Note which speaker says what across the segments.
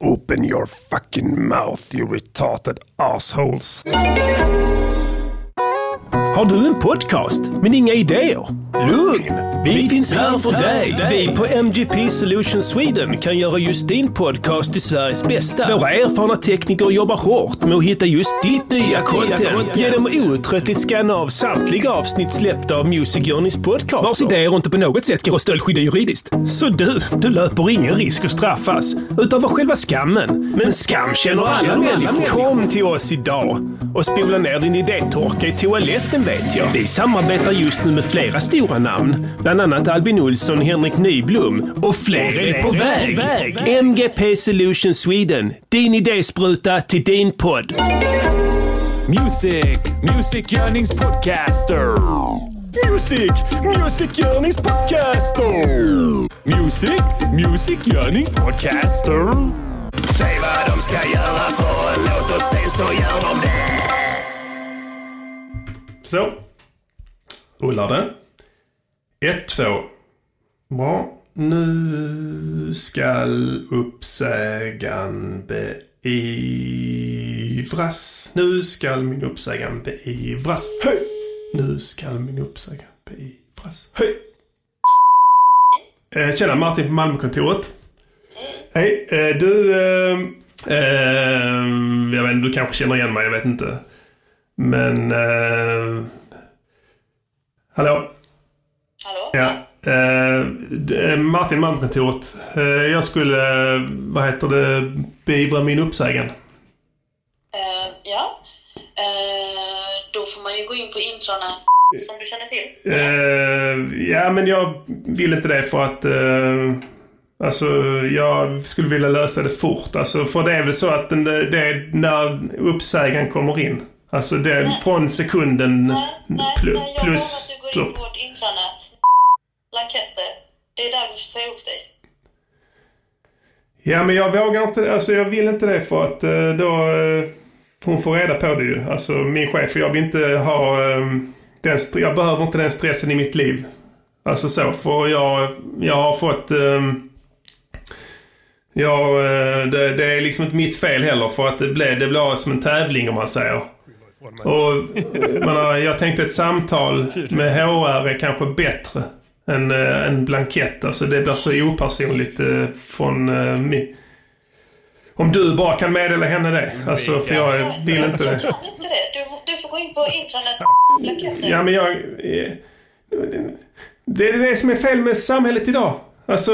Speaker 1: Open your fucking mouth you retarded assholes.
Speaker 2: Har du en podcast men inga idéer? Lugn! Vi, finns här för dig. Vi på MGP Solution Sweden kan göra just din podcast till Sveriges bästa. Våra erfarna tekniker jobbar hårt med att hitta just ditt nya content genom att outtröttligt scanna av samtliga avsnitt släppta av Music Journeys podcast. Vars idéer inte på något sätt kan vara stöldskydda juridiskt. Så du, du löper ingen risk att straffas utöver själva skammen. Men skam känner alla människor. Kom till oss idag och spola ner din idétorka i toaletten vet jag. Vi samarbetar just nu med flera stora namn. Bland annat Albin Olsson, Henrik Nyblom och fler, är på väg. MGP Solution Sweden. Din idéspruta till din podd.
Speaker 3: Music, Music Yearnings Podcaster. Music, Music Yearnings Podcaster. Music, Music Yearnings Podcaster. Säg vad de ska göra för en låt och sen så gör de det.
Speaker 1: Så. Rullar det. Ett, två. Bra. Nu skall uppsägan beivras. Nu skall min uppsägan beivras. Hej! Nu skall min uppsägan beivras. Hej! Eh, tjena, Martin på Malmökontoret. Hej. Eh, du... Eh, eh, jag vet inte, du kanske känner igen mig, jag vet inte. Men... Eh, hallå?
Speaker 4: Hallå?
Speaker 1: Ja. Eh, det är Martin Malmkontoret. Eh, jag skulle, eh, vad heter det, beivra min uppsägen.
Speaker 4: Eh, ja. Eh, då får man ju gå in på intranet som du känner till.
Speaker 1: Eh, ja, men jag vill inte det för att... Eh, alltså, jag skulle vilja lösa det fort. Alltså, för det är väl så att den, det är när uppsägaren kommer in. Alltså, det är från sekunden
Speaker 4: Nej, nej,
Speaker 1: plu-
Speaker 4: nej, jag behöver
Speaker 1: plus...
Speaker 4: att du går in på vårt intranät. Blanketter. Det är där du får säga upp dig.
Speaker 1: Ja, men jag vågar inte. Alltså jag vill inte det för att eh, då... eh, Hon får reda på det ju. Alltså min chef. och Jag vill inte ha... eh, Den, st- jag behöver inte den stressen i mitt liv. Alltså så. För jag, jag har fått... eh, Jag, eh, det, det är liksom inte mitt fel heller för att det blir, det blir som en tävling om man säger. Och eh, man har, jag tänkte ett samtal med HR är kanske bättre än eh, en blankett. Alltså det blir så opersonligt eh, från eh, mi- Om du bara kan meddela henne det. Alltså för jag vill inte
Speaker 4: Jag
Speaker 1: det.
Speaker 4: kan inte det. Du, du får gå in på intranet blanketter.
Speaker 1: Ja men jag... eh, Det är det som är fel med samhället idag. Alltså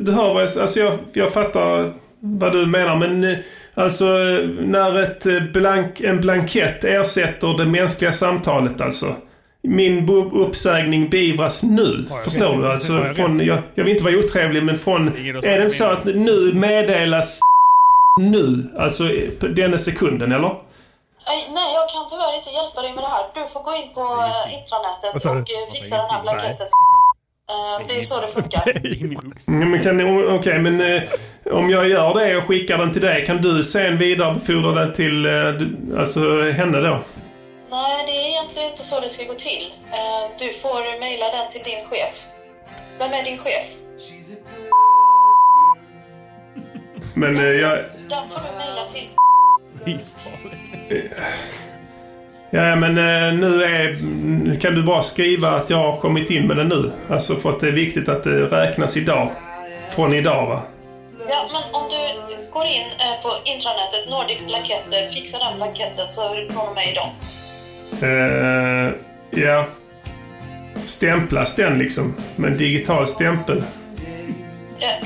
Speaker 1: du hör vad jag, alltså jag, jag fattar vad du menar men eh, alltså eh, när ett eh, blank, en blankett ersätter det mänskliga samtalet alltså. Min bo- uppsägning beivras nu. Förstår du? Alltså, från, jag, jag vill inte vara otrevlig men från... Är det så att nu meddelas nu? Alltså eh, på denna sekunden eller?
Speaker 4: Nej, nej, jag kan tyvärr inte hjälpa dig med det här. Du får gå in på eh, intranätet
Speaker 5: sa du?
Speaker 4: och eh, fixa den här blanketten. Eh, det är så det funkar.
Speaker 1: Ja, Mm, men kan, Okej, men eh, om jag gör det och skickar den till dig, kan du sen vidarebefordra den till eh, du- alltså, henne då?
Speaker 4: Nej, det är egentligen inte så det ska gå till. Eh, du får mejla den till din chef. Vem är din chef?
Speaker 1: Men eh, jag...
Speaker 4: Den får du mejla till.
Speaker 1: Ja, men eh, nu är... nu Kan du bara skriva att jag har kommit in med den nu? Alltså för att det är viktigt att det räknas idag. Från idag, va?
Speaker 4: Ja, men om du går in eh, på intranätet, Nordic Blanketter, fixa den blanketten så är du från och med idag.
Speaker 1: Eh, ja. Stämplas den liksom? Med en digital stämpel?
Speaker 4: Eh, Ja,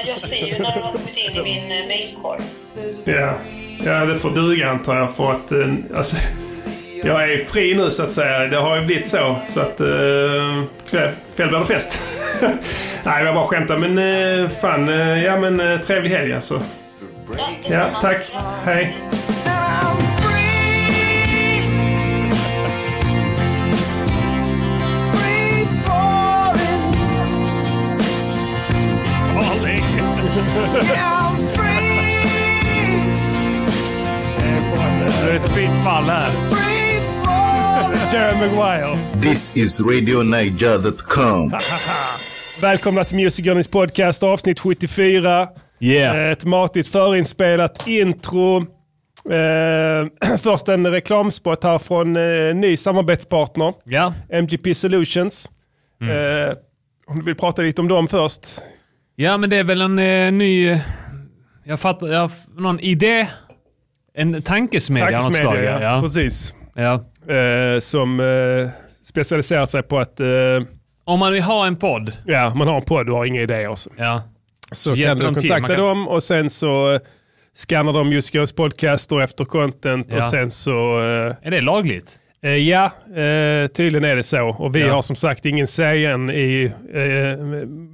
Speaker 4: jag, jag ser ju när du har kommit in i min eh, mejlkorg.
Speaker 1: Ja, ja det får duga antar jag för att eh, alltså, jag är fri nu så att säga. Det har ju blivit så. Så att eh, kväll, kväll blir det fest. Nej, jag bara skämtar. Men eh, fan, eh, ja men eh, trevlig helg alltså.
Speaker 4: Ja, det
Speaker 1: Ja,
Speaker 4: ska man.
Speaker 1: tack. Hej.
Speaker 3: I'm free. Free falling. I'm free.
Speaker 5: Det är ett fint fall här.
Speaker 3: Free falling.
Speaker 5: Jerry Maguire.
Speaker 6: This is RadioNiger.com.
Speaker 5: Välkomna till Music Journeys podcast avsnitt 74.
Speaker 6: Yeah.
Speaker 1: Eh, Ett matigt förinspelat intro. Eh, först en reklamspot här från eh, ny samarbetspartner,
Speaker 6: Ja.
Speaker 1: MGP Solutions.
Speaker 6: Mm.
Speaker 1: Eh, om du vill prata lite om dem först.
Speaker 6: ja, men det är väl en eh, ny... eh, Jag fattar, jag, har f- någon idé? En tankesmedja av något slag?
Speaker 1: Taxmedia,
Speaker 6: Ja. Ja.
Speaker 1: precis.
Speaker 6: Ja.
Speaker 1: Eh, som eh, specialiserat sig på att eh,
Speaker 6: Om man vill ha en podd,
Speaker 1: ja, man har en podd och har inga idéer. Så,
Speaker 6: ja.
Speaker 1: så
Speaker 6: hjälper
Speaker 1: kan du
Speaker 6: de till.
Speaker 1: kontakta
Speaker 6: Man kan-
Speaker 1: dem och sen så eh, skannar de just Guns podcaster efter content
Speaker 6: Ja.
Speaker 1: och sen så... Eh,
Speaker 6: är det lagligt?
Speaker 1: eh, ja, eh, tydligen är det så. Och vi
Speaker 6: Ja.
Speaker 1: har som sagt ingen sägen i eh,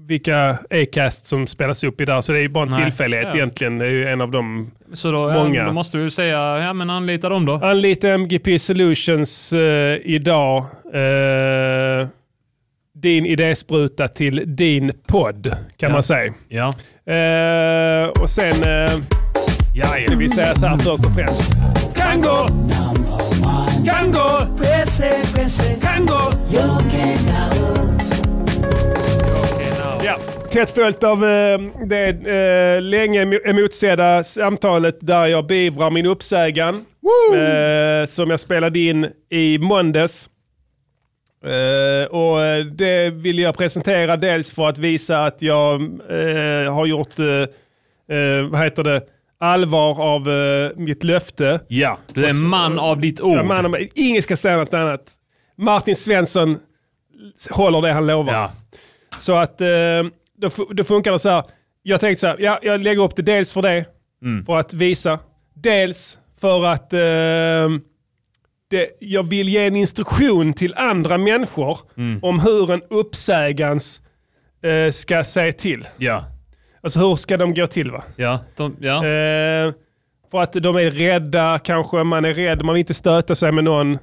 Speaker 1: vilka Acast som spelas upp i där. Så det är ju bara en
Speaker 6: Nej.
Speaker 1: tillfällighet
Speaker 6: Ja.
Speaker 1: egentligen. Det är ju en av dem
Speaker 6: Så då,
Speaker 1: Många.
Speaker 6: ja, då måste du säga, ja men anlita dem då.
Speaker 1: Anlita MGP Solutions eh, idag. Eh, din idéspruta till din podd kan
Speaker 6: Ja.
Speaker 1: man säga.
Speaker 6: Ja.
Speaker 1: Eh, och sen eh,
Speaker 6: Ja,
Speaker 1: ska vi säga så här först och främst. Kango! Kango! Kango! Ja, tätt följt av eh, det eh, länge emo- emotsedda samtalet där jag beivrar min uppsägan. Eh, som jag spelade in i måndags. Eh, och eh, det vill jag presentera dels för att visa att jag eh, har gjort, eh, eh, vad heter det, allvar av eh, mitt löfte.
Speaker 6: ja. Du är en man av ditt
Speaker 1: Ja,
Speaker 6: ord.
Speaker 1: man, och man- ingen ska säga något annat. Martin Svensson håller det han lovar.
Speaker 6: Ja.
Speaker 1: Så att eh, då, fu- då funkar det så här. Jag tänkte så här, ja, jag lägger upp det dels för det, för att visa. Dels för att eh, det, jag vill ge en instruktion till andra människor om hur en uppsägans eh, ska se till.
Speaker 6: Ja.
Speaker 1: Alltså hur ska de gå till va?
Speaker 6: Ja. De, ja.
Speaker 1: Eh, för att de är rädda, kanske man är rädd, man vill inte stöta sig med någon.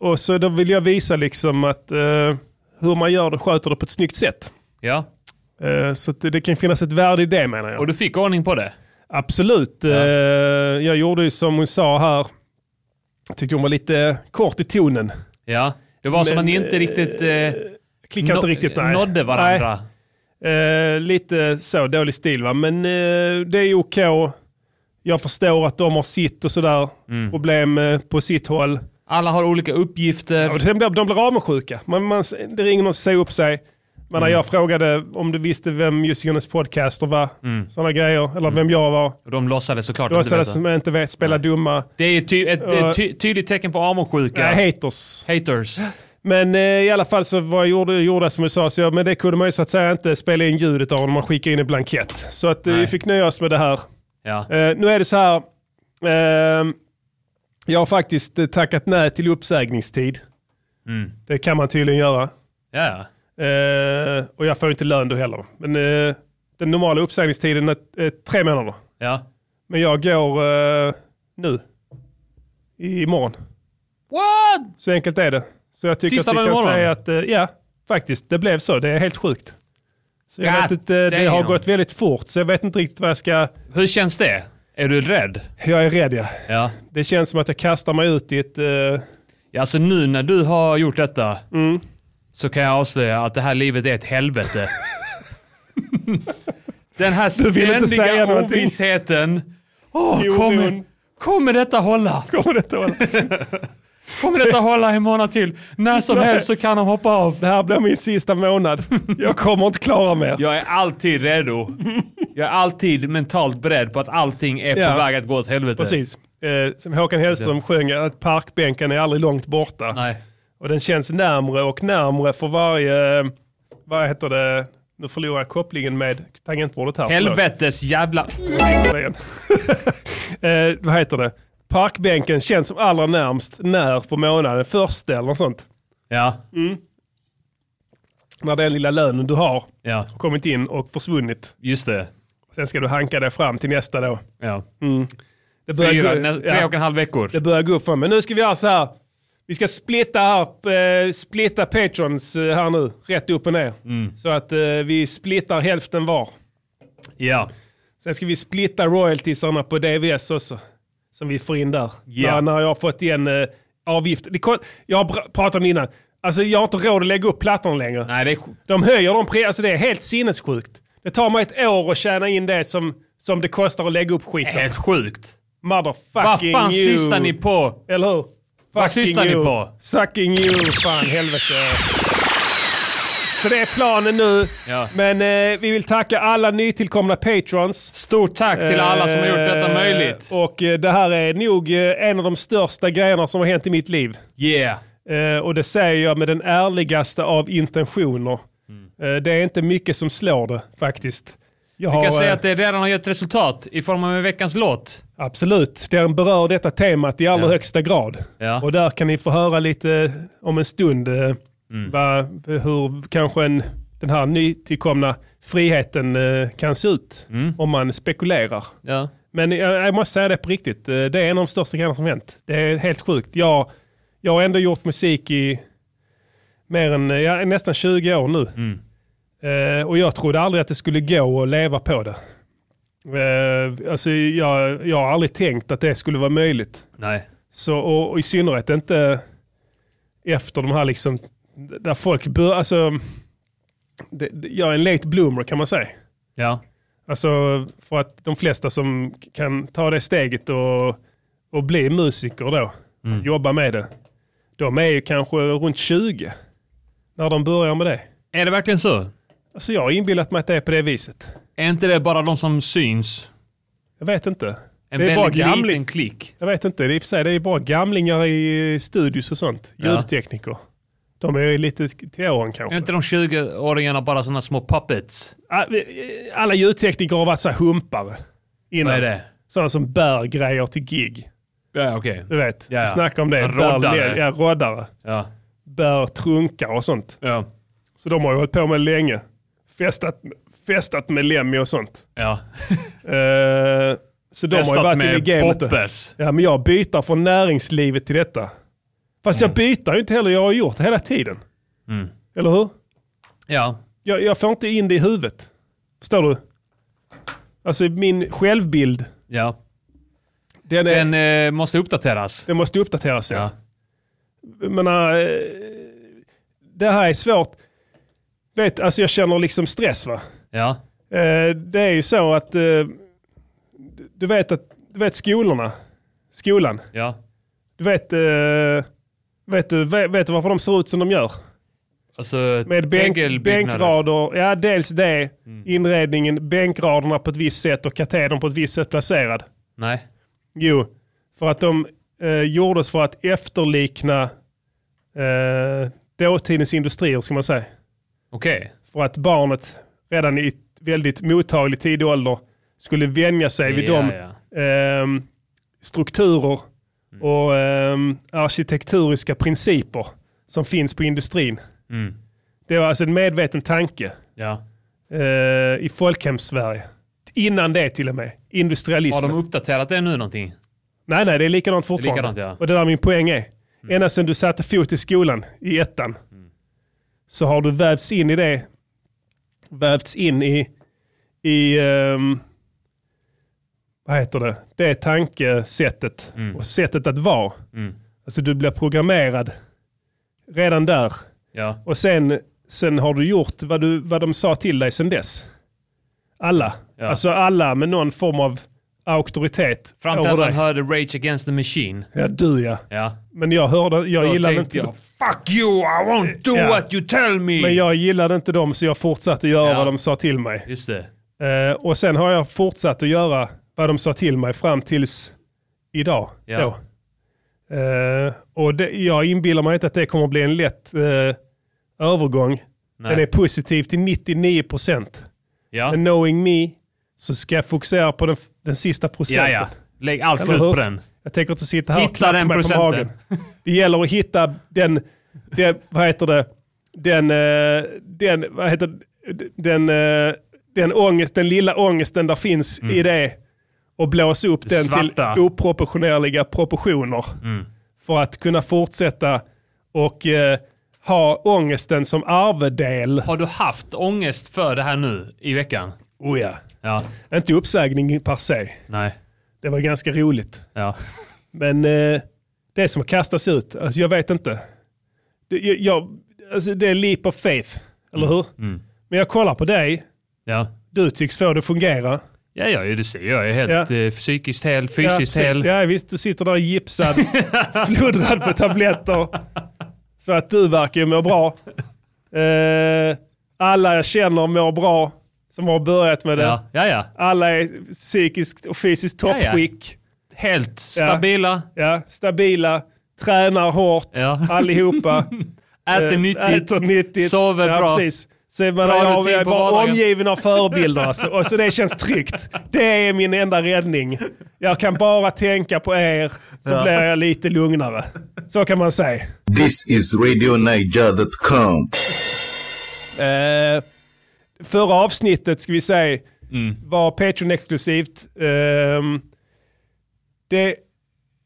Speaker 1: Och så då vill jag visa liksom att eh, hur man gör det, sköter det på ett snyggt sätt.
Speaker 6: ja.
Speaker 1: Eh, så att det, det kan finnas ett värde i det menar jag.
Speaker 6: Och du fick ordning på det?
Speaker 1: Absolut. Eh, jag gjorde ju som hon sa här, jag tycker hon var lite kort i tonen.
Speaker 6: Ja. Det var som att ni inte riktigt... Eh,
Speaker 1: Klickade inte riktigt, nej.
Speaker 6: Nådde varandra.
Speaker 1: Eh, lite så dålig stil va, men eh, det är okej. Jag förstår att de har sitt och sådär,
Speaker 6: Mm.
Speaker 1: problem eh, på sitt håll.
Speaker 6: Alla har olika uppgifter.
Speaker 1: Ja, de, blir, de blir avundsjuka. Man, man, det ringer någon och säger upp sig. Men
Speaker 6: Mm.
Speaker 1: när jag frågade om du visste vem Jussi Jonas podcaster var,
Speaker 6: Mm.
Speaker 1: sådana grejer, eller vem jag var.
Speaker 6: Och de låtsades såklart inte
Speaker 1: Låtsades
Speaker 6: veta.
Speaker 1: som jag inte vet, spela dumma.
Speaker 6: Det är ty- ett,
Speaker 1: Ja.
Speaker 6: ett ty- tydligt tecken på avundsjuka.
Speaker 1: Nej, haters.
Speaker 6: Haters.
Speaker 1: Men eh, i alla fall så vad jag gjorde, gjorde jag som jag sa, så jag, men det kunde man ju så att säga inte spela in ljudet av när man skickade in en blankett. Så att eh, vi
Speaker 6: Nej.
Speaker 1: fick nöja oss med det här.
Speaker 6: Ja.
Speaker 1: Eh, nu är det så här, ehm, jag har faktiskt eh, tackat nej till uppsägningstid. Det kan man tydligen göra.
Speaker 6: Ja, ja.
Speaker 1: Eh, och jag får ju inte lön då heller. Men eh, den normala uppsägningstiden är är tre månader.
Speaker 6: ja.
Speaker 1: Men jag går eh, nu. I- Imorgon.
Speaker 6: What?
Speaker 1: Så enkelt är det. Så jag tycker
Speaker 6: Sista
Speaker 1: att vi
Speaker 6: dagen
Speaker 1: kan
Speaker 6: imorgon?
Speaker 1: säga att, eh, ja, faktiskt, det blev så. Det är helt sjukt. Så jag
Speaker 6: God
Speaker 1: vet inte, eh, det har
Speaker 6: damn.
Speaker 1: gått väldigt fort, så jag vet inte riktigt vad jag ska...
Speaker 6: Hur känns det? Är du rädd?
Speaker 1: Jag är rädd, ja.
Speaker 6: Ja.
Speaker 1: Det känns som att jag kastar mig ut i ett... eh,
Speaker 6: ja alltså nu när du har gjort detta
Speaker 1: Mm.
Speaker 6: så kan jag avslöja att det här livet är ett helvete. Den här
Speaker 1: Du vill inte säga
Speaker 6: ständiga
Speaker 1: någonting.
Speaker 6: ovissheten. Åh,
Speaker 1: Jo,
Speaker 6: kommer,
Speaker 1: men-
Speaker 6: kommer detta hålla?
Speaker 1: kommer detta vara?
Speaker 6: Kommer detta hålla en månad till? När som helst så kan de hoppa av.
Speaker 1: Det här blir min sista månad. Jag kommer inte klara mer.
Speaker 6: Jag är alltid redo. Jag är alltid mentalt beredd på att allting är
Speaker 1: Ja.
Speaker 6: på väg att gå åt helvete.
Speaker 1: Precis. Eh, som Håkan Hellström sjöng, att parkbänken är aldrig långt borta.
Speaker 6: Nej.
Speaker 1: Och den känns närmre och närmre för varje, eh, vad heter det, nu förlorar jag kopplingen med tangentbordet här. förlåt.
Speaker 6: Helvetes jävla...
Speaker 1: eh, vad heter det? Parkbänken känns som allra närmst när på månaden, första eller något sånt.
Speaker 6: Ja,
Speaker 1: När den lilla lönen du har
Speaker 6: ja,
Speaker 1: har kommit in och försvunnit.
Speaker 6: just det. då.
Speaker 1: Sen ska du hanka dig fram till nästa då.
Speaker 6: Ja.
Speaker 1: Det
Speaker 6: Fyra,
Speaker 1: gå-
Speaker 6: nä, tre
Speaker 1: Mm. ja.
Speaker 6: och en halv veckor.
Speaker 1: Det börjar gå upp för mig. Men nu ska vi göra så här. Vi ska splitta, här, eh, splitta patrons eh, här nu, rätt upp och ner.
Speaker 6: Mm.
Speaker 1: Så att eh, vi splittar hälften var.
Speaker 6: Ja,
Speaker 1: Sen ska vi splitta royaltiesarna på DVS också, som vi får in där.
Speaker 6: Ja.
Speaker 1: När, när jag har fått igen eh, avgift. Det, kon- jag har pr- pratat om det innan. Alltså jag har inte råd att lägga upp plattorna längre.
Speaker 6: nej det är... sj-
Speaker 1: De höjer de priserna, alltså det är helt sinnessjukt. Det tar mig ett år att tjäna in det som, som det kostar att lägga upp skiten.
Speaker 6: Helt sjukt. Eh, Vad
Speaker 1: Motherfucking
Speaker 6: fan
Speaker 1: you.
Speaker 6: sysslar ni på?
Speaker 1: Eller hur?
Speaker 6: Vad
Speaker 1: Fucking
Speaker 6: sysslar ni
Speaker 1: you.
Speaker 6: på?
Speaker 1: Sucking you, fan helvete. Så det är planen nu.
Speaker 6: Ja.
Speaker 1: Men eh, vi vill tacka alla nytillkomna patrons.
Speaker 6: Stort tack till alla som har gjort detta
Speaker 1: Eh,
Speaker 6: möjligt.
Speaker 1: Och eh, det här är nog eh, en av de största grejerna som har hänt i mitt liv.
Speaker 6: Yeah.
Speaker 1: Eh, och det säger jag med den ärligaste av intentioner. Eh, det är inte mycket som slår det faktiskt. Jag
Speaker 6: Mm. Vi
Speaker 1: har,
Speaker 6: kan säga
Speaker 1: eh,
Speaker 6: att det redan har gett resultat i form av en veckans låt.
Speaker 1: Absolut, den berör detta temat i allra högsta grad.
Speaker 6: Ja.
Speaker 1: Och där kan ni få höra lite eh, om en stund eh,
Speaker 6: Mm.
Speaker 1: vad, hur kanske en, den här nytillkomna friheten eh, kan se ut
Speaker 6: Mm.
Speaker 1: om man spekulerar.
Speaker 6: Ja.
Speaker 1: Men jag, jag måste säga det på riktigt, eh, det är en av de största grejerna som hänt. Det är helt sjukt. Jag, jag har ändå gjort musik i mer än, ja, nästan 20 år nu. Eh, och jag trodde aldrig att det skulle gå att leva på det. Eh, alltså jag, jag har aldrig tänkt att det skulle vara möjligt.
Speaker 6: Nej.
Speaker 1: Så, och, och i synnerhet inte efter de här liksom, där folk bör, alltså, det, det- jag är en late bloomer kan man säga.
Speaker 6: Ja.
Speaker 1: Alltså för att de flesta som kan ta det steget och, och bli musiker då,
Speaker 6: Mm.
Speaker 1: jobba med det, de är ju kanske runt 20 när de börjar med det.
Speaker 6: Är det verkligen så?
Speaker 1: Alltså jag har inbillat mig att det är på det viset.
Speaker 6: Är inte det bara de som syns?
Speaker 1: Jag vet inte.
Speaker 6: En
Speaker 1: det är bara
Speaker 6: väldigt
Speaker 1: gamling.
Speaker 6: liten klick.
Speaker 1: Jag vet inte, det är, i och för sig, det är bara gamlingar i studios och sånt.
Speaker 6: Ja.
Speaker 1: Ljudtekniker. De är ju lite till åren
Speaker 6: Är
Speaker 1: kanske.
Speaker 6: inte de 20-åringarna bara sådana små puppets?
Speaker 1: Ah, Alla ljudtekniker har varit så här humpare. Innan.
Speaker 6: Vad är det?
Speaker 1: Sådana som bär grejer till gig.
Speaker 6: Ja, okej.
Speaker 1: Du vet,
Speaker 6: Ja, ja.
Speaker 1: snacka om det.
Speaker 6: Roddare.
Speaker 1: Bär, ja, roddare.
Speaker 6: Ja.
Speaker 1: Bär trunkar och sånt.
Speaker 6: Ja.
Speaker 1: Så de har ju hållit på med länge. Festat, festat med Lemmy och sånt.
Speaker 6: Ja.
Speaker 1: Eh, så de har ju
Speaker 6: Festat
Speaker 1: varit inne i
Speaker 6: med
Speaker 1: gamet.
Speaker 6: poppes.
Speaker 1: Ja, men jag byter från näringslivet till detta. Fast
Speaker 6: Mm.
Speaker 1: jag byter ju inte heller, jag har gjort det hela tiden. Eller hur?
Speaker 6: Ja.
Speaker 1: Jag, jag får inte in det i huvudet. Förstår du? Alltså min självbild,
Speaker 6: Ja.
Speaker 1: den, är,
Speaker 6: Den
Speaker 1: den,
Speaker 6: eh, måste uppdateras.
Speaker 1: måste uppdateras. Ja.
Speaker 6: Ja.
Speaker 1: Jag menar, eh, det här är svårt. Vet, alltså jag känner liksom stress va.
Speaker 6: Ja.
Speaker 1: Eh, Det är ju så att, eh, du- du vet att, du vet skolorna, skolan.
Speaker 6: Ja.
Speaker 1: Du vet, eh, vet, du, vet, vet du varför de ser ut som de gör?
Speaker 6: Alltså,
Speaker 1: Med bänk,
Speaker 6: tegelbyggnader.
Speaker 1: bänkrader, ja dels det, inredningen, bänkraderna på ett visst sätt och katedern på ett visst sätt placerad.
Speaker 6: Nej.
Speaker 1: Jo, för att de eh, gjordes för att efterlikna eh, dåtidens industrier ska man säga.
Speaker 6: Okej.
Speaker 1: För att barnet redan i väldigt mottaglig tidig ålder skulle vänja sig vid
Speaker 6: Ja,
Speaker 1: de
Speaker 6: ja. Mm.
Speaker 1: ehm, strukturer och ehm, arkitekturiska principer som finns på industrin.
Speaker 6: Mm.
Speaker 1: Det var alltså en medveten tanke
Speaker 6: Ja.
Speaker 1: eh, i folkhems-Sverige. Innan det till och med,
Speaker 6: Har
Speaker 1: industrialismen.
Speaker 6: de uppdaterat det nu någonting?
Speaker 1: Nej, nej, det är likadant fortfarande.
Speaker 6: likadant, ja. Mm.
Speaker 1: Och det där min poäng är, ända sedan du satte fot i skolan i ettan så har du vävts in i det, vävts in i, i ehm, vad heter det, det tankesättet
Speaker 6: Mm.
Speaker 1: och sättet att vara. Alltså du blir programmerad redan där
Speaker 6: Ja.
Speaker 1: och sen, sen har du gjort vad, du, vad de sa till dig sen dess. Alla,
Speaker 6: Ja.
Speaker 1: alltså alla med någon form av auktoritet
Speaker 6: Fram till
Speaker 1: över
Speaker 6: att man
Speaker 1: dig.
Speaker 6: hörde Rage Against the Machine.
Speaker 1: Ja, du ja.
Speaker 6: Ja.
Speaker 1: Men jag hörde, jag
Speaker 6: Då
Speaker 1: gillade
Speaker 6: tänkte
Speaker 1: inte,
Speaker 6: jag, fuck you, I won't do
Speaker 1: Ja.
Speaker 6: what you tell me.
Speaker 1: men jag gillade inte dem så jag fortsatte göra
Speaker 6: Ja.
Speaker 1: vad de sa till mig.
Speaker 6: Just det.
Speaker 1: Eh, och sen har jag fortsatt att göra vad de sa till mig fram tills idag.
Speaker 6: Ja.
Speaker 1: Då. Eh, och det, jag inbillar mig inte att det kommer bli en lätt eh, övergång.
Speaker 6: Nej.
Speaker 1: Den är positiv till 99%.
Speaker 6: Ja.
Speaker 1: Men knowing me så ska jag fokusera på den, den sista
Speaker 6: ja,
Speaker 1: procenten.
Speaker 6: ja. Lägg allt
Speaker 1: Eller
Speaker 6: krut
Speaker 1: hur?
Speaker 6: på den.
Speaker 1: Jag tänker inte sitta här och
Speaker 6: Hitta
Speaker 1: klappa
Speaker 6: den
Speaker 1: mig
Speaker 6: procenten.
Speaker 1: på magen. Det gäller att hitta den, den vad heter det, den, eh, den, vad heter det? den, eh, den ångest, den lilla ångesten där finns i det och blåsa upp den
Speaker 6: Mm. svarta. Mm.
Speaker 1: till oproportionerliga proportioner. För att kunna fortsätta och eh, ha ångesten som arvedel.
Speaker 6: Har du haft ångest för det här nu i veckan?
Speaker 1: Oh ja.
Speaker 6: Ja.
Speaker 1: Inte uppsägning per se.
Speaker 6: Nej.
Speaker 1: Det var ganska roligt.
Speaker 6: Ja.
Speaker 1: Men eh, det är som att kastas ut. Alltså, jag vet inte. Det, jag,
Speaker 6: Mm.
Speaker 1: jag, alltså, det är leap of faith, eller hur? Men jag kollar på dig
Speaker 6: Ja.
Speaker 1: Du tycks få det att fungera.
Speaker 6: Ja, ja, det ser jag. Jag är helt eh, psykiskt hel, fysiskt
Speaker 1: ja,
Speaker 6: hel.
Speaker 1: Ja, visst. Du sitter där gipsad, flodrad på tabletter. Så att du verkar ju må bra. Eh, alla jag känner mår bra som har börjat med det.
Speaker 6: Ja, ja, ja.
Speaker 1: Alla är psykiskt och fysiskt
Speaker 6: Ja, ja.
Speaker 1: toppskick.
Speaker 6: Helt stabila.
Speaker 1: Ja. Stabila, tränar hårt
Speaker 6: Ja.
Speaker 1: allihopa.
Speaker 6: Äter
Speaker 1: Eh,
Speaker 6: nyttigt.
Speaker 1: Äter nyttigt.
Speaker 6: Sover
Speaker 1: ja,
Speaker 6: bra.
Speaker 1: Precis. Så man
Speaker 6: Bra
Speaker 1: jag,
Speaker 6: rutin
Speaker 1: jag är
Speaker 6: på
Speaker 1: bara
Speaker 6: vardagen.
Speaker 1: omgiven av förebilder alltså. Och så det känns tryggt. Det är min enda räddning. Jag kan bara tänka på er så blir jag lite lugnare. Så kan man säga.
Speaker 7: This is RadioNiger.com.
Speaker 1: Eh, förra avsnittet, ska vi säga,
Speaker 6: Mm.
Speaker 1: var Patreon-exklusivt. Ehm, det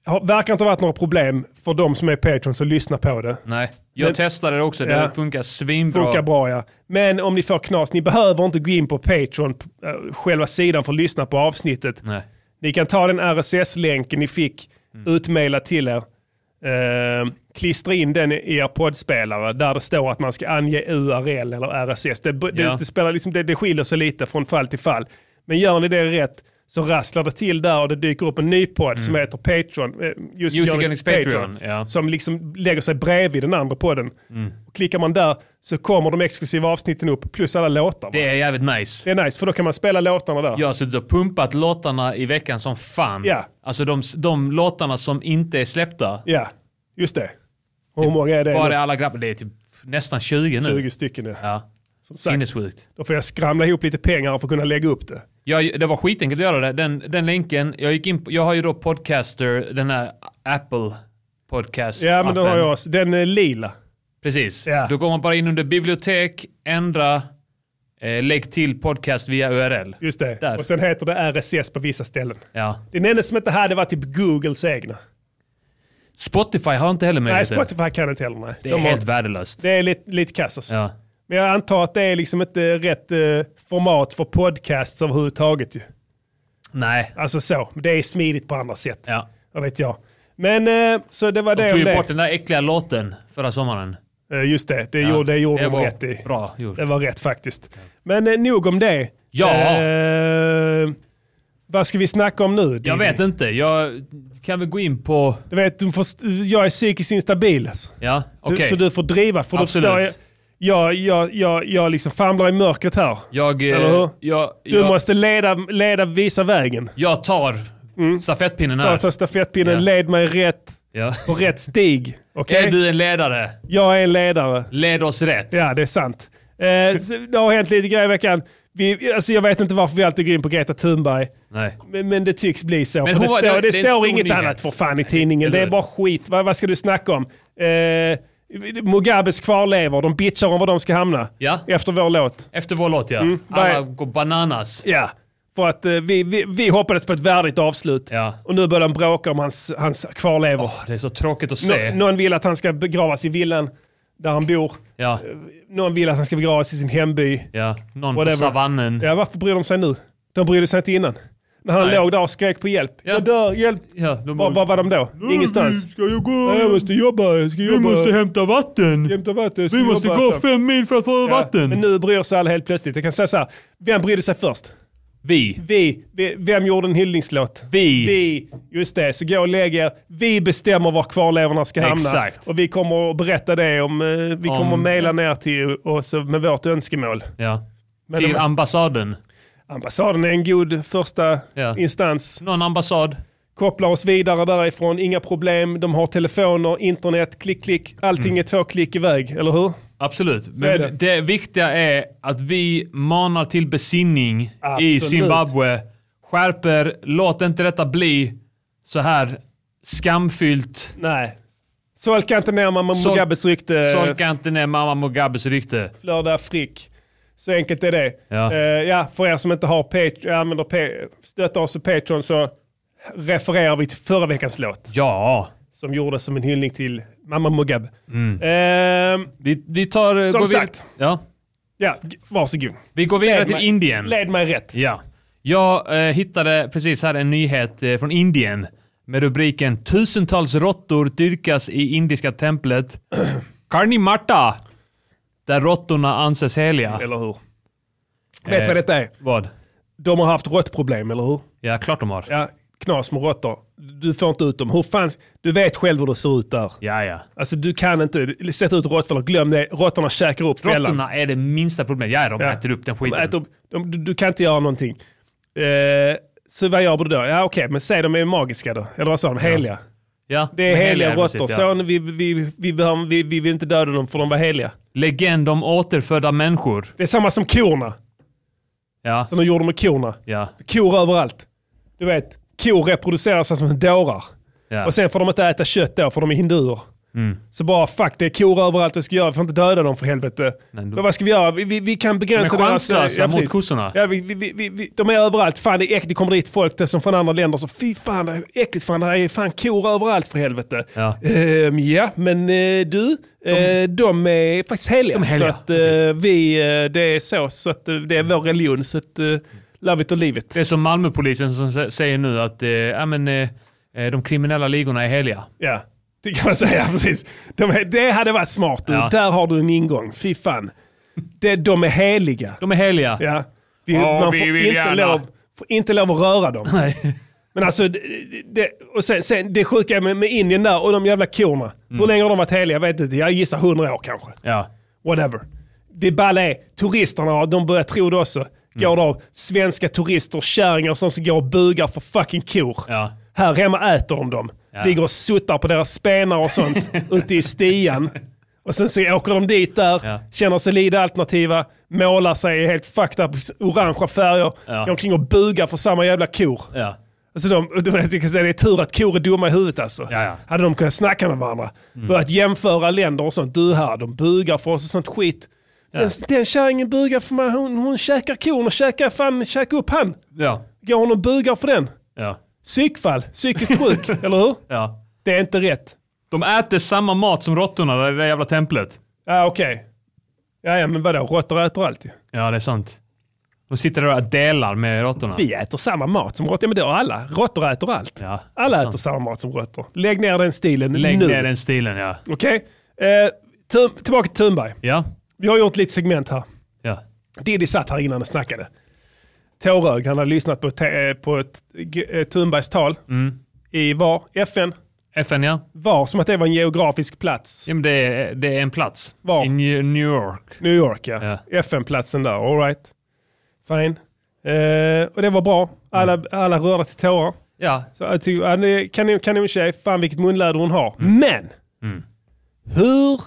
Speaker 1: har, verkar inte ha varit några problem för de som är Patreons att lyssna på det.
Speaker 6: Nej, jag
Speaker 1: Men-
Speaker 6: testade det också. Det
Speaker 1: Ja.
Speaker 6: funkar svinbra.
Speaker 1: Funkar bra ja. Men om ni får knas, ni behöver inte gå in på Patreon, eh, själva sidan för att lyssna på avsnittet.
Speaker 6: Nej.
Speaker 1: Ni kan ta den RSS-länken ni fick
Speaker 6: Mm.
Speaker 1: utmailad till er. Eh, klistra in den i er poddspelare där det står att man ska ange URL eller RSS. Det, det,
Speaker 6: Ja.
Speaker 1: det, spelar liksom, det, det skiljer sig lite från fall till fall. Men gör ni det rätt så rasslar det till där och det dyker upp en ny podd som heter Patreon. eh, Just
Speaker 6: Mm. Music
Speaker 1: Jonis
Speaker 6: Jonis Patreon, ja. Mm.
Speaker 1: Som liksom lägger sig bredvid den andra podden. Och klickar man där så kommer de exklusiva avsnitten upp plus alla låtar. va?
Speaker 6: Det är jävligt nice.
Speaker 1: det är nice för då kan man spela låtarna där.
Speaker 6: Jag har suttit och pumpat låtarna i veckan som fan.
Speaker 1: Ja.
Speaker 6: Alltså de, de låtarna som inte är släppta.
Speaker 1: Ja, just det. Och Hur många är det?
Speaker 6: Typ Bara
Speaker 1: nu?
Speaker 6: alla grabbar. Det är typ nästan 20 nu.
Speaker 1: 20 stycken nu.
Speaker 6: Ja.
Speaker 1: Som sagt,
Speaker 6: Sinnessjukt.
Speaker 1: då får jag skramla ihop lite pengar för att kunna lägga upp det.
Speaker 6: Jag, det var skitenkelt att göra det. Den, den länken, jag gick in på, jag har ju då Podcaster, den här Apple podcast
Speaker 1: Ja, men den har jag. också. Den är lila.
Speaker 6: Precis.
Speaker 1: Ja.
Speaker 6: Då går man bara in under bibliotek, ändra, eh, lägg till podcast via URL.
Speaker 1: Just det.
Speaker 6: Där.
Speaker 1: Och sen heter det RSS på vissa ställen.
Speaker 6: Ja.
Speaker 1: Den enda som inte hade var typ Googles egna.
Speaker 6: Spotify har inte heller
Speaker 1: Nej,
Speaker 6: möjlighet.
Speaker 1: Spotify kan inte heller. Nej.
Speaker 6: Det är
Speaker 1: De har-
Speaker 6: helt värdelöst.
Speaker 1: det är lite, lite kass alltså.
Speaker 6: Ja.
Speaker 1: Men jag antar att det är liksom inte rätt eh, format för podcasts överhuvudtaget ju.
Speaker 6: Nej.
Speaker 1: Alltså så. Det är smidigt på andra sätt.
Speaker 6: Ja.
Speaker 1: Vad vet jag. Men eh, så det var
Speaker 6: De
Speaker 1: det
Speaker 6: tog
Speaker 1: om
Speaker 6: ju
Speaker 1: det.
Speaker 6: bort den där äckliga låten förra sommaren.
Speaker 1: Eh, Just det, det gjorde, det gjorde
Speaker 6: det
Speaker 1: de
Speaker 6: var
Speaker 1: rätt i.
Speaker 6: Bra gjort.
Speaker 1: Det var rätt faktiskt. Men eh, nog om det.
Speaker 6: Ja.
Speaker 1: Eh, vad ska vi snacka om nu?
Speaker 6: Jag vet inte. Jag kan väl gå in på...
Speaker 1: Du vet, du får, jag är psykiskt instabil. Alltså.
Speaker 6: Ja,
Speaker 1: Du,
Speaker 6: okej.
Speaker 1: Så du får driva. För då
Speaker 6: Absolut.
Speaker 1: förstår jag, jag, jag, jag, jag liksom famlar i mörkret här.
Speaker 6: Jag, eh,
Speaker 1: Eller hur?
Speaker 6: jag, jag,
Speaker 1: Du måste leda, leda visa vägen.
Speaker 6: jag tar
Speaker 1: Mm.
Speaker 6: stafettpinnen här.
Speaker 1: Ta ta stafettpinnen,
Speaker 6: Ja.
Speaker 1: led mig rätt
Speaker 6: Ja.
Speaker 1: på rätt stig. Okej?
Speaker 6: Är du en ledare?
Speaker 1: Jag är en ledare.
Speaker 6: Led oss rätt.
Speaker 1: Ja, det är sant. Eh, så det har hänt lite grejer i veckan. Vi, alltså jag vet inte varför vi alltid går in på Greta Thunberg.
Speaker 6: Nej.
Speaker 1: Men, men det tycks bli så.
Speaker 6: Men
Speaker 1: För det
Speaker 6: hon var-
Speaker 1: står, det,
Speaker 6: det- det är en
Speaker 1: står
Speaker 6: stor
Speaker 1: inget
Speaker 6: nyhet.
Speaker 1: annat för fan i
Speaker 6: Nej,
Speaker 1: tidningen.
Speaker 6: eller
Speaker 1: Det är
Speaker 6: hur?
Speaker 1: bara skit. Vad, vad ska du snacka om? Eh, Mugabes kvarlevor, de bitchar om var de ska hamna.
Speaker 6: Ja.
Speaker 1: Efter vår låt.
Speaker 6: Efter vår låt ja.
Speaker 1: vad är-
Speaker 6: Alla går bananas.
Speaker 1: Ja. För att eh, vi, vi, vi hoppades på ett värdigt avslut.
Speaker 6: Ja.
Speaker 1: Och nu börjar de bråka om hans, hans kvarlevor.
Speaker 6: Det är så tråkigt att
Speaker 1: Nå-
Speaker 6: se.
Speaker 1: någon vill att han ska begravas i villan där han bor.
Speaker 6: Ja,
Speaker 1: Någon vill att han ska begravas i sin hemby.
Speaker 6: ja. Någon
Speaker 1: Whatever.
Speaker 6: på savannen.
Speaker 1: Ja, varför bryr de sig nu? De brydde sig inte innan. När han
Speaker 6: Nej.
Speaker 1: låg där och skrek på hjälp.
Speaker 6: Ja.
Speaker 1: Jag dör, hjälp!
Speaker 6: Ja, de
Speaker 1: Var, var var de då? Ingenstans.
Speaker 6: Mm. Ska jag gå?
Speaker 1: Nej, jag måste jobba, jag ska jobba.
Speaker 6: hämta vatten.
Speaker 1: hämta vatten. jag ska
Speaker 6: Vi måste
Speaker 1: jobba,
Speaker 6: gå
Speaker 1: så.
Speaker 6: fem mil för att få
Speaker 1: alltså. Ja, Men
Speaker 6: vatten.
Speaker 1: nu bryr sig alla helt plötsligt. Jag kan säga så här, vem brydde sig först?
Speaker 6: Vi.
Speaker 1: Vi. vi vem gjorde en hyllningslåt?
Speaker 6: Vi.
Speaker 1: Vi. Just det, så gå och lägg er. Vi bestämmer var kvarlevorna ska hamna.
Speaker 6: Exakt.
Speaker 1: Och vi kommer att berätta det om, eh, vi
Speaker 6: Om-
Speaker 1: kommer att mejla ner till oss med vårt önskemål.
Speaker 6: Ja.
Speaker 1: Men
Speaker 6: Till
Speaker 1: de-
Speaker 6: ambassaden.
Speaker 1: ambassaden är en god första
Speaker 6: Ja.
Speaker 1: instans.
Speaker 6: Någon ambassad.
Speaker 1: kopplar oss vidare därifrån, inga problem, de har telefoner, internet, klick, klick, allting
Speaker 6: Mm.
Speaker 1: är två klick iväg, eller hur?
Speaker 6: Absolut.
Speaker 1: är
Speaker 6: Men
Speaker 1: det.
Speaker 6: det. viktiga är att vi manar till besinning i
Speaker 1: Absolut.
Speaker 6: Zimbabwe. Skärper, låt inte detta bli så här skamfyllt.
Speaker 1: Nej. Solka inte ner mamma
Speaker 6: Sol-
Speaker 1: Mugabes rykte,
Speaker 6: Solka inte ner mamma Mugabes rykte.
Speaker 1: Flörda Frick. Så enkelt är det.
Speaker 6: Ja.
Speaker 1: Eh, ja, för er som inte har Patreon, använder pa- stöttar oss på Patreon så refererar vi till förra veckans låt
Speaker 6: Ja,
Speaker 1: som gjordes som en hyllning till mamma Mugabe.
Speaker 6: Mm.
Speaker 1: Eh,
Speaker 6: vi, vi tar...
Speaker 1: Som
Speaker 6: går vid-
Speaker 1: sagt.
Speaker 6: Ja.
Speaker 1: ja, g- varsågod.
Speaker 6: Vi går vidare
Speaker 1: Led
Speaker 6: till
Speaker 1: mig.
Speaker 6: Indien.
Speaker 1: Led mig rätt.
Speaker 6: Ja. Jag eh, hittade precis här en nyhet eh, från Indien med rubriken “Tusentals råttor dyrkas i indiska templet Karni Mata” där råttorna anses heliga.
Speaker 1: Eller hur? Vet
Speaker 6: Eh.
Speaker 1: du vad detta är?
Speaker 6: Vad?
Speaker 1: De har haft råttproblem, eller hur?
Speaker 6: Ja, klart de har.
Speaker 1: Ja, knas med råttor. Du får inte ut dem. Hur fan, du vet själv hur det ser ut där.
Speaker 6: Ja, ja.
Speaker 1: Alltså du kan inte sätta ut råttfällor, glöm det. Råttorna käkar upp fällan.
Speaker 6: Råttorna är det minsta problemet. Ja, de
Speaker 1: Ja.
Speaker 6: äter upp den
Speaker 1: De
Speaker 6: skiten.
Speaker 1: äter upp- de, du, du kan inte göra någonting. Eh, så vad gör du då? Ja okej, men säg de är magiska då. Eller vad sa de? Heliga.
Speaker 6: Ja,
Speaker 1: Det är
Speaker 6: de
Speaker 1: heliga råttor.
Speaker 6: precis,
Speaker 1: Så vi, vi, vi, behöver- vi, vi vill inte döda dem för de var heliga.
Speaker 6: Legend om återfödda människor.
Speaker 1: Det är samma som korna.
Speaker 6: Ja,
Speaker 1: Som de gjorde med korna.
Speaker 6: ja,
Speaker 1: Kor överallt. Du vet, kor reproducerar sig som dårar.
Speaker 6: ja.
Speaker 1: Och sen får de inte äta kött då, för de är hinduer.
Speaker 6: Mm.
Speaker 1: Så bara fuck, det är kor överallt vi ska göra. Vi får inte döda dem för helvete.
Speaker 6: Nej, då-
Speaker 1: Men vad ska vi göra? Vi, vi, vi kan begränsa
Speaker 6: De är chanslösa mot
Speaker 1: precis.
Speaker 6: kossorna.
Speaker 1: Ja, vi, vi, vi- vi, vi, de är överallt. Fan, det är äckligt. Det kommer dit folk där som från andra länder. Så fy fan, det är äckligt. Fan, det här är fan kor överallt för helvete.
Speaker 6: Ja.
Speaker 1: Ehm, ja, men eh, du, de, de är faktiskt heliga.
Speaker 6: De är heliga,
Speaker 1: Så att, eh, vi, eh, det är så, så att eh, det är vår religion. Så att, eh, love it or leave it.
Speaker 6: Det är som Malmöpolisen som sä- säger nu att eh, ja, men, eh, eh, de kriminella ligorna är heliga.
Speaker 1: Ja, det kan man säga. Precis. De, är- det hade varit smart. Du.
Speaker 6: Ja.
Speaker 1: Där har du en ingång. Fy fan. Det, de är heliga.
Speaker 6: De är heliga.
Speaker 1: Ja. Vi,
Speaker 6: Ja,
Speaker 1: man
Speaker 6: vi
Speaker 1: får,
Speaker 6: vill
Speaker 1: inte
Speaker 6: gärna.
Speaker 1: lov, får inte lov att röra dem.
Speaker 6: Nej.
Speaker 1: Men alltså, det- det, och sen, sen, det sjuka med, med Indien där och de jävla korna.
Speaker 6: Mm.
Speaker 1: Hur länge har de varit heliga? Jag vet inte. Jag gissar hundra år kanske.
Speaker 6: Ja.
Speaker 1: Whatever. Det balla är, turisterna de börjar tro det
Speaker 6: Mm.
Speaker 1: också. Går det av svenska turister, kärringar som ska gå och bugar för fucking kor.
Speaker 6: Ja.
Speaker 1: Här hemma äter de dem.
Speaker 6: Ja.
Speaker 1: Ligger och suttar på deras spenar och sånt ute i stian. Och sen så åker de dit där,
Speaker 6: Ja.
Speaker 1: känner sig lite alternativa, målar sig i helt fucked up orangea färger,
Speaker 6: Ja.
Speaker 1: går omkring och bugar för samma jävla kor.
Speaker 6: Ja.
Speaker 1: Alltså de, du vet, jag kan säga, det är tur att kor är dumma i huvudet alltså.
Speaker 6: Ja, Mm. ja.
Speaker 1: Hade de kunnat snacka med varandra. Börjat jämföra länder och sånt. Du här, de bugar för oss och sånt skit. Den, den kärringen bugar för mig, hon, hon käkar kon och käkar, fan, käkar upp han.
Speaker 6: Ja.
Speaker 1: Går hon och bugar för den?
Speaker 6: Ja.
Speaker 1: Psykfall, psykiskt sjuk, eller hur?
Speaker 6: ja.
Speaker 1: Det är inte rätt.
Speaker 6: De äter samma mat som råttorna där i det där jävla templet.
Speaker 1: Ja, okej. Ja, ja, men vadå, råttor äter allt ju.
Speaker 6: Ja, det är sant. De sitter där och delar med råttorna.
Speaker 1: Vi äter samma mat som råttor, ja men det gör alla. Råttor äter allt.
Speaker 6: Ja,
Speaker 1: alla
Speaker 6: det är
Speaker 1: äter
Speaker 6: sant.
Speaker 1: samma mat som råttor. Lägg ner den stilen
Speaker 6: Lägg
Speaker 1: nu.
Speaker 6: ner den stilen, ja.
Speaker 1: Okej? Eh, Thun- tillbaka till Thunberg.
Speaker 6: Ja.
Speaker 1: Vi har gjort lite segment här.
Speaker 6: Ja.
Speaker 1: Diddy satt här innan och snackade. Tårögd, han hade lyssnat på, te- eh, på ett, g- eh, Thunbergs tal i var? FN?
Speaker 6: FN, ja.
Speaker 1: Var, som att det var en geografisk plats.
Speaker 6: ja men det, är, det är en plats.
Speaker 1: Var?
Speaker 6: I New New York.
Speaker 1: New York ja.
Speaker 6: Ja.
Speaker 1: FN-platsen där, alright. Fine. Eh, och det var bra. Alla, alla rörda till tårar.
Speaker 6: Ja.
Speaker 1: Så jag tycker, ja, det är kanon, kanon tjej, fan vilket munläder hon har. Men! Hur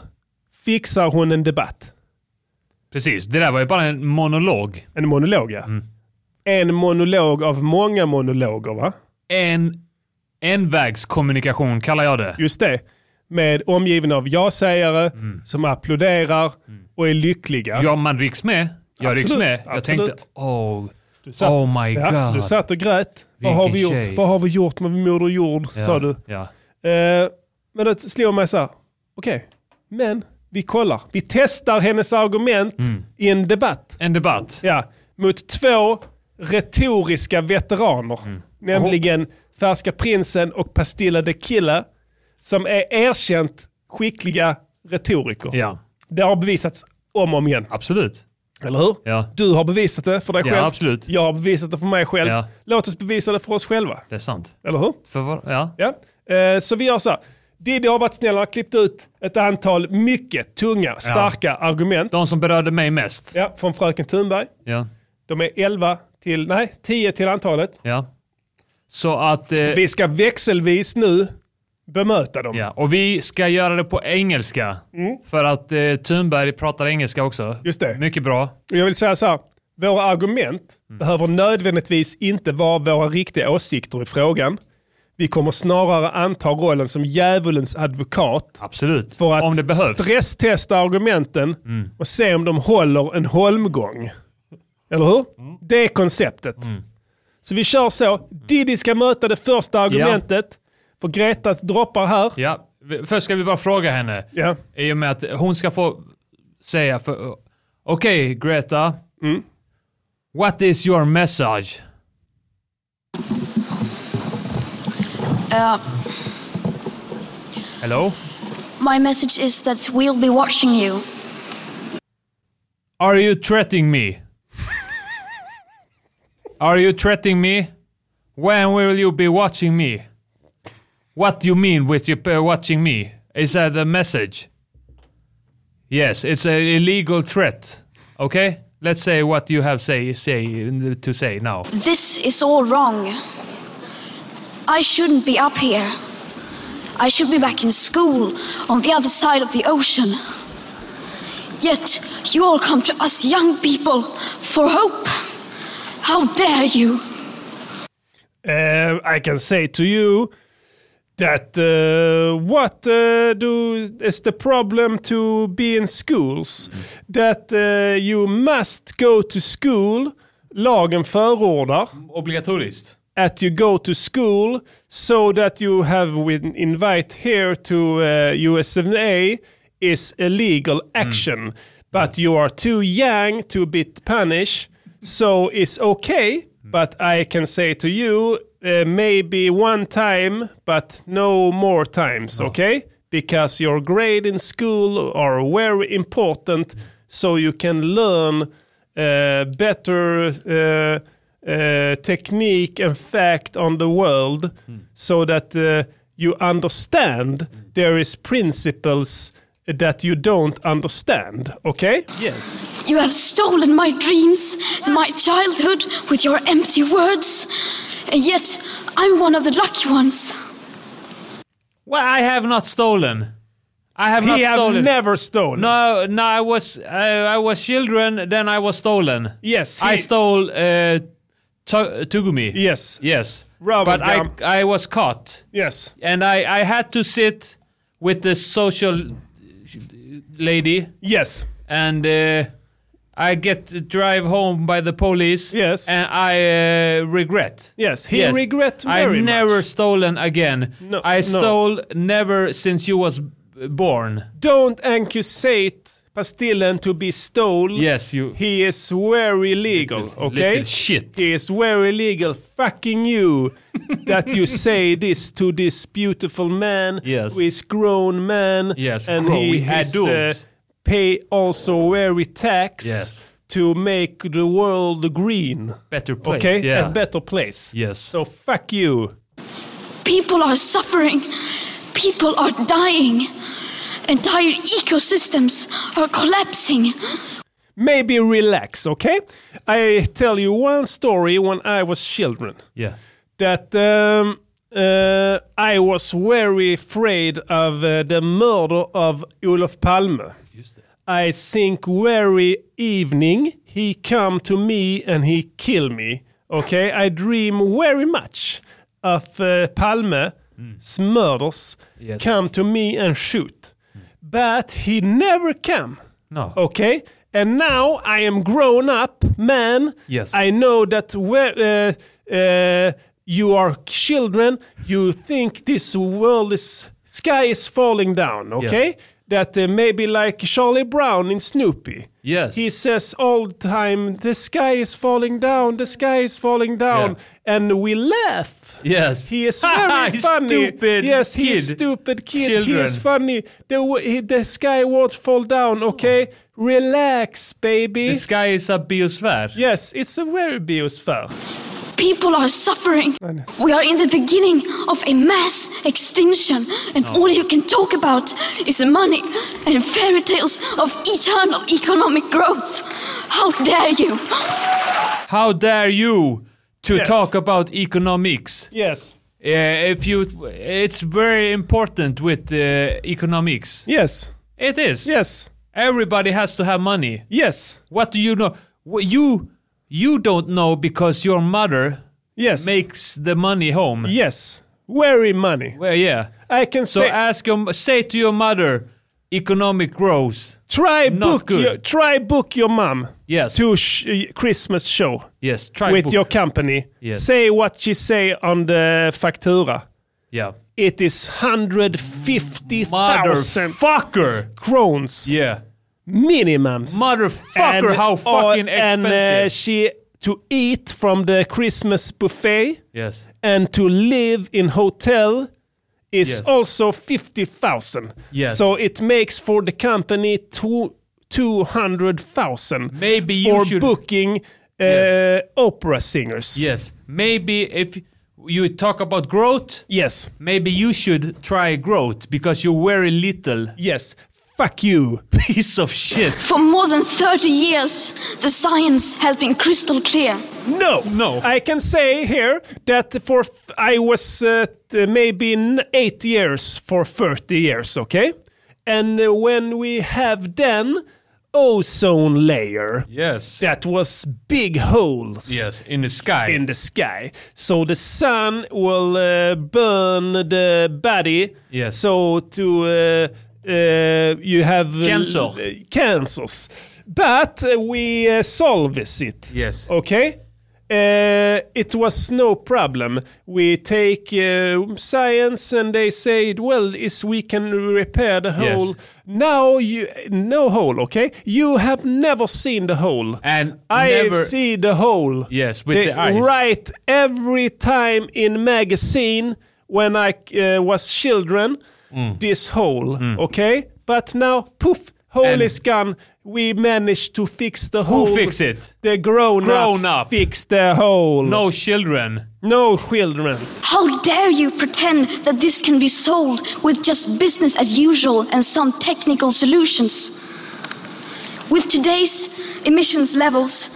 Speaker 1: fixar hon en debatt?
Speaker 6: Precis. Det där var ju bara en monolog.
Speaker 1: En monolog ja. En monolog av många monologer va?
Speaker 6: En envägskommunikation kallar jag det.
Speaker 1: Just det. Med omgiven av ja-sägare som applåderar och är lyckliga.
Speaker 6: Mm. Ja, man rycks med. Jag
Speaker 1: Absolut,
Speaker 6: rycks med. Jag
Speaker 1: absolut.
Speaker 6: tänkte, oh,
Speaker 1: satt-
Speaker 6: oh my
Speaker 1: Ja,
Speaker 6: god.
Speaker 1: du satt och grät. Vad har, vi
Speaker 6: Vilken
Speaker 1: gjort?
Speaker 6: tjej.
Speaker 1: Vad har vi gjort med moder jord?
Speaker 6: ja,
Speaker 1: Sa du.
Speaker 6: Ja.
Speaker 1: Eh, men det slår mig så här. Okej, men vi kollar. Vi testar hennes argument
Speaker 6: Mm.
Speaker 1: i en debatt.
Speaker 6: En debatt.
Speaker 1: Ja, mot två retoriska veteraner.
Speaker 6: Mm.
Speaker 1: Nämligen Färska Prinsen och Pastilla de Killa. Som är erkänt skickliga retoriker.
Speaker 6: Ja,
Speaker 1: Det har bevisats om och om igen.
Speaker 6: absolut.
Speaker 1: Eller hur?
Speaker 6: Ja,
Speaker 1: Du har bevisat det för dig
Speaker 6: Ja,
Speaker 1: själv.
Speaker 6: absolut.
Speaker 1: Jag har bevisat det för mig själv.
Speaker 6: Ja.
Speaker 1: Låt oss bevisa det för oss själva.
Speaker 6: det är sant.
Speaker 1: Eller hur?
Speaker 6: För var, ja.
Speaker 1: Ja. Eh, så vi gör så här. Diddy har varit snäll och har klippt ut ett antal mycket tunga, starka argument.
Speaker 6: De som berörde mig mest.
Speaker 1: Ja, från fröken Thunberg.
Speaker 6: Ja.
Speaker 1: De är 11 till, nej, 10 till antalet.
Speaker 6: ja. Så att... Eh,
Speaker 1: Vi ska växelvis nu bemöta dem.
Speaker 6: ja. Och vi ska göra det på engelska. För att eh, Thunberg pratar engelska också.
Speaker 1: Mm. Just det.
Speaker 6: Mycket bra.
Speaker 1: Och Jag vill säga så här. Våra argument
Speaker 6: Mm.
Speaker 1: behöver nödvändigtvis inte vara våra riktiga åsikter i frågan. Vi kommer snarare anta rollen som djävulens advokat
Speaker 6: Absolut.
Speaker 1: för att
Speaker 6: Om det behövs. Mm.
Speaker 1: stresstesta argumenten och se om de håller en holmgång. Eller hur?
Speaker 6: Mm.
Speaker 1: Det är konceptet. Så vi kör så. Diddy ska möta det första argumentet. För Gretas droppar här.
Speaker 6: Ja. Vi- Först ska vi bara fråga henne.
Speaker 1: Ja.
Speaker 6: I och med att hon ska få säga för... Okej, Greta. What is your message?
Speaker 8: Uh,
Speaker 6: Hello?
Speaker 8: my message is that we'll be watching you.
Speaker 6: Are you threatening me? Are you threatening me? When will you be watching me? What do you mean with you uh, watching me? Is that a message? Yes, it's an illegal threat. Okay? Let's say what you have say say to say now.
Speaker 8: This is all wrong. I shouldn't be up here. I should be back in school on the other side of the ocean. Yet you all come to us young people for hope. How dare you?
Speaker 1: Uh, I can say to you that uh, what uh, do is the problem to be in schools? That uh, you must go to school. Lagen förordar
Speaker 6: Obligatoriskt.
Speaker 1: att you go to school so that you have an invite here to uh, USMA is a legal action. But you are too young to be punished, so it's okay. But I can say to you, uh, maybe one time, but no more times, okay? Because your grade in school are very important, so you can learn uh, better uh, uh, technique and fact on the world so that uh, you understand there is principles that you don't understand. Okay?
Speaker 8: You have stolen my dreams and my childhood with your empty words. And yet I'm one of the lucky ones.
Speaker 6: Well, I have not stolen. I have not
Speaker 1: he have
Speaker 6: stolen.
Speaker 1: never stolen.
Speaker 6: no, no, I was I, I was children, then I was stolen.
Speaker 1: Yes,
Speaker 6: I
Speaker 1: he-
Speaker 6: stole uh, to- Tugumi.
Speaker 1: Yes.
Speaker 6: Yes.
Speaker 1: Robert um,
Speaker 6: but I,
Speaker 1: Gump.
Speaker 6: I was caught.
Speaker 1: Yes.
Speaker 6: And I, I had to sit with the social lady
Speaker 1: Yes.
Speaker 6: and uh, I get to drive home by the police.
Speaker 1: Yes.
Speaker 6: And I uh, regret.
Speaker 1: Yes, he regret very
Speaker 6: I never
Speaker 1: much.
Speaker 6: stolen again.
Speaker 1: No, no.
Speaker 6: I stole never since you was b- born.
Speaker 1: Don't accusate Pastillen to be stolen.
Speaker 6: Yes, you
Speaker 1: He is very legal, okay?
Speaker 6: little shit.
Speaker 1: He is very legal. Fucking you that you say this to this beautiful man,
Speaker 6: Yes.
Speaker 1: who is grown man,
Speaker 6: Yes,
Speaker 1: and
Speaker 6: grown
Speaker 1: he is,
Speaker 6: adult.
Speaker 1: uh, pay also very tax
Speaker 6: Yes.
Speaker 1: to make the world green,
Speaker 6: better place.
Speaker 1: okay?
Speaker 6: Yeah.
Speaker 1: A better place.
Speaker 6: Yes.
Speaker 1: So fuck you.
Speaker 8: People are suffering. People are dying. Entire ecosystems are collapsing.
Speaker 1: Maybe relax, okay? I tell you one story when I was children.
Speaker 6: yeah.
Speaker 1: that um, uh, I was very afraid of uh, the murder of Olof Palme. I think very evening he come to me and he kill me. Okay, I dream very much of uh, Palme's murders
Speaker 6: Yes.
Speaker 1: come to me and shoot, but he never come.
Speaker 6: No.
Speaker 1: Okay. And now I am grown up man.
Speaker 6: Yes.
Speaker 1: I know that where uh, uh, you are children, you think this world is sky is falling down. Okay. That uh, maybe like Charlie Brown in Snoopy.
Speaker 6: Yes.
Speaker 1: He says all the time, the sky is falling down, the sky is falling down. And we laugh.
Speaker 6: Yes.
Speaker 1: He is very
Speaker 6: He's
Speaker 1: funny.
Speaker 6: stupid
Speaker 1: yes, he is
Speaker 6: kid.
Speaker 1: stupid kid. He
Speaker 6: Children.
Speaker 1: is funny. The, w- he, the sky won't fall down, okay? Relax, baby.
Speaker 6: The sky is a biosfär.
Speaker 1: yes, it's a very biosphere.
Speaker 8: People are suffering. We are in the beginning of a mass extinction, and all you can talk about is money and fairy tales of eternal economic growth. How dare you!
Speaker 6: How dare you to
Speaker 1: Yes.
Speaker 6: talk about economics?
Speaker 1: Yes.
Speaker 6: Uh, if you, it's very important with uh, economics.
Speaker 1: Yes.
Speaker 6: It is.
Speaker 1: Yes.
Speaker 6: Everybody has to have money.
Speaker 1: Yes.
Speaker 6: What do you know? Wh- You you don't know because your mother
Speaker 1: Yes.
Speaker 6: makes the money home.
Speaker 1: Yes. Very money.
Speaker 6: Well, yeah.
Speaker 1: I can
Speaker 6: So
Speaker 1: say
Speaker 6: ask your say to your mother, economic growth.
Speaker 1: try
Speaker 6: not
Speaker 1: book
Speaker 6: good.
Speaker 1: your try book your mom
Speaker 6: Yes.
Speaker 1: to sh- uh, Christmas show
Speaker 6: yes. Try
Speaker 1: with
Speaker 6: book.
Speaker 1: your company.
Speaker 6: Yes.
Speaker 1: Say what she say on the factura.
Speaker 6: yeah.
Speaker 1: It is 150,000
Speaker 6: Motherfucker.
Speaker 1: crowns.
Speaker 6: Yeah.
Speaker 1: minimums.
Speaker 6: Motherfucker, how fucking
Speaker 1: or- oh, And uh,
Speaker 6: expensive.
Speaker 1: she to eat from the Christmas buffet
Speaker 6: Yes.
Speaker 1: and to live in hotel is
Speaker 6: Yes.
Speaker 1: also 50,000.
Speaker 6: Yes.
Speaker 1: So it makes for the company two, 200,000
Speaker 6: Maybe you
Speaker 1: for
Speaker 6: should-
Speaker 1: booking
Speaker 2: uh, opera singers.
Speaker 6: Yes. Maybe if you talk about growth,
Speaker 2: Yes.
Speaker 6: maybe you should try growth because you're very little
Speaker 2: Yes. Fuck you.
Speaker 6: piece of shit.
Speaker 8: For more than 30 years, the science has been crystal clear.
Speaker 2: No.
Speaker 6: No.
Speaker 2: I can say here that for th- I was uh, t- maybe in eight years for 30 years, okay? And uh, when we have then oh, ozone layer,
Speaker 6: Yes.
Speaker 2: that was big holes.
Speaker 6: Yes. In the sky.
Speaker 2: In the sky, so the sun will uh, burn the body.
Speaker 6: Yes.
Speaker 2: So to uh, uh, you have uh,
Speaker 6: Cancer.
Speaker 2: uh, cancers, but uh, we uh, solve it.
Speaker 6: yes.
Speaker 2: Okay? Uh, it was no problem. We take uh, science and they say, well, is we can repair the
Speaker 6: Yes.
Speaker 2: hole. Now you no hole, okay? You have never seen the hole.
Speaker 6: And
Speaker 2: I
Speaker 6: never-
Speaker 2: see the hole.
Speaker 6: Yes, with
Speaker 2: They
Speaker 6: the eyes.
Speaker 2: Right, every time in magazine when I uh, was children,
Speaker 6: Mm.
Speaker 2: this hole, okay? But now, poof, hole
Speaker 6: And-
Speaker 2: is gone. We managed to fix the hole.
Speaker 6: fix it?
Speaker 2: The grown,
Speaker 6: Grown
Speaker 2: up
Speaker 6: up.
Speaker 2: fix the hole.
Speaker 6: No children.
Speaker 2: no children.
Speaker 8: How dare you pretend that this can be solved with just business as usual and some technical solutions? With today's emissions levels,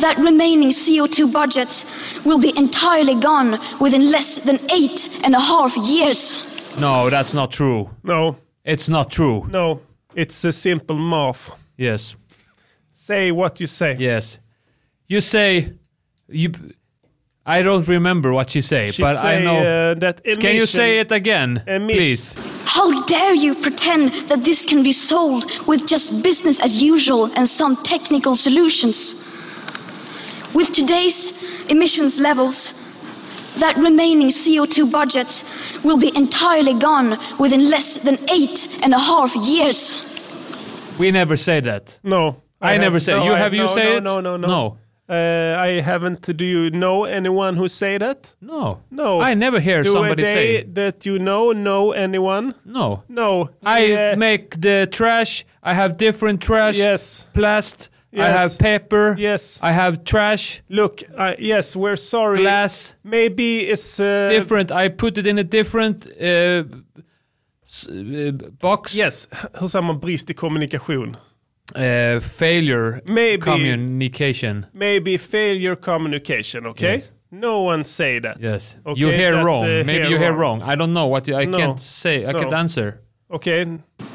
Speaker 8: that remaining CO2 budget will be entirely gone within less than eight and a half years.
Speaker 6: No, that's not true.
Speaker 2: No,
Speaker 6: It's not true.
Speaker 2: no. It's a simple math.
Speaker 6: Yes.
Speaker 2: Say what you say.
Speaker 6: Yes. You say you I don't remember what you say,
Speaker 2: She
Speaker 6: but I
Speaker 2: say,
Speaker 6: know
Speaker 2: uh, that
Speaker 6: Can you
Speaker 2: emission-
Speaker 6: say it again?
Speaker 2: Emission.
Speaker 6: Please.
Speaker 8: How dare you pretend that this can be solved with just business as usual and some technical solutions? With today's emissions levels, that remaining CO2 budget will be entirely gone within less than eight and a half years.
Speaker 6: We never say that.
Speaker 2: No.
Speaker 6: I
Speaker 2: have-
Speaker 6: never say-
Speaker 2: no,
Speaker 6: you-
Speaker 2: I-
Speaker 6: have you
Speaker 2: no,
Speaker 6: say
Speaker 2: no,
Speaker 6: it?
Speaker 2: No, no, no.
Speaker 6: No.
Speaker 2: Uh, I haven't. Do you know anyone who say that?
Speaker 6: No.
Speaker 2: No.
Speaker 6: I never hear
Speaker 2: Do
Speaker 6: somebody
Speaker 2: they
Speaker 6: say
Speaker 2: that you know know anyone?
Speaker 6: no.
Speaker 2: No.
Speaker 6: I
Speaker 2: Uh,
Speaker 6: make the trash. I have different trash.
Speaker 2: Yes.
Speaker 6: Plast. I
Speaker 2: Yes.
Speaker 6: have paper.
Speaker 2: Yes.
Speaker 6: I have trash.
Speaker 2: Look. I yes, we're sorry.
Speaker 6: Glass.
Speaker 2: Maybe it's uh,
Speaker 6: Different. I put it in a different uh, s- uh, box.
Speaker 2: Yes. Hur säger man brist i kommunikation?
Speaker 6: Uh, failure.
Speaker 2: Maybe.
Speaker 6: Communication.
Speaker 2: Maybe failure communication. Okay.
Speaker 6: Yes.
Speaker 2: No one say that.
Speaker 6: Yes.
Speaker 2: Okay,
Speaker 6: you hear
Speaker 2: that's,
Speaker 6: wrong.
Speaker 2: uh,
Speaker 6: Maybe
Speaker 2: hear
Speaker 6: you hear
Speaker 2: wrong.
Speaker 6: wrong. I don't know what you, I
Speaker 2: No.
Speaker 6: can't say. I
Speaker 2: No.
Speaker 6: can't answer.
Speaker 2: Okay.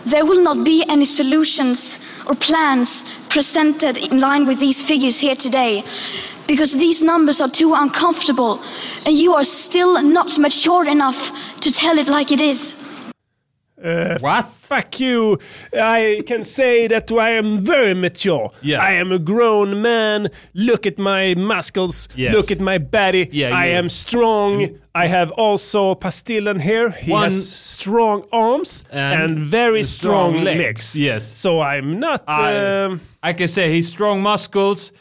Speaker 8: There will not be any solutions or plans presented in line with these figures here today because these numbers are too uncomfortable and you are still not mature enough to tell it like it is.
Speaker 6: What?
Speaker 2: Fuck you! I can say that I am very mature.
Speaker 6: Yeah.
Speaker 2: I am a grown man. Look at my muscles.
Speaker 6: Yes.
Speaker 2: Look at my body.
Speaker 6: Yeah,
Speaker 2: I
Speaker 6: you- Mm.
Speaker 2: am strong. I have also Pastillen here. He
Speaker 6: One-
Speaker 2: has strong arms and,
Speaker 6: And
Speaker 2: very strong,
Speaker 6: strong
Speaker 2: legs.
Speaker 6: legs. Yes.
Speaker 2: So I'm not.
Speaker 6: I-
Speaker 2: um,
Speaker 6: I can say he's strong muscles.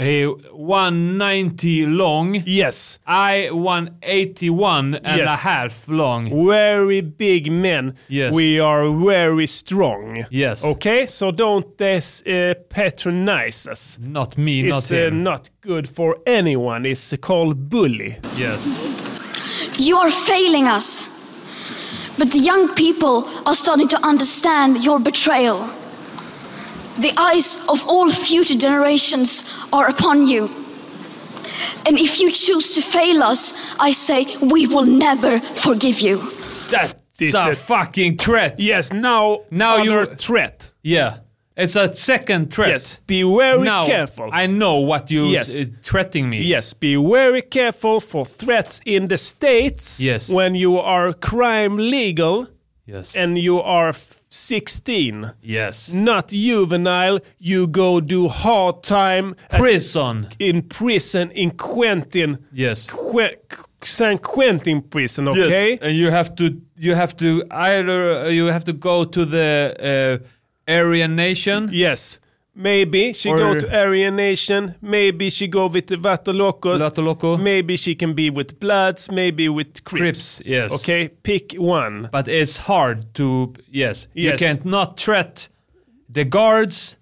Speaker 6: He 190 long.
Speaker 2: yes.
Speaker 6: I 181 and
Speaker 2: Yes.
Speaker 6: a half long.
Speaker 2: Very big men.
Speaker 6: Yes.
Speaker 2: We are very strong.
Speaker 6: Yes.
Speaker 2: Okay. So don't this, uh, patronize us.
Speaker 6: Not me, not
Speaker 2: is uh,
Speaker 6: him.
Speaker 2: not good for anyone. It's called bully.
Speaker 6: yes.
Speaker 8: You are failing us. But the young people are starting to understand your betrayal. The eyes of all future generations are upon you. And if you choose to fail us, I say we will never forgive you.
Speaker 2: That
Speaker 6: It's a fucking threat.
Speaker 2: yes. Now,
Speaker 6: Now
Speaker 2: other
Speaker 6: you're-
Speaker 2: threat.
Speaker 6: Yeah. It's a second threat.
Speaker 2: Yes, be very
Speaker 6: now,
Speaker 2: careful.
Speaker 6: I know what you
Speaker 2: Yes.
Speaker 6: uh, threatening me.
Speaker 2: Yes, be very careful for threats in the states.
Speaker 6: Yes.
Speaker 2: when you are crime legal
Speaker 6: Yes.
Speaker 2: and you are f- 16,
Speaker 6: yes.
Speaker 2: not juvenile. You go do hard time at-
Speaker 6: Prison.
Speaker 2: in prison in Quentin.
Speaker 6: Yes.
Speaker 2: Que- San Quentin prison. Okay.
Speaker 6: Yes, and you have to you have to either uh, you have to go to the uh, Aryan nation.
Speaker 2: Yes. Maybe she
Speaker 6: Or-
Speaker 2: go to Aryan Nation. Maybe she go with the Vatalokos.
Speaker 6: Vato Loco.
Speaker 2: Maybe she can be with Bloods. Maybe with Crips.
Speaker 6: Crips, yes.
Speaker 2: Okay, pick one.
Speaker 6: But it's hard to yes, you
Speaker 2: Yes.
Speaker 6: can't not threat the guards,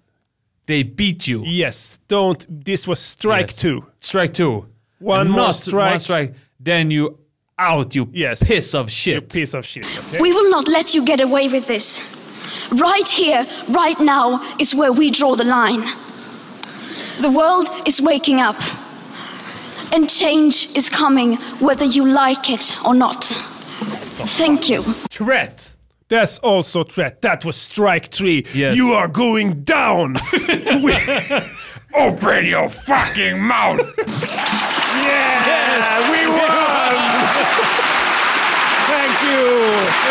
Speaker 6: They beat you.
Speaker 2: Yes, don't. This was strike
Speaker 6: Yes.
Speaker 2: two.
Speaker 6: Strike two.
Speaker 2: One
Speaker 6: And
Speaker 2: more
Speaker 6: not One
Speaker 2: strike.
Speaker 6: strike. Then you out, you
Speaker 2: Yes.
Speaker 6: piss of
Speaker 2: You
Speaker 6: shit.
Speaker 2: piece of shit. okay?
Speaker 8: We will not let you get away with this. Right here, right now, is where we draw the line. The world is waking up. And change is coming whether you like it or not. Thank you.
Speaker 6: Threat.
Speaker 2: That's also threat. That was strike three.
Speaker 6: Yes.
Speaker 2: You are going down.
Speaker 3: Open your fucking mouth!
Speaker 2: yeah, we won. thank you,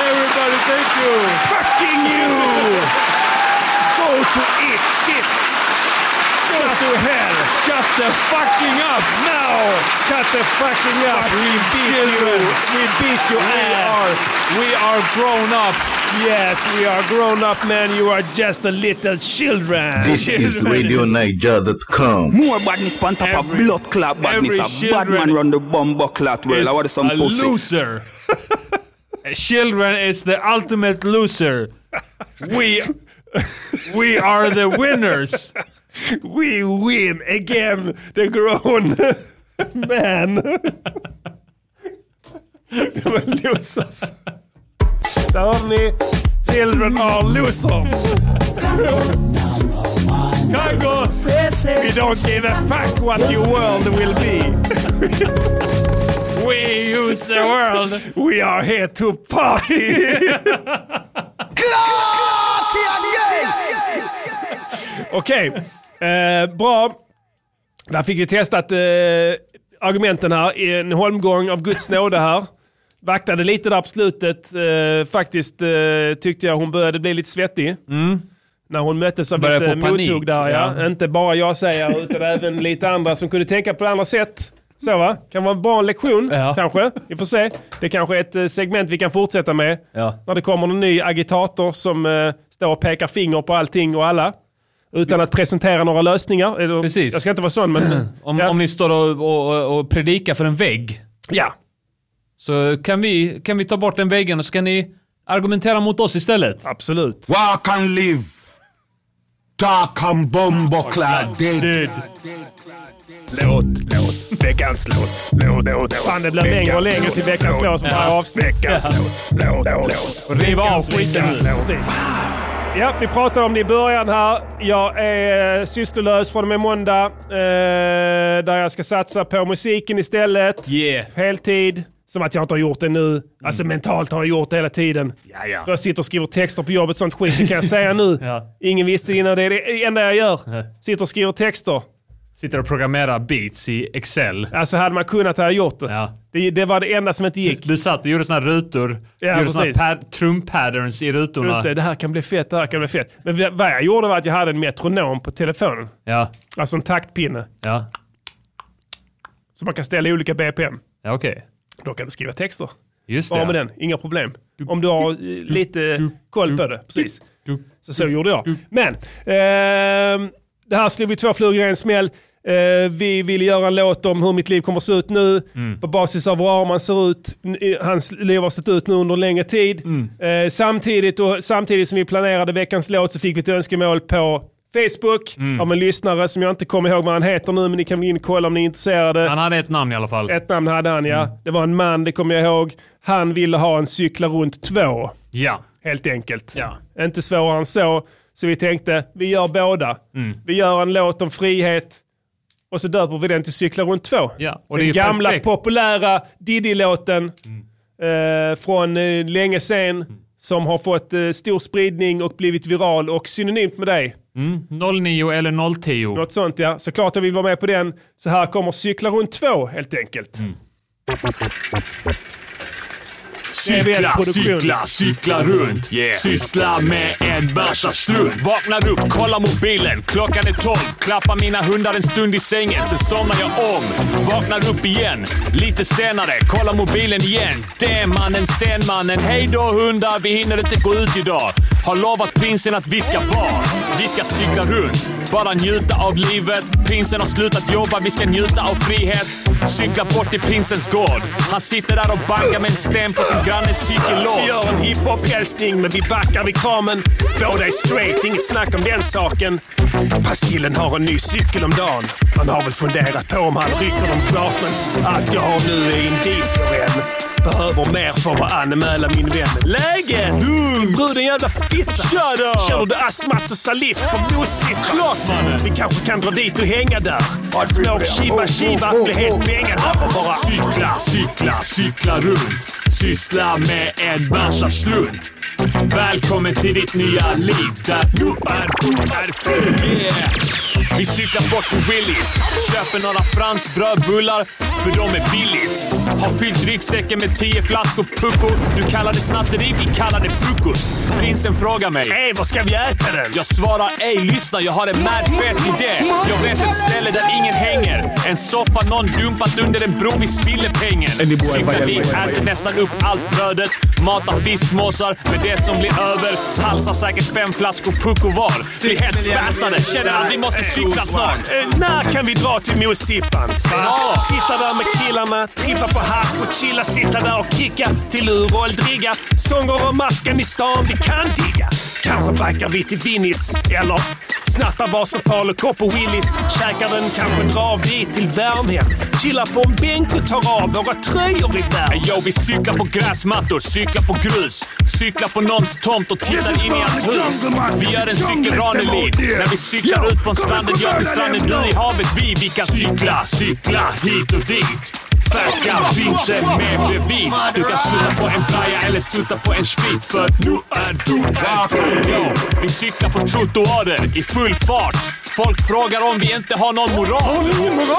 Speaker 2: everybody. Thank you. Fucking you. Go to it, shit. Go to hell. Shut the fucking up now. Shut the fucking up. We beat you. We beat you. We are. We are grown up. Yes, we are grown up, man. You are just a little children.
Speaker 7: This is RadioNiger.com.
Speaker 9: More badness pan top of blood clot
Speaker 6: every
Speaker 9: badness. A bad
Speaker 6: children
Speaker 9: man run the bumbo clot well. I want some
Speaker 6: a
Speaker 9: pussy.
Speaker 6: loser. Children is the ultimate loser. We we are the winners.
Speaker 2: We win again, the grown man. Det var losers. Där har ni Children are losers. Congo, we don't give a fuck what your world will be.
Speaker 6: We use the world.
Speaker 2: We are here to party! Okej, eh, bra. Där fick vi testat eh, argumenten här. i En holmgång av Guds nåde här. Vaktade lite där på slutet. Eh, faktiskt eh, tyckte jag hon började bli lite svettig. När hon möttes av
Speaker 6: Mm. Började
Speaker 2: lite
Speaker 6: få panik,
Speaker 2: mothugg där. Ja. Inte bara jag säger, utan även lite andra som kunde tänka på det andra sätt. Så va? Kan vara en bra lektion
Speaker 6: Ja.
Speaker 2: kanske. Vi får se. Det kanske är ett eh, segment vi kan fortsätta med.
Speaker 6: Ja.
Speaker 2: När det kommer en ny agitator som eh, står och pekar finger på allting och alla. Utan att presentera några lösningar. Eller,
Speaker 6: Precis.
Speaker 2: Jag ska inte vara sån men...
Speaker 6: Om,
Speaker 2: ja.
Speaker 6: om ni står och, och, och predikar för en vägg
Speaker 2: ja.
Speaker 6: så kan vi, kan vi ta bort den väggen och så kan ni argumentera mot oss istället.
Speaker 2: Absolut.
Speaker 3: Walk and live. Dark and bombo clad dead.
Speaker 2: Låt, låt, veckans låt, låt, låt, Fan, det blir längre och längre till veckans låt för varje avsnitt. Veckans låt, låt, låt.
Speaker 6: Riv av skiten nu.
Speaker 2: Precis. Ja, vi pratade om det i början här. Jag är eh, sysslolös från och med måndag. Eh, där jag ska satsa på musiken istället.
Speaker 6: Yeah.
Speaker 2: heltid. Som att jag inte har gjort det nu. Alltså mentalt har jag gjort det hela tiden.
Speaker 6: Mm. ja.
Speaker 2: Jag sitter och skriver texter på jobbet, sånt skit det kan jag säga nu.
Speaker 6: Ja.
Speaker 2: Ingen visste det innan, det är det enda jag gör.
Speaker 6: Nej.
Speaker 2: Sitter och skriver texter.
Speaker 6: Sitter och programmerar beats i Excel.
Speaker 2: Alltså hade man kunnat hade jag gjort det.
Speaker 6: Ja.
Speaker 2: det. Det var det enda som inte gick.
Speaker 6: Du satt och gjorde såna här rutor.
Speaker 2: Ja,
Speaker 6: gjorde såna
Speaker 2: precis.
Speaker 6: pad, trumpatterns i rutorna.
Speaker 2: Just det, det här kan bli fett, det här kan bli fett. Men det- vad jag gjorde var att jag hade en metronom på telefonen.
Speaker 6: Ja,
Speaker 2: Alltså en taktpinne.
Speaker 6: ja,
Speaker 2: Så man kan ställa olika BPM.
Speaker 6: ja okej.
Speaker 2: Då kan du skriva texter.
Speaker 6: Just det.
Speaker 2: Bara med den, inga problem. Om du har eh, lite koll på det. Precis. Så så gjorde jag. Men, ehm, det här slog vi två flugor i en smäll. Eh, vi vill göra en låt om hur mitt liv kommer att se ut nu,
Speaker 6: Mm.
Speaker 2: på basis av hur Arman ser ut, n- i- hans liv har sett ut nu under en längre tid.
Speaker 6: Mm.
Speaker 2: Eh, samtidigt, och, samtidigt som vi planerade veckans låt så fick vi ett önskemål på Facebook
Speaker 6: Mm.
Speaker 2: av en lyssnare som jag inte kommer ihåg vad han heter nu, men ni kan gå in och kolla om ni är intresserade.
Speaker 6: Han hade ett namn i alla fall.
Speaker 2: Ett namn hade han ja.
Speaker 6: Mm.
Speaker 2: Det var en man, det kommer jag ihåg. Han ville ha en cykla runt två,
Speaker 6: Ja.
Speaker 2: helt enkelt. Inte svårare än så. Så vi tänkte, vi gör båda.
Speaker 6: Mm.
Speaker 2: Vi gör en låt om frihet och så döper vi den till cykla runt två.
Speaker 6: Ja, och det
Speaker 2: den
Speaker 6: är ju
Speaker 2: gamla
Speaker 6: perfekt.
Speaker 2: populära Diddy-låten
Speaker 6: Mm.
Speaker 2: eh, från eh, länge sen som har fått eh, stor spridning och blivit viral och synonymt med dig.
Speaker 6: 09 eller 010.
Speaker 2: Något sånt ja. Såklart jag vill vara med på den. Så här kommer cykla runt två helt enkelt.
Speaker 3: Cykla,
Speaker 2: CBS produktion.
Speaker 3: cykla, cykla runt. Syssla med en bärsa strunt. Vaknar upp, kollar mobilen. Klockan är tolv. Klappar mina hundar en stund i sängen. Sen somnar jag om. Vaknar upp igen. Lite senare, kollar mobilen igen. Det mannen, sen mannen. Hej då hundar, vi hinner inte gå ut idag. Har lovat prinsen att vi ska vara. Vi ska cykla runt. Bara njuta av livet. Prinsen har slutat jobba, vi ska njuta av frihet.
Speaker 6: Cyklar bort till prinsens gård. Han sitter där och bankar med en sten på sin grannes
Speaker 1: Vi
Speaker 6: cykelås.
Speaker 1: gör en hiphop-hälsning men vi backar vid kramen. Båda är straight, inget snack om den saken. Pastillen har en ny cykel om dagen. Man har väl funderat på om han rycker dem klart men allt jag har nu är indicier än. Behöver mer för att anmäla min vän. Läget? Lugnt! Bruden jävla fitta!
Speaker 6: Shut up!
Speaker 1: Känner du astmat och saliv på musik?
Speaker 6: Klart, mannen!
Speaker 1: Vi kanske kan dra dit och hänga där. Smoke shiba shiba, bli helt bängad där och bara...
Speaker 6: Cykla, cykla, cykla runt. Syssla med en massa strunt. Välkommen till ditt nya liv där upp är upp är full. Yeah. Vi cyklar bort till Willys. Köper några Frans brödbullar, för de är billigt. Har fyllt ryggsäcken med tio flaskor pucko. Du kallar det snatteri, vi kallar det frukost. Prinsen frågar mig.
Speaker 1: Hej, vad ska vi äta den?
Speaker 6: Jag svarar ej, lyssna jag har en mad fet idé. Jag vet ett ställe där ingen hänger. En soffa någon dumpat under en bro, vi spiller pengen. Cyklar dit, äter nästan upp allt brödet. Matar fiskmåsar med det som blir över. Halsar säkert fem flaskor pucko var. Blir helt späsade, känner att vi måste cykla snart.
Speaker 1: Eh, när kan vi dra till Mosippan?
Speaker 6: Ja.
Speaker 1: Sitta där med killarna, trippa på hack och chilla, sitta där och kicka till uråldriga. Sånger om Afghanistan vi kan digga. Kanske backar vi till Vinnis, eller snattar Vasa, Falukorp och Willys. Käkar den, kanske drar vi till Värmhem. Chillar på en bänk och tar av våra tröjor i värmen.
Speaker 6: Yo, vi cyklar på gräsmattor, cyklar på grus, cyklar på någons tomt och tittar in i hans hus. Vi gör en cykelranelid när vi cyklar ut från stranden, jag till stranden, du i havet, vi. Vi kan cykla, cykla hit och dit. Färska pinsen med bredvid. Du kan sluta på en playa eller sluta på en sprit för nu är du här för yo. Vi cyklar på trottoarer i full fart. Folk frågar om vi inte har någon moral.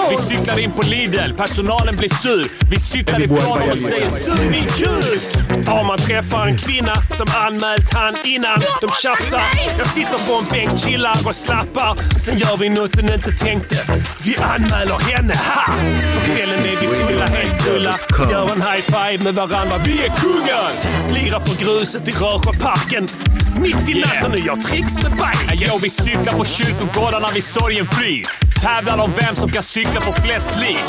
Speaker 6: Vi cyklar in på Lidl, personalen blir sur. Vi cyklar ifrån och säger sur i kuk.
Speaker 1: Om man träffar en kvinna som anmält han innan de tjafsar. Jag sitter på en bänk, chillar och slappar. Sen gör vi något den inte tänkte. Vi anmäler henne, ha! På kvällen är vi fulla, helt fulla. Gör en high-five med varandra. Vi är kungar! Slirar på gruset i Rörsjöparken. Mitt i natten och jag tricks med bike.
Speaker 6: Yo, vi cyklar på kyrkogårdarna vid Sorgenfri. Tävlar om vem som kan cykla på flest lik.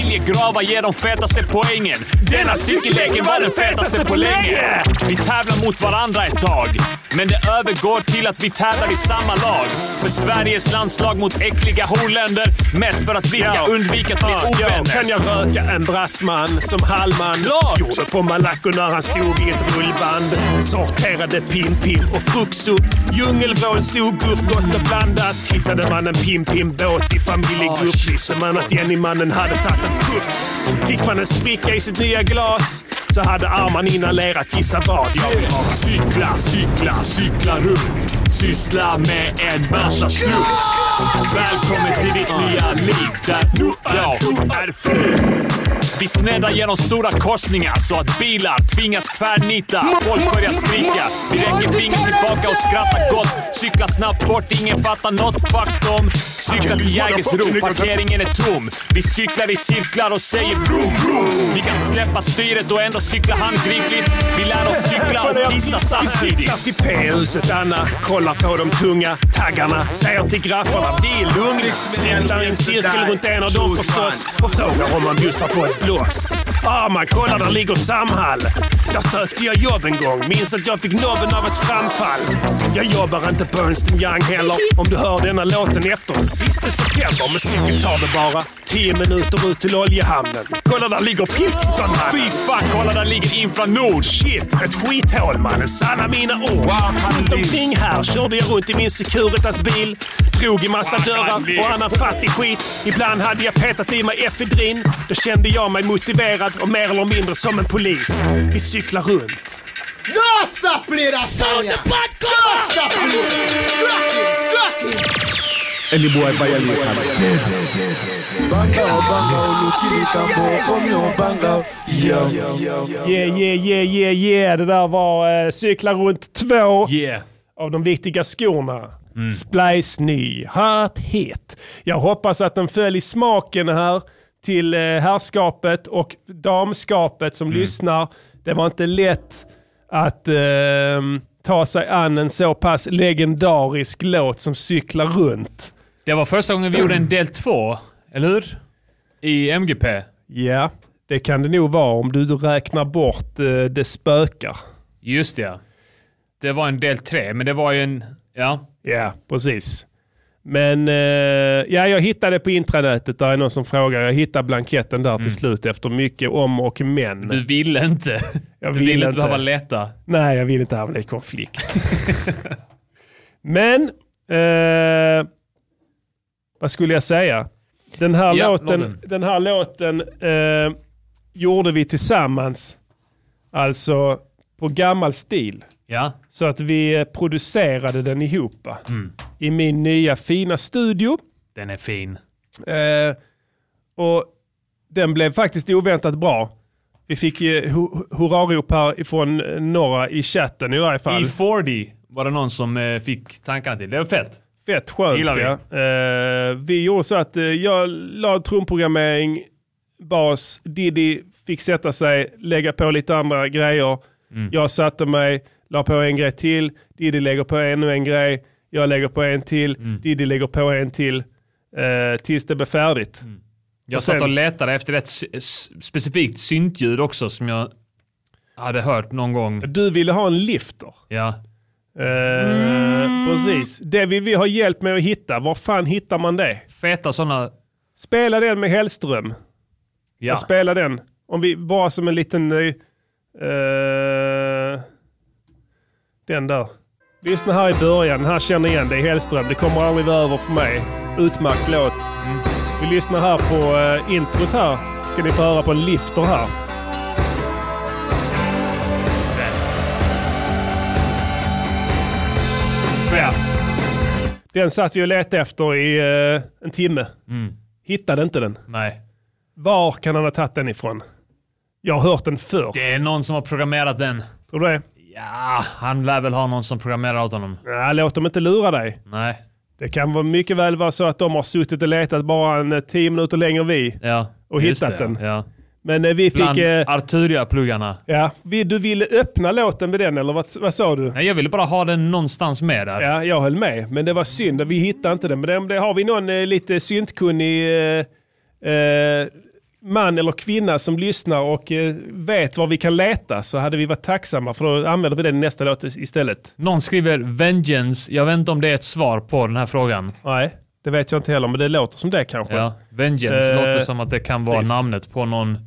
Speaker 6: Familjegravar ger de fetaste poängen. Denna cykelleken var den fetaste på länge. Vi tävlar mot varandra ett tag. Men det övergår till att vi tävlar i samma lag. För Sveriges landslag mot äckliga holänder. Mest för att vi ska
Speaker 1: Ja.
Speaker 6: undvika att bli
Speaker 1: Ja,
Speaker 6: ovänner.
Speaker 1: Kan jag röka en brassman som hallman?
Speaker 6: Klart!
Speaker 1: Gjorde på Malaco när han stod i ett rullband. Sorterade pim-pim och fruktsupp. Djungelvrål, surguff, gott och blandat. Hittade man en pim-pim-båt i
Speaker 6: Oh,
Speaker 1: familjegrupp
Speaker 6: shit.
Speaker 1: visste man att Jenny-mannen hade tagit en puff. Fick man en spricka i sitt nya glas så hade arman inhalerat gissa vad. Jag
Speaker 6: Cykla, cykla, cykla runt. Syssla med en massa strunt. Välkommen till ditt nya liv där du är, du är fri. Vi sneddar genom stora korsningar så att bilar tvingas tvärnita. Folk börjar skrika. Vi räcker fingret tillbaka och skrattar gott. Cyklar snabbt bort, ingen fattar något. Fuck dem. Cyklar till Jägersro, parkeringen är tom. Vi cyklar i cirklar och säger vroom, vroom. Vi kan släppa styret och ändå cykla handgripligt. Vi lär oss cykla och pissa samtidigt.
Speaker 1: Till P-huset Anna, kollar på de tunga taggarna, säger till graffarna vi är lugna. Cyklar i en cirkel runt en av dem förstås och frågar om man bjussar på ett blås. Ah, man kollar där ligger Samhall. Där sökte jag jobb en gång, minns att jag fick nobben av ett framfall. Jag jobbar inte på Ernst Young heller. Om du hör denna låten efter den sista september, men cykel tar det bara. 10 minuter ut till oljehamnen. Kolla där ligger Pilkingtonmannen.
Speaker 6: Fy fan, kolla där ligger Infranord.
Speaker 1: Shit, ett skithål mannen. Sanna mina ord. Runt omkring här körde jag runt i min Securitas bil. Drog i massa dörrar och annan fattig skit. Ibland hade jag petat i mig efedrin. Då kände jag mig motiverad och mer eller mindre som en polis. Vi cyklar runt.
Speaker 10: Nossa, pleira saia! Nossa, pleira! Scratching, scratching!
Speaker 2: Yeah, yeah, yeah, yeah, yeah. Det där var eh, Cykla runt 2
Speaker 11: Yeah.
Speaker 2: av de viktiga skorna.
Speaker 6: Mm.
Speaker 2: Splice ny, hot het. Jag hoppas att den föll i smaken här till eh, herrskapet och damskapet
Speaker 1: Mm.
Speaker 2: som lyssnar. Det var inte lätt att eh, ta sig an en så pass legendarisk låt som cyklar runt.
Speaker 11: Det var första gången vi gjorde en del två, eller hur?
Speaker 6: I MGP?
Speaker 1: Ja, det kan det nog vara om du räknar bort eh, det spökar.
Speaker 6: Just det, ja. Det var en del tre, men det var ju en... Ja.
Speaker 1: Ja, precis. Men eh, ja, jag hittade på intranätet, där är någon som frågar. Jag hittade blanketten där till slut efter mycket om och men.
Speaker 6: Mm. Du ville inte.
Speaker 1: Jag
Speaker 6: du ville
Speaker 1: vill
Speaker 6: inte
Speaker 1: inte.
Speaker 6: behöva leta.
Speaker 1: Nej, jag vill inte hamna i konflikt. Men, eh, vad skulle jag säga? Den här
Speaker 6: Ja,
Speaker 1: låten,
Speaker 6: låten.
Speaker 1: den här låten eh, gjorde vi tillsammans, alltså på gammal stil.
Speaker 6: Ja.
Speaker 1: Så att vi eh, producerade den ihop va? i min nya fina studio.
Speaker 6: Den är fin.
Speaker 1: Eh, och den blev faktiskt oväntat bra. Vi fick eh, hu- hurrarop här ifrån eh, några i chatten i varje fall.
Speaker 6: E40 var det någon som eh, fick tankarna till. Det var fett.
Speaker 1: Fett skönt
Speaker 6: Gillar vi.
Speaker 1: ja. Eh, vi gjorde så att eh, jag la trumprogrammering, bas, Diddy fick sätta sig, lägga på lite andra grejer.
Speaker 6: Mm.
Speaker 1: Jag satte mig, la på en grej till, Diddy lägger på ännu en grej, jag lägger på en till, Diddy lägger på en till. eh, tills det blev färdigt.
Speaker 6: Jag
Speaker 1: Och sen-
Speaker 6: satt och letade efter ett s- s- specifikt syntljud också som jag hade hört någon gång.
Speaker 1: Du ville ha en lifter.
Speaker 6: Ja.
Speaker 1: Eh, Precis. Det vill vi ha hjälp med att hitta. Var fan hittar man det?
Speaker 6: Feta sådana...
Speaker 1: Spela den med Hellström.
Speaker 6: Ja.
Speaker 1: Jag spelar den. Om vi bara som en liten... eh, eh, den där. Lyssna här i början. Den här känner igen dig Hellström. Det kommer aldrig vara över för mig. Utmärkt låt.
Speaker 6: Mm.
Speaker 1: Vi lyssnar här på eh, introt här. Ska ni få höra på en lifter här.
Speaker 6: Fett.
Speaker 1: Den satt vi och letade efter i eh, en timme.
Speaker 6: Mm.
Speaker 1: Hittade inte den.
Speaker 6: Nej.
Speaker 1: Var kan han ha tagit den ifrån? Jag har hört den förr.
Speaker 6: Det är någon som har programmerat den.
Speaker 1: Tror du det?
Speaker 6: Ja, han lär väl ha någon som programmerar åt honom.
Speaker 1: Nej, låt dem inte lura dig.
Speaker 6: Nej.
Speaker 1: Det kan vara mycket väl vara så att de har suttit och letat bara en eh, tio minuter längre än vi.
Speaker 6: Ja.
Speaker 1: Och
Speaker 6: just
Speaker 1: hittat
Speaker 6: det,
Speaker 1: den.
Speaker 6: Ja.
Speaker 1: Men eh, vi
Speaker 6: Bland
Speaker 1: fick... Eh,
Speaker 6: Arturia-pluggarna.
Speaker 1: ja, vi, du ville öppna låten med den, eller vad, vad sa du?
Speaker 6: Nej, jag ville bara ha den någonstans med där.
Speaker 1: Ja, jag höll med. Men det var synd att vi hittade inte den. Men det, det har vi någon eh, lite syntkunnig eh, eh, man eller kvinna som lyssnar och eh, vet var vi kan leta så hade vi varit tacksamma för då använder vi den i nästa låt is- istället.
Speaker 6: Någon skriver “Vengeance”. Jag vet inte om det är ett svar på den här frågan.
Speaker 1: Nej, det vet jag inte heller, men det låter som det kanske.
Speaker 6: Ja. “Vengeance”
Speaker 1: Eh,
Speaker 6: låter som att det kan vara
Speaker 1: precis.
Speaker 6: namnet på någon,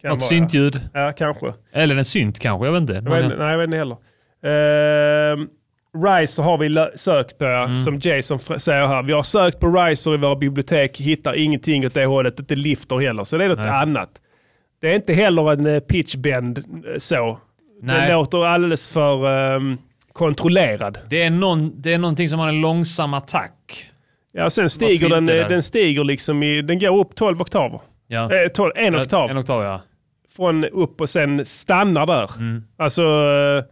Speaker 1: Kan
Speaker 6: något
Speaker 1: vara,
Speaker 6: syntljud.
Speaker 1: Ja, ja kanske.
Speaker 6: Eller en synt kanske, jag vet inte.
Speaker 1: Jag vet,
Speaker 6: Någon-
Speaker 1: inte- nej, jag vet inte heller. Ehm, Riser har vi lö- sökt på,
Speaker 6: Mm.
Speaker 1: som Jason fr- säger här. Vi har sökt på Riser i våra bibliotek, hittar ingenting åt det hållet, inte lifter heller. Så det är något annat. Det är inte heller en eh, pitchbend eh, så.
Speaker 6: Nej.
Speaker 1: Den låter alldeles för ehm, kontrollerad.
Speaker 6: Det, är någon, det är någonting som har en långsam attack.
Speaker 1: Ja, sen stiger
Speaker 6: fint
Speaker 1: den,
Speaker 6: det
Speaker 1: eh,
Speaker 6: där.
Speaker 1: den stiger liksom i, den går upp 12 oktaver.
Speaker 6: Ja.
Speaker 1: Eh, 12, en oktav.
Speaker 6: En oktav, ja.
Speaker 1: från upp och sen stannar där.
Speaker 6: Mm.
Speaker 1: Alltså, eh,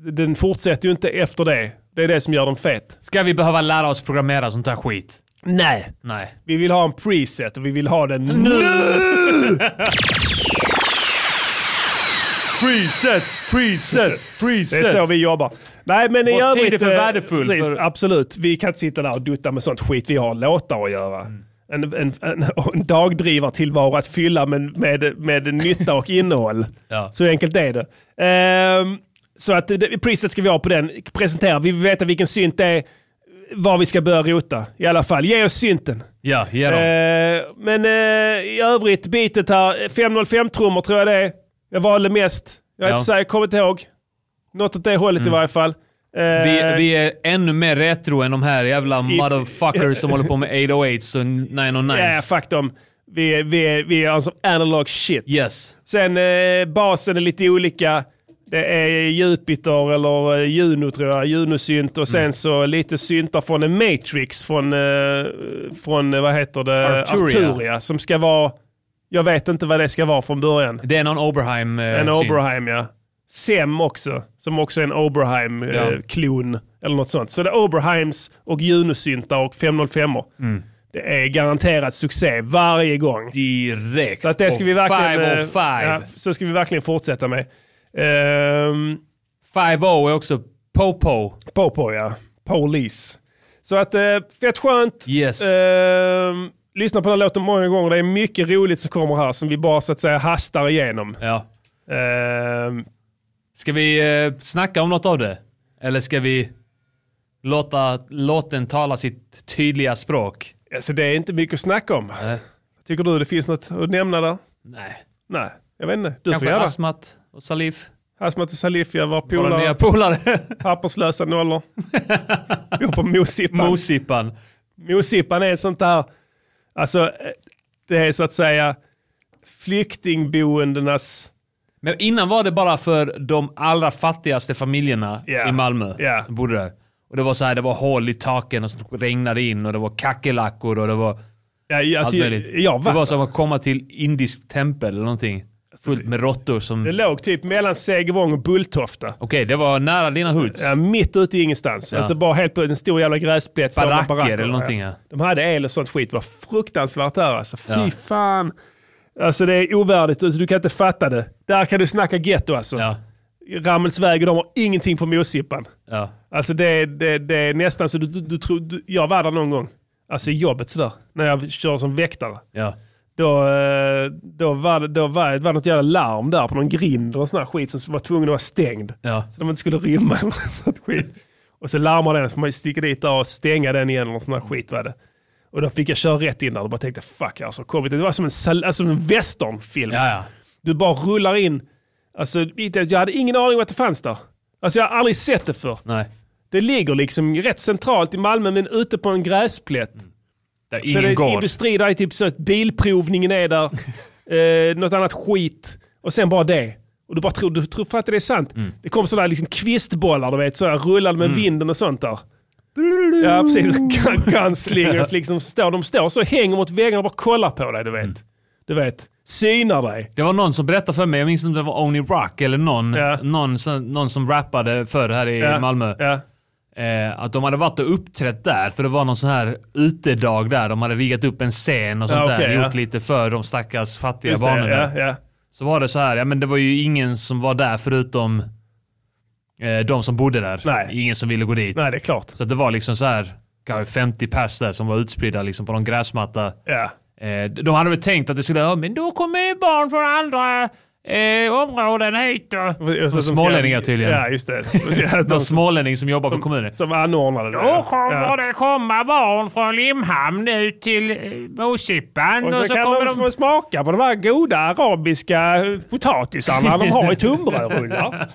Speaker 1: den fortsätter ju inte efter det. Det är det som gör den fet.
Speaker 6: Ska vi behöva lära oss programmera sånt här skit?
Speaker 1: Nej.
Speaker 6: Nej.
Speaker 1: Vi vill ha en preset och vi vill ha den nu.
Speaker 6: Presets, presets, presets.
Speaker 1: Det är så vi jobbar. Nej men i
Speaker 6: Vår tid
Speaker 1: övrigt...
Speaker 6: är för
Speaker 1: eh,
Speaker 6: värdefull
Speaker 1: Precis,
Speaker 6: för-
Speaker 1: Absolut. Vi kan inte sitta där och dutta med sånt skit. Vi har låtar att göra.
Speaker 6: Mm.
Speaker 1: En, en, en, en dagdrivartillvaro att fylla med, med, med nytta och innehåll.
Speaker 6: Ja.
Speaker 1: Så enkelt är det. Ehm, så att det, preset ska vi ha på den. Presentera, vi vill veta vilken synt det är. Var vi ska börja rota. I alla fall, ge oss synten.
Speaker 6: Ja, ge dem.
Speaker 1: Eh, men eh, i övrigt, bitet här, 505-trummor tror jag det är. Jag valde mest. Jag är
Speaker 6: Ja. Mm.
Speaker 1: inte säker, jag kommer inte ihåg. Något åt det hållet i varje fall. Eh,
Speaker 6: Vi, vi är ännu mer retro än de här jävla
Speaker 1: If-
Speaker 6: motherfuckers som håller på med 808s och 909s.
Speaker 1: Ja, fuck dem. Vi, är- vi, är- vi är alltså analog shit.
Speaker 6: Yes.
Speaker 1: Sen eh, basen är lite olika. Det är Jupiter eller eh, Juno tror jag, Junosynt och sen
Speaker 6: Mm.
Speaker 1: så lite syntar från en Matrix från, eh, från eh, vad heter det,
Speaker 6: Arturia.
Speaker 1: som ska vara, jag vet inte vad det ska vara från början.
Speaker 6: Det är någon Oberheim. eh,
Speaker 1: En
Speaker 6: synt.
Speaker 1: Oberheim ja. Sem också, som också är en
Speaker 6: Ja.
Speaker 1: Oberheim-klon eller något sånt. Så det är Oberheims och Junosyntar och 505
Speaker 6: Mm.
Speaker 1: Det är garanterat succé varje gång.
Speaker 6: Direkt.
Speaker 1: Så att det ska
Speaker 6: Och
Speaker 1: vi verkligen...
Speaker 6: Five
Speaker 1: eh,
Speaker 6: och five.
Speaker 1: ja, så ska vi verkligen fortsätta med. Ehm,
Speaker 6: Five O är också Popo.
Speaker 1: Popo ja. Police. Så att eh, fett skönt.
Speaker 6: Yes.
Speaker 1: Ehm,
Speaker 2: lyssnat på den här låten många gånger. Det är mycket roligt som kommer här som vi bara så att säga hastar igenom.
Speaker 6: Ja.
Speaker 2: Ehm,
Speaker 6: Ska vi eh, snacka om något av det? Eller ska vi låta låten tala sitt tydliga språk?
Speaker 2: alltså det är inte mycket att snacka om.
Speaker 6: Nej.
Speaker 2: Tycker du det finns något att nämna där?
Speaker 6: Nej.
Speaker 2: Nej, jag vet inte. Du
Speaker 6: Kanske
Speaker 2: får gärna.
Speaker 6: Asmat och Salif?
Speaker 2: Hasmat och Salifia var
Speaker 6: Våra nya
Speaker 2: polare.
Speaker 6: polare.
Speaker 2: Papperslösa nollor. Bor på Mosippan.
Speaker 6: Mosippan.
Speaker 2: Mosippan är ett sånt där, alltså eh, det är så att säga flyktingboendenas,
Speaker 6: Men innan var det bara för de allra fattigaste familjerna
Speaker 2: Ja.
Speaker 6: i Malmö
Speaker 2: Ja.
Speaker 6: som bodde där. Och det var så här, det var hål i taken och så regnade in och det var kackerlackor och det var
Speaker 2: ja, alltså,
Speaker 6: allt möjligt.
Speaker 2: jag, jag
Speaker 6: det
Speaker 2: var,
Speaker 6: var som att komma till indiskt tempel eller någonting. Fullt med råttor som...
Speaker 2: Alltså, det
Speaker 6: Okej,
Speaker 2: låg typ mellan Segevång och Bulltofta.
Speaker 6: det var nära dina hoods.
Speaker 2: Ja, mitt ute i ingenstans.
Speaker 6: Ja.
Speaker 2: Alltså bara helt på en stor jävla gräsplätt. står det
Speaker 6: Baracker
Speaker 2: baracker.
Speaker 6: eller någonting, ja.
Speaker 2: De hade el och sånt skit. Det var fruktansvärt där alltså. Fy
Speaker 6: Ja.
Speaker 2: fan. Alltså det är ovärdigt. Alltså, du kan inte fatta det. Där kan du snacka getto alltså.
Speaker 6: Ja,
Speaker 2: Rammelsväg och de har ingenting på Mosippan.
Speaker 6: ja.
Speaker 2: Alltså det, är- det, det är nästan så du, du, du tror... Du, jag var där någon gång. Alltså i jobbet sådär. När jag kör som väktare.
Speaker 6: ja.
Speaker 2: Då, eh, då, var, det- då var, det var något jävla larm där på någon grind och sån här skit som var tvungen att vara stängd.
Speaker 6: Ja.
Speaker 2: Så de inte skulle rymma eller sånt skit. Och så larmar den, så får man ju sticka dit där och stänga den igen eller sån här skit var det. Och då fick jag köra rätt in där och bara tänkte fuck alltså, kommit. det var som en, sal- alltså, en westernfilm.
Speaker 6: Ja, ja.
Speaker 2: Du bara rullar in. Alltså, inte- jag hade ingen aning om att det fanns där. Alltså jag har aldrig sett det förr.
Speaker 6: Nej.
Speaker 2: Det ligger liksom rätt centralt i Malmö men ute på en gräsplätt.
Speaker 6: Där
Speaker 2: Så det
Speaker 6: ingen
Speaker 2: är
Speaker 6: går.
Speaker 2: industri, där är typ så att bilprovningen är där, eh, något annat skit och sen bara det. Och du bara tror, du tror fan inte det är sant. Det kom sådana här liksom kvistbollar, du vet, så här, rullade med vinden och sånt där. Ja, precis. Gun- Gunslingers liksom, så står, de står så hänger mot väggarna och bara kollar på dig, du vet. Du vet, synar dig.
Speaker 6: Det var någon som berättade för mig, jag minns inte om det var Only Rock eller någon,
Speaker 2: Ja.
Speaker 6: någon, som, någon som rappade förr här i
Speaker 2: Ja,
Speaker 6: Malmö.
Speaker 2: Ja.
Speaker 6: Eh, att de hade varit och uppträtt där, för det var någon sån här utedag där. De hade riggat upp en scen och sånt
Speaker 2: Ja, okej,
Speaker 6: där.
Speaker 2: ja.
Speaker 6: Gjort lite för de stackars fattiga
Speaker 2: Just
Speaker 6: barnen
Speaker 2: det,
Speaker 6: där.
Speaker 2: ja, ja.
Speaker 6: Så var det så här, ja men det var ju ingen som var där förutom eh, de som bodde där.
Speaker 2: Nej.
Speaker 6: Ingen som ville gå dit.
Speaker 2: Nej, det är klart.
Speaker 6: Så att det var liksom så här, kanske 50 pers där som var utspridda liksom på någon gräsmatta.
Speaker 2: Ja.
Speaker 6: Eh, de hade väl tänkt att det skulle, ja men då kommer ju barn från andra eh, områden hit och...
Speaker 2: Och så-
Speaker 6: smålänningar tydligen.
Speaker 2: Ja, just det. De,
Speaker 6: Någon smålänning som jobbar för kommunen.
Speaker 2: som anordnade det.
Speaker 6: Då kommer det komma barn från Limhamn ut till eh, Mosippan.
Speaker 2: Och så, kan de, få smaka på de här goda arabiska eh, potatisarna de har i tunnbrödsrullar.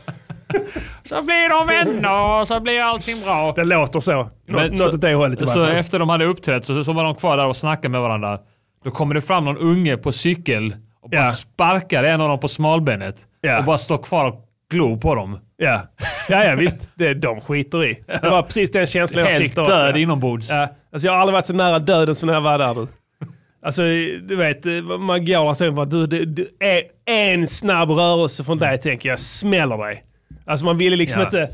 Speaker 6: så blir de vänner och så blir allting bra.
Speaker 2: Det låter så. Nå, något åt det hållet i
Speaker 6: Så
Speaker 2: varje fall.
Speaker 6: efter de hade uppträtt så, så var de kvar där och snackade med varandra. Då kommer det fram någon unge på cykel och bara
Speaker 2: Ja.
Speaker 6: sparkar en av dem på smalbenet.
Speaker 2: Ja.
Speaker 6: Och bara står kvar och glor på dem.
Speaker 2: Ja. ja, ja visst. Det de skiter i. Det var precis den känslan jag fick
Speaker 6: Helt
Speaker 2: där också.
Speaker 6: död inombords.
Speaker 2: Ja. Alltså, jag har aldrig varit så nära döden som när jag var där. Du. Alltså, du vet, man går där och bara, du, du, du, en- en snabb rörelse från dig tänker jag smäller dig. Alltså man ville liksom
Speaker 6: Ja.
Speaker 2: inte,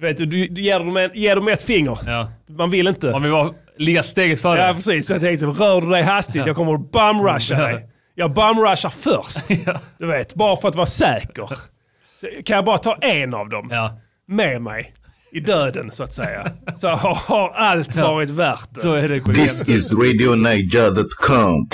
Speaker 2: du vet, du, du ger, dem en, ger dem ett finger.
Speaker 6: Ja.
Speaker 2: Man vill inte.
Speaker 6: Om vi var ligga steget före.
Speaker 2: Ja, precis. Så jag tänkte, rör du dig hastigt, jag kommer att bumrusha dig. Jag bumrushar först.
Speaker 6: Ja.
Speaker 2: Du vet, bara för att vara säker. Så kan jag bara ta en av dem
Speaker 6: Ja.
Speaker 2: med mig i döden, så att säga. Så har, har allt varit värt det.
Speaker 6: Så är det.
Speaker 7: This is RadioNiger.com.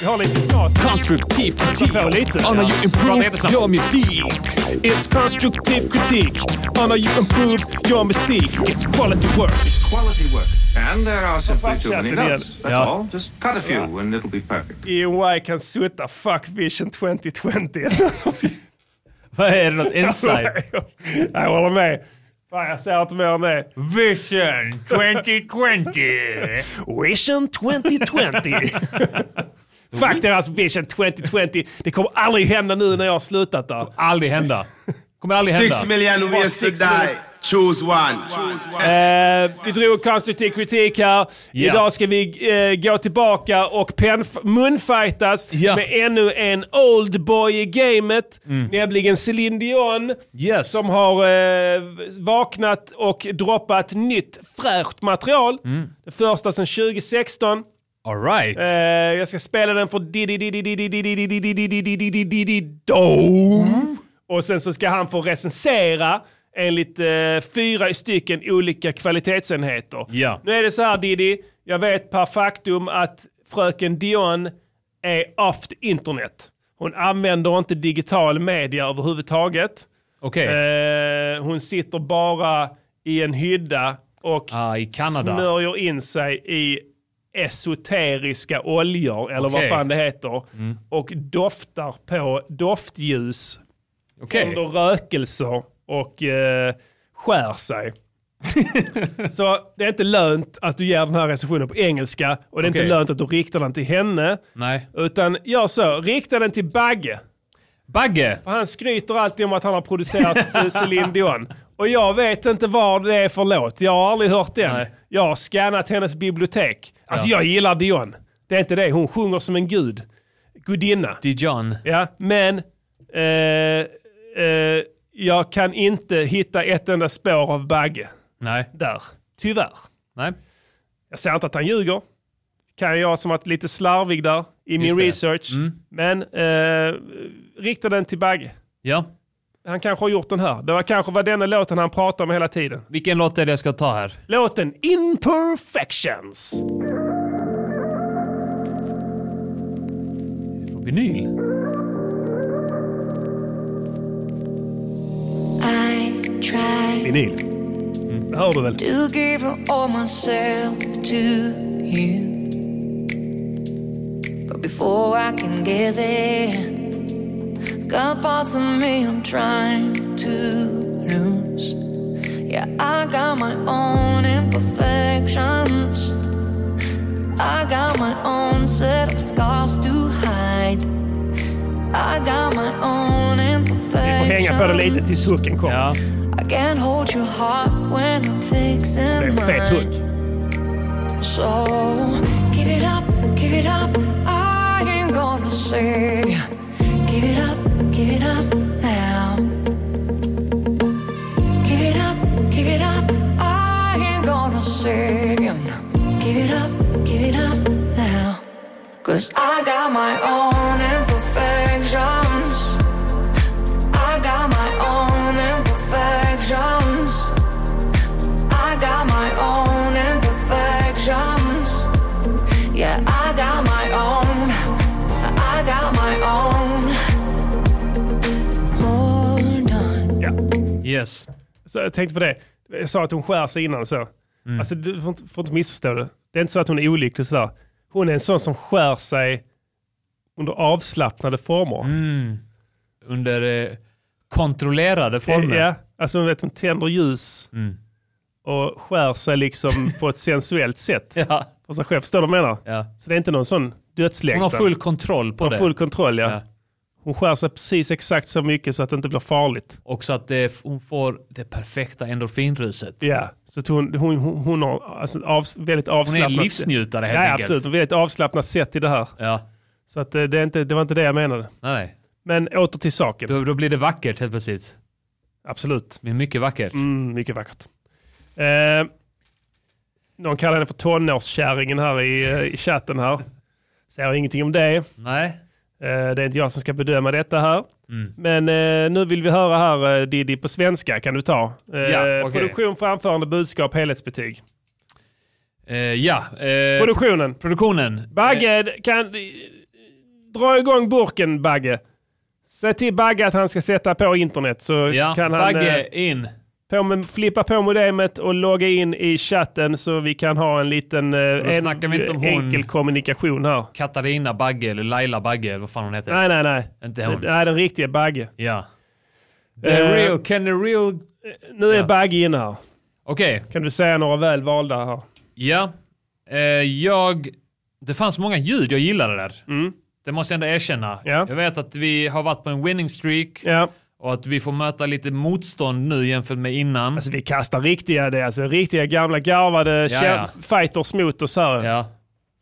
Speaker 2: Vi har lite knas.
Speaker 1: Konstruktiv kritik.
Speaker 2: Får lite.
Speaker 1: On how you improve your music.
Speaker 12: It's constructive critique on how you improve your music. It's quality work.
Speaker 10: quality work. And there are simply
Speaker 2: shut
Speaker 10: too many
Speaker 2: it in.
Speaker 10: notes. That's
Speaker 6: Yeah.
Speaker 10: all. Just cut a few and it'll be perfect.
Speaker 2: EY kan sutta fuck vision 2020.
Speaker 6: Vad är det? Något
Speaker 2: Alltså,
Speaker 6: inside?
Speaker 2: jag håller med. Fan, jag säger inte mer än det.
Speaker 6: Vision 2020!
Speaker 2: Vision 2020. Fuck deras Vision 2020. Det kommer aldrig hända nu när jag har slutat där.
Speaker 6: Aldrig hända. Kommer aldrig hända.
Speaker 13: Six million ways to die. Choose one.
Speaker 2: Eh, vi drog konstruktiv kritik här.
Speaker 6: Yes.
Speaker 2: Idag ska vi eh, gå tillbaka och penf- munfightas
Speaker 6: Ja. Mm.
Speaker 2: med ännu en oldboy i gamet, nämligen Céline Dion.
Speaker 6: Yes.
Speaker 2: Som har eh, vaknat och droppat nytt fräscht material.
Speaker 6: Mm.
Speaker 2: Det första sedan 2016.
Speaker 6: All right.
Speaker 2: Eh, jag ska spela den för Diddy Diddy Diddy Diddy Diddy Diddy Diddy Diddy Diddy Dome. Och sen så ska han få recensera enligt eh, fyra stycken olika kvalitetsenheter.
Speaker 6: Ja.
Speaker 2: Nu är det så här Diddy, jag vet per faktum att fröken Dion är off the internet. Hon använder inte digital media överhuvudtaget.
Speaker 6: Okej.
Speaker 2: Eh, hon sitter bara i en hydda och
Speaker 6: Ah, i Kanada.
Speaker 2: smörjer in sig i esoteriska oljor, eller
Speaker 6: Okej.
Speaker 2: vad fan det heter,
Speaker 6: Mm.
Speaker 2: och doftar på doftljus
Speaker 6: Okej.
Speaker 2: under rökelser och eh, skär sig. Så det är inte lönt att du ger den här recensionen på engelska och det är
Speaker 6: Okej.
Speaker 2: inte lönt att du riktar den till henne.
Speaker 6: Nej.
Speaker 2: Utan gör så, rikta den till Bagge.
Speaker 6: Bagge?
Speaker 2: För han skryter alltid om att han har producerat C- Celine Dion. Och jag vet inte vad det är för låt. Jag har aldrig hört den. Jag har scannat hennes bibliotek. Alltså
Speaker 6: Ja.
Speaker 2: jag gillar Dion. Det är inte det. Hon sjunger som en gud. Gudinna.
Speaker 6: Dijon.
Speaker 2: Ja, men eh, eh, jag kan inte hitta ett enda spår av Bagge.
Speaker 6: Nej.
Speaker 2: Där. Tyvärr.
Speaker 6: Nej.
Speaker 2: Jag säger inte att han ljuger. Kan jag som att lite slarvig där i min
Speaker 6: det. Mm.
Speaker 2: research. Men eh, rikta den till Bagge.
Speaker 6: Ja.
Speaker 2: Han kanske har gjort den här. Det var kanske var denna låten han pratade om hela tiden.
Speaker 6: Vilken låt är det jag ska ta här?
Speaker 2: Låten Imperfections.
Speaker 6: På vinyl?
Speaker 10: I could try
Speaker 2: Vinyl. Mm, Det hör du väl?
Speaker 10: to give all myself to you. But before I can get there, got parts of me I'm trying to lose. Yeah, I got my own imperfections. I got my own set of scars to hide. I got my own
Speaker 2: Vi får
Speaker 10: imperfections.
Speaker 2: hänga på det lite tills hooken kommer.
Speaker 10: I can't hold your heart when I'm fixing
Speaker 2: Det är fet
Speaker 10: mine.
Speaker 2: hook.
Speaker 10: So give it up, give it up. I ain't gonna save you. Give it up, give it up now. Give it up, give it up. I ain't gonna save you. No. Give it up, give it up now. Cause I got my own imperfections. I got my own imperfections. I got my own imperfections. Yeah, I got my own. I got my own. Hold on.
Speaker 6: Yes.
Speaker 2: Så jag tänkte på det. Jag sa att hon skär sig innan så.
Speaker 6: Mm.
Speaker 2: Alltså du får inte, får inte missförstå det. Det är inte så att hon är olycklig sådär. Hon är en sån som skär sig under avslappnade former.
Speaker 6: Mm. Under eh, kontrollerade former.
Speaker 2: Ja, alltså hon vet hon tänder ljus
Speaker 6: Mm.
Speaker 2: och skär sig liksom på ett sensuellt sätt.
Speaker 6: ja.
Speaker 2: För sig själv, förstår du vad jag menar?
Speaker 6: Ja.
Speaker 2: Så det är inte någon sån dödslängtan.
Speaker 6: Hon har full kontroll på
Speaker 2: Hon
Speaker 6: det.
Speaker 2: har full kontroll, ja.
Speaker 6: Ja.
Speaker 2: Hon skär sig precis exakt så mycket så att det inte blir farligt.
Speaker 6: Och så att det, hon får det perfekta endorfinruset.
Speaker 2: Ja, så att hon, hon, hon, hon har alltså av, väldigt avslappnat...
Speaker 6: livsnjutare helt
Speaker 2: ja,
Speaker 6: enkelt.
Speaker 2: absolut. Hon har väldigt avslappnat sätt i det här.
Speaker 6: Ja.
Speaker 2: Så att eh, det, är inte, det var inte det jag menade.
Speaker 6: Nej.
Speaker 2: Men åter till saken.
Speaker 6: Då, då blir det vackert helt plötsligt.
Speaker 2: Absolut.
Speaker 6: Men mycket vackert.
Speaker 2: Mm, mycket vackert. Eh, någon kallar henne för tonårskärringen här i, eh, i chatten här. Säger ingenting om det.
Speaker 6: Nej.
Speaker 2: Eh, det är inte jag som ska bedöma detta här.
Speaker 6: Mm.
Speaker 2: Men eh, nu vill vi höra här eh, Diddy på svenska kan du ta. Eh,
Speaker 6: Ja, okej.
Speaker 2: Produktion, framförande, budskap, helhetsbetyg.
Speaker 6: Eh, ja. eh,
Speaker 2: Produktionen.
Speaker 6: Produktionen.
Speaker 2: Bagge,
Speaker 6: Eh.
Speaker 2: kan... eh, Dra igång burken Bagge. Säg till Bagge att han ska sätta på internet så
Speaker 6: Ja,
Speaker 2: kan han...
Speaker 6: Bagge
Speaker 2: eh,
Speaker 6: in.
Speaker 2: På med, flippa på modemet och logga in i chatten så vi kan ha en liten eh,
Speaker 6: Då
Speaker 2: en,
Speaker 6: snackar vi inte om hon-
Speaker 2: enkel kommunikation här.
Speaker 6: Katarina Bagge eller Laila Bagge eller vad fan hon heter.
Speaker 2: Nej, nej, nej.
Speaker 6: Inte hon.
Speaker 2: Nej, den riktiga Bagge.
Speaker 6: Ja. The
Speaker 2: Eh,
Speaker 6: real, can the real...
Speaker 2: Nu är Bagge inne här.
Speaker 6: Okej.
Speaker 2: Kan du säga några välvalda här?
Speaker 6: Ja. Eh, jag... Det fanns många ljud jag gillade där.
Speaker 2: Mm.
Speaker 6: Det måste jag ändå erkänna. Jag vet att vi har varit på en winning streak. Och att vi får möta lite motstånd nu jämfört med innan.
Speaker 2: Alltså vi kastar riktiga, det är alltså riktiga gamla garvade
Speaker 6: Ja,
Speaker 2: kä-
Speaker 6: ja.
Speaker 2: fighters mot oss här.
Speaker 6: Ja.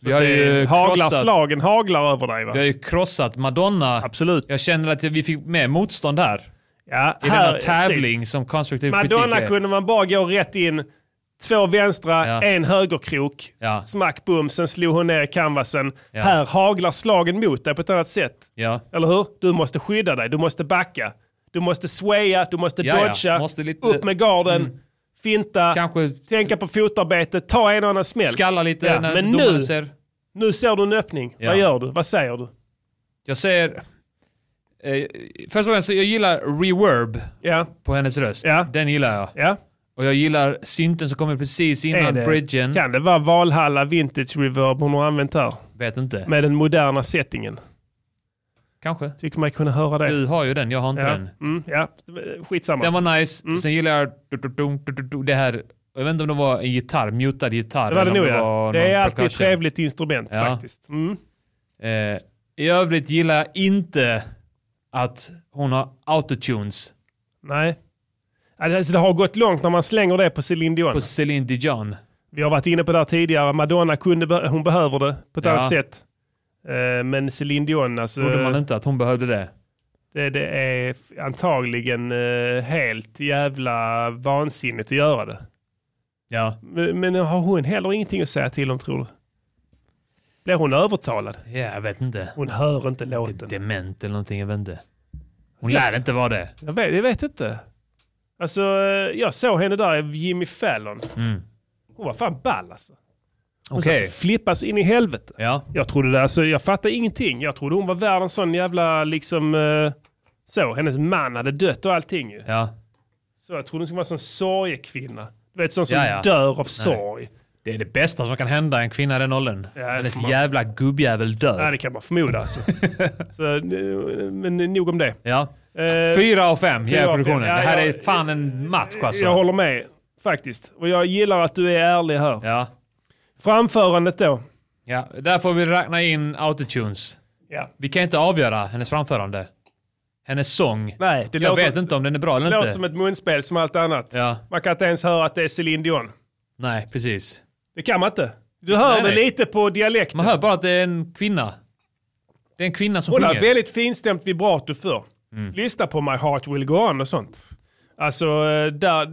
Speaker 2: Vi har ju haglar, slagen haglar över dig va?
Speaker 6: Vi har ju krossat Madonna.
Speaker 2: Absolut.
Speaker 6: Jag känner att vi fick med motstånd här.
Speaker 2: Ja,
Speaker 6: I
Speaker 2: här-
Speaker 6: denna tävling som konstruktiv
Speaker 2: Madonna
Speaker 6: kritik är.
Speaker 2: kunde man bara gå rätt in, två vänstra, en högerkrok.
Speaker 6: Ja.
Speaker 2: Smack bum, sen slog hon ner i canvasen.
Speaker 6: Ja.
Speaker 2: Här haglar slagen mot dig på ett annat sätt.
Speaker 6: Ja.
Speaker 2: Eller hur? Du måste skydda dig, du måste backa. Du måste swaya, du måste
Speaker 6: Ja, ja.
Speaker 2: dodga,
Speaker 6: Måste lite- Mm.
Speaker 2: upp med garden, finta, tänka på fotarbetet, ta en och annan smäll.
Speaker 6: Skalla lite
Speaker 2: Ja,
Speaker 6: när
Speaker 2: Men
Speaker 6: domaren
Speaker 2: nu,
Speaker 6: ser.
Speaker 2: Nu ser du en öppning.
Speaker 10: Ja.
Speaker 2: Vad gör du? Vad säger du?
Speaker 10: Jag säger... Eh, först och främst, jag gillar reverb på hennes röst. Den gillar jag. Och jag gillar synten som kommer precis
Speaker 2: Är
Speaker 10: innan
Speaker 2: det-
Speaker 10: bridgen.
Speaker 2: Kan det vara Valhalla Vintage Reverb hon har använt här?
Speaker 10: Vet inte.
Speaker 2: Med den moderna settingen.
Speaker 10: Kanske.
Speaker 2: Tycker man kunna höra det.
Speaker 10: Du har ju den, jag har inte
Speaker 2: ja.
Speaker 10: den.
Speaker 2: Mm, ja, skitsamma.
Speaker 10: Den var nice.
Speaker 2: Mm.
Speaker 10: Sen gillar jag du- du- du- du- du- du- det här. Jag vet inte om det var en gitarr, mutad gitarr.
Speaker 2: det var det
Speaker 10: eller om
Speaker 2: nog ja.
Speaker 10: var
Speaker 2: Det är
Speaker 10: någon
Speaker 2: alltid ett
Speaker 10: percussion.
Speaker 2: trevligt instrument
Speaker 10: Ja.
Speaker 2: faktiskt. Mm.
Speaker 10: Eh, I övrigt gillar jag inte att hon har autotunes.
Speaker 2: Nej. Alltså, det har gått långt när man slänger det på Céline Dion.
Speaker 10: På Céline Dion.
Speaker 2: Vi har varit inne på det här tidigare. Madonna kunde, be- hon behöver det på ett
Speaker 10: Ja.
Speaker 2: annat sätt. Eh, Men Céline Dion, alltså.
Speaker 10: Trodde man inte att hon behövde det?
Speaker 2: Det, det är f- antagligen eh, helt jävla vansinnigt att göra det.
Speaker 10: Ja.
Speaker 2: Men, men har hon heller ingenting att säga till om tror du? Blir hon övertalad?
Speaker 10: Ja, jag vet inte.
Speaker 2: Hon hör inte låten.
Speaker 10: Dement eller någonting, jag vet inte. Hon
Speaker 2: Yes.
Speaker 10: lär inte vara det.
Speaker 2: Jag vet, jag vet inte. Alltså, eh, jag såg henne där i Jimmy Fallon.
Speaker 10: Mm.
Speaker 2: Hon var fan ball alltså. Hon
Speaker 10: Okej.
Speaker 2: satt och flippade så in i helvete.
Speaker 10: Ja.
Speaker 2: Jag trodde det, alltså, jag fattade ingenting. Jag trodde hon var värd en sån jävla liksom... eh, så, hennes man hade dött och allting ju.
Speaker 10: Ja.
Speaker 2: Så jag trodde hon skulle vara en sån sorgekvinna. Du vet, sån som
Speaker 10: Ja, ja.
Speaker 2: dör av
Speaker 10: Nej.
Speaker 2: sorg.
Speaker 10: Det är det bästa som kan hända en kvinna i den åldern. Hennes jävla gubbjävel dör.
Speaker 2: Ja, det kan man förmoda alltså. så, eh, men nog om det.
Speaker 10: Ja.
Speaker 2: Eh,
Speaker 10: Fyra av fem
Speaker 2: fyra
Speaker 10: ger
Speaker 2: av fem.
Speaker 10: produktionen.
Speaker 2: Ja,
Speaker 10: det här
Speaker 2: jag-
Speaker 10: är fan en match alltså.
Speaker 2: Jag håller med, faktiskt. Och jag gillar att du är ärlig här. Framförandet då.
Speaker 10: Ja, där får vi räkna in autotunes.
Speaker 2: Ja.
Speaker 10: Vi kan inte avgöra hennes framförande. Hennes sång.
Speaker 2: Nej, det
Speaker 10: jag
Speaker 2: låter-
Speaker 10: vet inte om den är bra
Speaker 2: Det
Speaker 10: eller
Speaker 2: låter
Speaker 10: inte.
Speaker 2: som ett munspel som allt annat.
Speaker 10: Ja.
Speaker 2: Man kan inte ens höra att det är Céline Dion.
Speaker 10: Nej, precis.
Speaker 2: Det kan man inte. Du hör
Speaker 10: Nej,
Speaker 2: det
Speaker 10: nej.
Speaker 2: lite på dialekten.
Speaker 10: Man hör bara att det är en kvinna. Det är en kvinna som
Speaker 2: Hon har
Speaker 10: sjunger. Mm.
Speaker 2: väldigt finstämt vibrato för. Lyssna på My Heart Will Go On och sånt. Alltså, eh, där,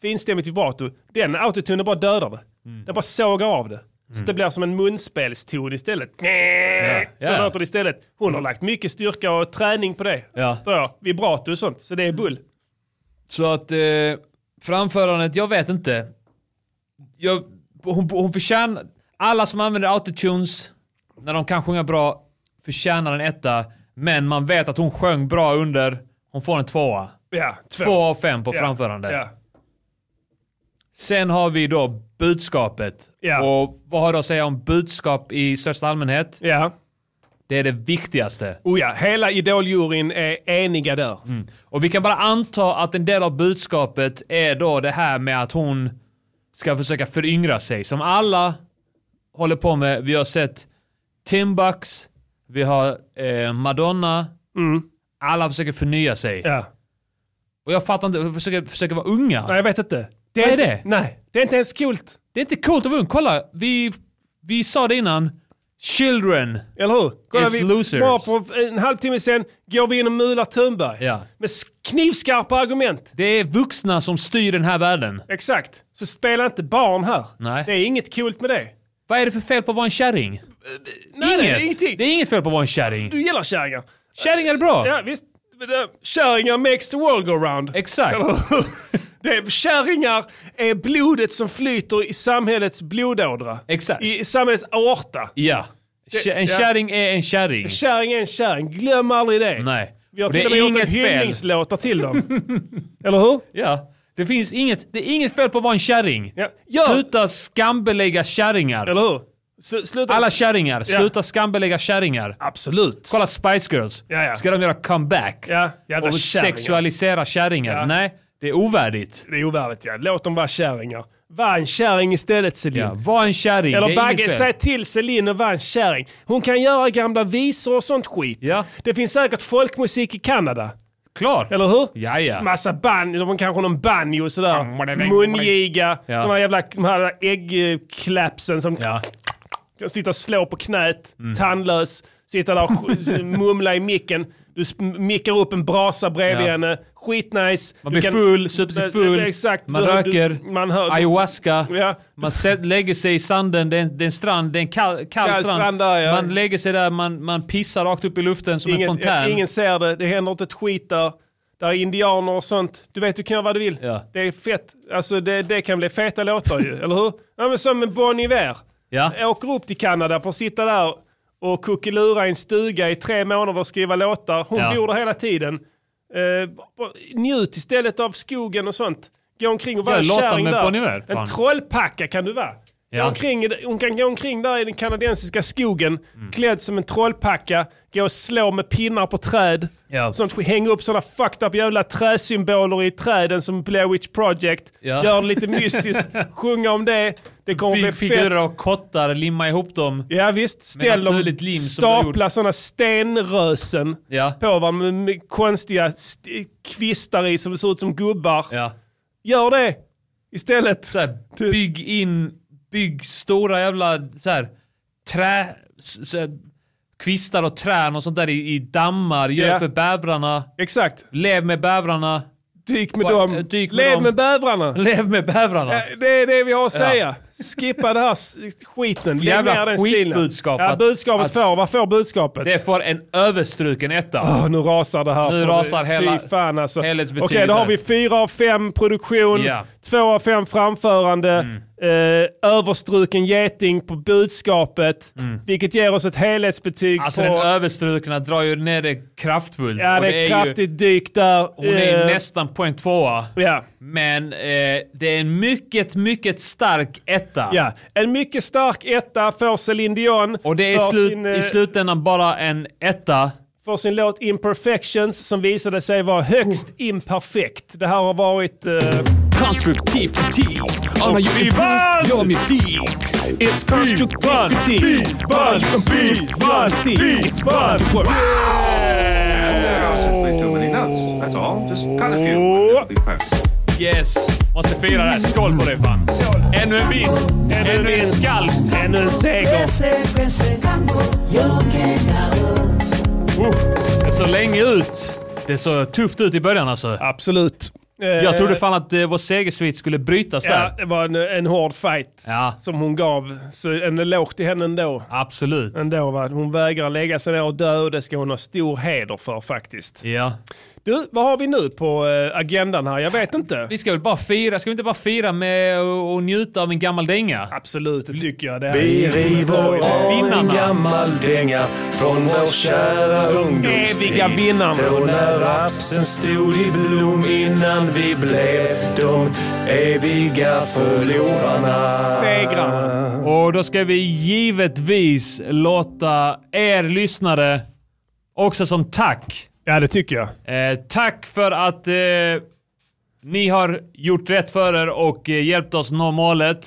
Speaker 2: finstämmigt vibrato. Den autotunen bara dödar det.
Speaker 10: Mm.
Speaker 2: Den bara sågar av det. Så det blir som en munspelston istället. Så
Speaker 10: Ja.
Speaker 2: låter det istället. Hon har lagt mycket styrka och träning på det.
Speaker 10: Ja.
Speaker 2: Tror jag. Vibrato och sånt. Så det är bull.
Speaker 10: Så att eh, framförandet, jag vet inte. Jag, hon, hon förtjänar... Alla som använder autotunes när de kan sjunga bra förtjänar en etta. Men man vet att hon sjöng bra under. Hon får en tvåa.
Speaker 2: Ja, två.
Speaker 10: Två av fem på
Speaker 2: Ja,
Speaker 10: framförande.
Speaker 2: Ja.
Speaker 10: Sen har vi då budskapet.
Speaker 2: Ja.
Speaker 10: Och vad har du att säga om budskap i största allmänhet?
Speaker 2: Ja.
Speaker 10: Det är det viktigaste.
Speaker 2: Oh ja, hela idoljuryn är eniga där.
Speaker 10: Och vi kan bara anta att en del av budskapet är då det här med att hon ska försöka föryngra sig. Som alla håller på med. Vi har sett Timbux, vi har eh, Madonna. Alla försöker förnya sig.
Speaker 2: Mm. Ja.
Speaker 10: Och jag fattar inte, försöker, försöker vara unga.
Speaker 2: Nej, jag vet inte. Det
Speaker 10: Vad är
Speaker 2: inte-
Speaker 10: det?
Speaker 2: Nej, det är inte ens coolt.
Speaker 10: Det är inte coolt att vara ung. Kolla, vi, vi sa det innan. Children.
Speaker 2: Eller hur?
Speaker 10: It's
Speaker 2: vi,
Speaker 10: losers.
Speaker 2: Bara för en halvtimme sen går vi in och mular Thunberg.
Speaker 10: Ja.
Speaker 2: Med knivskarpa argument.
Speaker 10: Det är vuxna som styr den här världen.
Speaker 2: Exakt. Så spela inte barn här.
Speaker 10: Nej.
Speaker 2: Det är inget coolt med det.
Speaker 10: Vad är det för fel på att vara en kärring?
Speaker 2: Nej, nej,
Speaker 10: inget.
Speaker 2: det är ingenting.
Speaker 10: det är inget fel på att vara en kärring.
Speaker 2: Du gillar kärringar.
Speaker 10: Kärringar är bra.
Speaker 2: Ja, visst. Men, eh, Kärringar makes the world go round.
Speaker 10: Exakt.
Speaker 2: Eller hur? Det är, kärringar är blodet som flyter i samhällets blodådra.
Speaker 10: Exakt.
Speaker 2: I samhällets aorta.
Speaker 10: Ja. Kä- En
Speaker 2: Ja.
Speaker 10: kärring är en kärring.
Speaker 2: En kärring är en kärring. Glöm aldrig det.
Speaker 10: Nej.
Speaker 2: Vi har
Speaker 10: Och det
Speaker 2: till och
Speaker 10: är
Speaker 2: med gjort en
Speaker 10: inget fel.
Speaker 2: hyllningslåtar till dem. Eller hur?
Speaker 10: Ja. Det finns inget, det är inget fel på att vara en kärring.
Speaker 2: Ja. Ja.
Speaker 10: Sluta skambelägga kärringar.
Speaker 2: Eller hur? S- sluta.
Speaker 10: Alla kärringar,
Speaker 2: Ja.
Speaker 10: sluta skambelägga kärringar.
Speaker 2: Absolut.
Speaker 10: Kolla Spice Girls.
Speaker 2: Ja, ja.
Speaker 10: Ska de göra comeback?
Speaker 2: Ja, jävla
Speaker 10: och
Speaker 2: kärringar.
Speaker 10: sexualisera kärringar?
Speaker 2: Ja.
Speaker 10: Nej, det är ovärdigt.
Speaker 2: Det är ovärdigt ja. Låt dem vara kärringar. Var en kärring istället Celine.
Speaker 10: Ja, var en kärring. det
Speaker 2: Eller
Speaker 10: är
Speaker 2: Bagge,
Speaker 10: inget
Speaker 2: säg
Speaker 10: fel.
Speaker 2: till Celine att vara en kärring. Hon kan göra gamla visor och sånt skit.
Speaker 10: Ja.
Speaker 2: Det finns säkert folkmusik i Kanada.
Speaker 10: Klart.
Speaker 2: Eller hur?
Speaker 10: Ja, ja.
Speaker 2: Massa banjo, de har kanske någon banjo och sådär. Mungiga,
Speaker 10: Ja.
Speaker 2: såna jävla de här äggklapsen som
Speaker 10: Ja.
Speaker 2: Jag sitter och slår på knät,
Speaker 10: Mm.
Speaker 2: tandlös, sitter där och mumlar i micken. Du sp- mickar upp en brasa bredvid
Speaker 10: Ja.
Speaker 2: henne. Skitnice.
Speaker 10: Man
Speaker 2: Du
Speaker 10: blir full, super sig full,
Speaker 2: Exakt.
Speaker 10: man
Speaker 2: Du-
Speaker 10: röker,
Speaker 2: Du, man hör,
Speaker 10: ayahuasca,
Speaker 2: Ja.
Speaker 10: man sä- lägger sig i sanden, det är en, det är en strand, det är en kall, kall,
Speaker 2: Kall strand där, ja.
Speaker 10: Man lägger sig där, man, man pissar rakt upp i luften som en
Speaker 2: ingen,
Speaker 10: fontän.
Speaker 2: ingen ser det, det händer inte ett skit där. Där är indianer och sånt. Du vet, du kan göra vad du vill.
Speaker 10: Ja.
Speaker 2: Det är fett. Alltså det, det kan bli feta låtar ju, eller hur? Ja, men som med Bon Iver.
Speaker 10: Ja.
Speaker 2: Åker upp till Kanada för att sitta där och kuckelura i en stuga i tre månader och skriva låtar. Hon
Speaker 10: Ja.
Speaker 2: bor där hela tiden. Eh, bara njut istället av skogen och sånt. Gå omkring och vara
Speaker 10: Ja,
Speaker 2: en
Speaker 10: låta
Speaker 2: kärring
Speaker 10: med
Speaker 2: där.
Speaker 10: Bonnie Iver, fan.
Speaker 2: en trollpacka kan du vara.
Speaker 10: Ja.
Speaker 2: Gå omkring, i- hon kan gå omkring där i den kanadensiska skogen,
Speaker 10: Mm.
Speaker 2: klädd som en trollpacka, gå och slå med pinnar på träd.
Speaker 10: Ja.
Speaker 2: Sånt, skit. hänga upp sådana fucked up jävla träsymboler i träden som Blair Witch Project.
Speaker 10: Ja.
Speaker 2: Gör det lite mystiskt, sjunga om det. Det kommer bli
Speaker 10: Bygg figurer
Speaker 2: fett.
Speaker 10: av kottar, limma ihop dem.
Speaker 2: Ja visst, ställ dem,
Speaker 10: naturligt lim som du
Speaker 2: stapla sådana stenrösen
Speaker 10: Ja.
Speaker 2: på va, med, med konstiga st- kvistar i som ser ut som gubbar.
Speaker 10: Ja.
Speaker 2: Gör det istället.
Speaker 10: Så här,
Speaker 2: Typ.
Speaker 10: bygg in, bygg stora jävla så här, trä, s- så här, kvistar och trän och sånt där i, i dammar. Gör
Speaker 2: Ja.
Speaker 10: för bävrarna.
Speaker 2: Exakt.
Speaker 10: Lev med bävrarna.
Speaker 2: Dyk med
Speaker 10: Wa-
Speaker 2: dem.
Speaker 10: eh, Dyk med
Speaker 2: Lev
Speaker 10: dem.
Speaker 2: med bävrarna.
Speaker 10: Lev med bävrarna.
Speaker 2: Ja, Det är det vi har att säga. Skippa den här s- skiten. Lägg
Speaker 10: Jävla
Speaker 2: ner den stilen.
Speaker 10: skitbudskap
Speaker 2: Ja,
Speaker 10: att-
Speaker 2: budskapet
Speaker 10: att-
Speaker 2: får. Vad får budskapet?
Speaker 10: Det får en överstruken etta.
Speaker 2: Åh, Ah, nu rasar det här.
Speaker 10: Nu
Speaker 2: För-
Speaker 10: rasar hela-
Speaker 2: Fy fan alltså. Okej,
Speaker 10: helhetsbetyget
Speaker 2: då har
Speaker 10: här.
Speaker 2: vi fyra av fem produktion,
Speaker 10: Ja. Mm.
Speaker 2: två av fem framförande, eh, överstruken geting på budskapet, vilket ger oss ett helhetsbetyg
Speaker 10: Mm. Alltså
Speaker 2: på...
Speaker 10: den överstrukna drar ju ner det kraftfullt.
Speaker 2: ja,
Speaker 10: Och
Speaker 2: det är
Speaker 10: ju-
Speaker 2: kraftigt dyk där.
Speaker 10: Hon är
Speaker 2: Eh,
Speaker 10: nästan poäng tvåa.
Speaker 2: Ja.
Speaker 10: Men eh, det är en mycket, mycket stark etta.
Speaker 2: Ja, en mycket stark etta får Céline Dion.
Speaker 10: Och det är
Speaker 2: för
Speaker 10: slut,
Speaker 2: sin, eh,
Speaker 10: i slutändan bara en etta.
Speaker 2: för sin låt Imperfections som visade sig vara
Speaker 10: Oh.
Speaker 2: högst imperfekt. Det här har varit... eh,
Speaker 6: Konstruktiv kritik av när jag ibland gör musik. It's konstruktiv kritik. Band, beat, band, beat, band,
Speaker 14: And there are
Speaker 2: Alltså,
Speaker 14: simply too many notes. That's all. Just cut a few. and it'll be perfect.
Speaker 10: Yes! Måste fira det här. Skål på dig fan! Ännu en vinst! Ännu, en skall!
Speaker 2: Ännu en seger!
Speaker 10: Det såg länge ut. Det såg tufft ut i början alltså.
Speaker 2: Absolut.
Speaker 10: Jag trodde fan att eh, vår segersvit skulle brytas
Speaker 2: Ja,
Speaker 10: där.
Speaker 2: det var en, en hård fight
Speaker 10: Ja,
Speaker 2: som hon gav. Så en eloge till henne ändå.
Speaker 10: absolut.
Speaker 2: ändå va? Hon vägrar lägga sig ner och dö och det ska hon ha stor heder för faktiskt.
Speaker 10: Ja.
Speaker 2: Du, vad har vi nu på eh, agendan här? Jag vet inte.
Speaker 10: Vi ska väl bara fira, ska vi inte bara fira med och, och njuta av en gammal dänga?
Speaker 2: Absolut, det tycker jag. Det här
Speaker 15: Vi
Speaker 2: är-
Speaker 15: river av en
Speaker 10: Vinnarna.
Speaker 15: gammal dänga från vår kära ungdomstid.
Speaker 2: Eviga vinnarna.
Speaker 15: Då när rapsen stod i blom innan vi blev de eviga förlorarna.
Speaker 2: Segrarna.
Speaker 10: Och då ska vi givetvis låta er lyssnare också som tack.
Speaker 2: Ja, det tycker jag.
Speaker 10: Eh, tack för att eh, ni har gjort rätt för er och eh, hjälpt oss nå målet.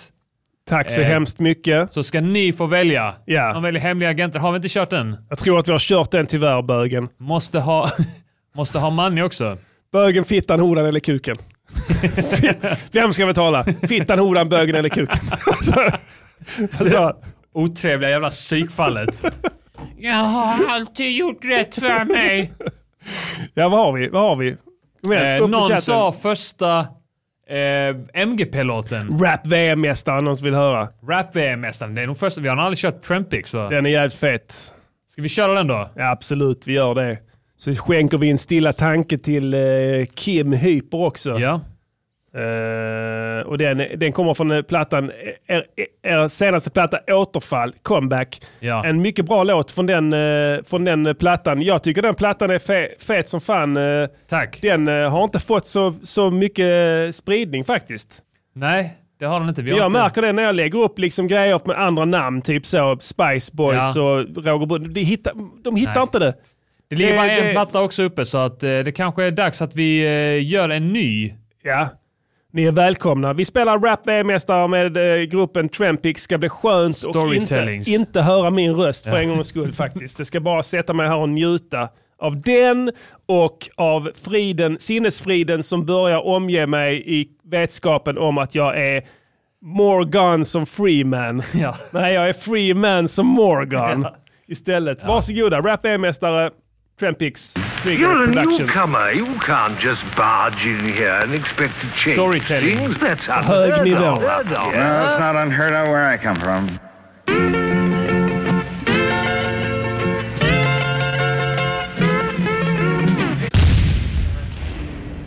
Speaker 2: Tack så
Speaker 10: Eh.
Speaker 2: hemskt mycket.
Speaker 10: Så ska ni få välja.
Speaker 2: Ja.
Speaker 10: Man väljer hemliga agenter. Har vi inte kört den?
Speaker 2: Jag tror att vi har kört den tyvärr, bögen.
Speaker 10: Måste ha, måste ha Manny också.
Speaker 2: Bögen, fittan, horan eller kuken? Fit- Vem ska betala? Fittan, horan, bögen eller kuken? alltså,
Speaker 10: Otrevliga jävla psykfallet. Jag har alltid gjort rätt för mig.
Speaker 2: ja, vad har vi? Vad har vi? Kom igen, upp
Speaker 10: Eh,
Speaker 2: med
Speaker 10: någon
Speaker 2: chatten.
Speaker 10: sa första eh, MGP-låten.
Speaker 2: Rap-VM-mästaren, någon som vill höra.
Speaker 10: Rap-VM-mästaren. Det är nog första. Vi har nog aldrig kört Trampix va?
Speaker 2: Den är jävligt fet.
Speaker 10: Ska vi köra den då?
Speaker 2: Ja, absolut, vi gör det. Så skänker vi en stilla tanke till eh, Kim Hyper också.
Speaker 10: Ja.
Speaker 2: Eh, och den, den kommer från eh, plattan, er, eh, er senaste platta Återfall, Comeback.
Speaker 10: Ja.
Speaker 2: En mycket bra låt från den, eh, från den eh, plattan. Jag tycker den plattan är fe, fet som fan. eh,
Speaker 10: Tack.
Speaker 2: den eh, har inte fått så, så mycket eh, spridning faktiskt.
Speaker 10: Nej, det har den inte. Vi har
Speaker 2: Jag
Speaker 10: inte.
Speaker 2: märker det när jag lägger upp liksom grejer med andra namn, typ så Spice Boys
Speaker 10: Ja.
Speaker 2: och Roger Brun. De hittar, de hittar
Speaker 10: Nej.
Speaker 2: inte det.
Speaker 10: Det ligger bara
Speaker 2: det-
Speaker 10: en
Speaker 2: det-
Speaker 10: platta också uppe så att eh, det kanske är dags att vi eh, gör en ny.
Speaker 2: Ja. Ni är välkomna. Vi spelar rap VM-mästare med eh, gruppen Trampix. Ska bli skönt och inte,
Speaker 10: Storytellings.
Speaker 2: inte höra min röst för en gångs skull faktiskt. Det ska bara sätta mig här och njuta av den och av friden, sinnesfriden som börjar omge mig i vetskapen om att jag är Morgan som Freeman.
Speaker 10: Ja.
Speaker 2: Nej, jag är Freeman som Morgan istället. Varsågoda, rap VM-mästare Trampix. Trigger
Speaker 16: You're a
Speaker 2: Productions.
Speaker 16: newcomer. You can't just barge in here and expect to change
Speaker 10: Storytelling.
Speaker 16: things. That's
Speaker 2: Hög
Speaker 16: unheard
Speaker 2: nivå.
Speaker 16: of. Unheard of.
Speaker 7: No, it's not unheard of where I come from.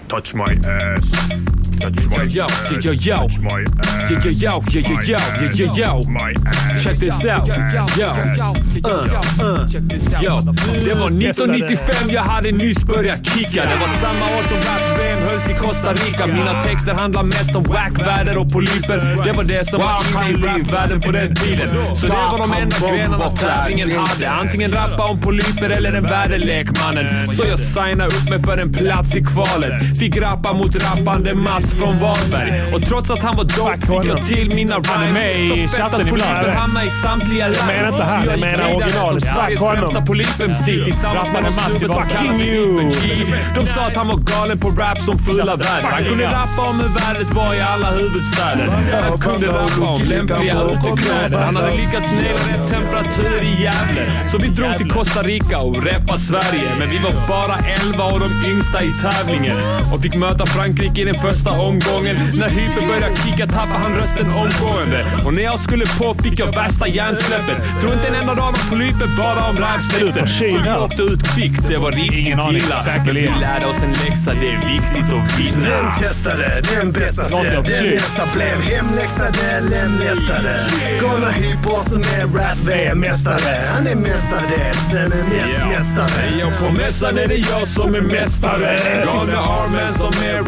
Speaker 1: touch my ass. Touch my
Speaker 6: yo,
Speaker 1: ass.
Speaker 6: yo, yo, yo.
Speaker 1: Touch my ass.
Speaker 6: Yeah, yeah, yo, yeah,
Speaker 1: My
Speaker 6: yeah, yo, yeah, yeah,
Speaker 1: ass.
Speaker 6: yo.
Speaker 1: My ass.
Speaker 6: Check this out, yo. Uh, uh, yo. Det var 1995, jag hade nyss börjat kicka. Det var samma år som rap-VM hölls i Costa Rica. Mina texter handlar mest om wack-väder och polyper. Det var det som var inne i rap-världen på den tiden. Så det var de enda grenarna tävlingen hade. Antingen rappa om polyper eller en värdelek, mannen. Så jag signade upp mig för en plats i kvalet. Fick rappa mot rappande Mats från Varberg. Och trots att han var dope fick jag till mina
Speaker 2: Han är med i
Speaker 6: rhymes. Så fett
Speaker 2: chatten
Speaker 6: att
Speaker 2: ibland,
Speaker 6: polyper
Speaker 2: eller?
Speaker 6: hamnade i samtliga
Speaker 2: Jag menar inte han,
Speaker 6: Så
Speaker 2: jag
Speaker 6: gick
Speaker 2: menar
Speaker 6: vidare
Speaker 2: originalet.
Speaker 6: Som Sveriges
Speaker 2: Fuck honom.
Speaker 6: främsta polyp-MC tillsammans med
Speaker 2: Rappade
Speaker 6: en
Speaker 2: Mats
Speaker 6: snubbe
Speaker 2: tillbaka.
Speaker 6: som kallas för Hyper-G. De sa att han var galen på rap som fulla världen. Han kunde rappa om hur vädret var i alla huvudstäder. Han kunde rappa om lämpliga utekläder. Han hade lyckats naila rätt temperaturer i Gävle. Så vi drog till Costa Rica och repa Sverige. Men vi var bara 11 och de yngsta i tävlingen. Och fick möta Frankrike i den första omgången. När Hyper började kicka tappade han rösten omgående. Och när jag skulle på fick jag värsta hjärnsläppet. Tror inte en enda dag om polyper, bara om rapsläppet. Så vi åkte ut kvickt, det var riktigt illa. Men vi lärde oss en läxa, det är viktigt att vinna.
Speaker 10: Den testade, den bästa
Speaker 6: Något
Speaker 10: släpp.
Speaker 6: jag
Speaker 10: Den
Speaker 6: försökt.
Speaker 10: nästa blev hemläxade, lemlästade. Kolla hyper som är rap-VM-mästare. Han är mästare, sen är
Speaker 6: Ja.
Speaker 10: mästare.
Speaker 6: Jag på mässan är det jag som är mästare. Galne Armen som är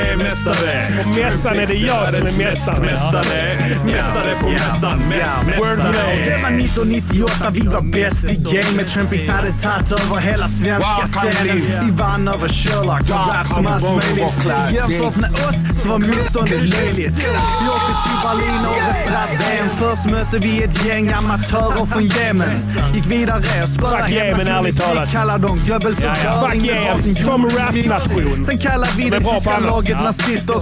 Speaker 6: rap-VM-mästare.
Speaker 2: På mässan är det jag som är mästare.
Speaker 6: Mästare, mästare på mässan. Mäst,
Speaker 10: Det var
Speaker 6: mästare.
Speaker 10: 1998, vi var bäst i gamet. Trampis hade tagit över hela svenska
Speaker 6: Wow, kan
Speaker 10: scenen.
Speaker 6: bli.
Speaker 10: Vi vann över Sherlock och rap som allt möjligt. Jämfört med oss så var motståndet löjligt. Vi åkte till Berlin årets rap-VM. Först mötte vi ett gäng amatörer från Yemen. Gick vidare och spöade
Speaker 2: Fuck Yemen, ärligt talat.
Speaker 10: Kallar dem göbbel som
Speaker 2: Ja, ja.
Speaker 10: gör
Speaker 2: Fuck
Speaker 10: ingen
Speaker 2: Yemen,
Speaker 10: har sin
Speaker 2: som
Speaker 10: jordbildning.
Speaker 2: rapnation.
Speaker 10: Sen kallar vi
Speaker 2: Men
Speaker 10: det
Speaker 2: bra på
Speaker 10: tyska
Speaker 2: annat.
Speaker 10: laget
Speaker 2: Ja.
Speaker 10: nazister.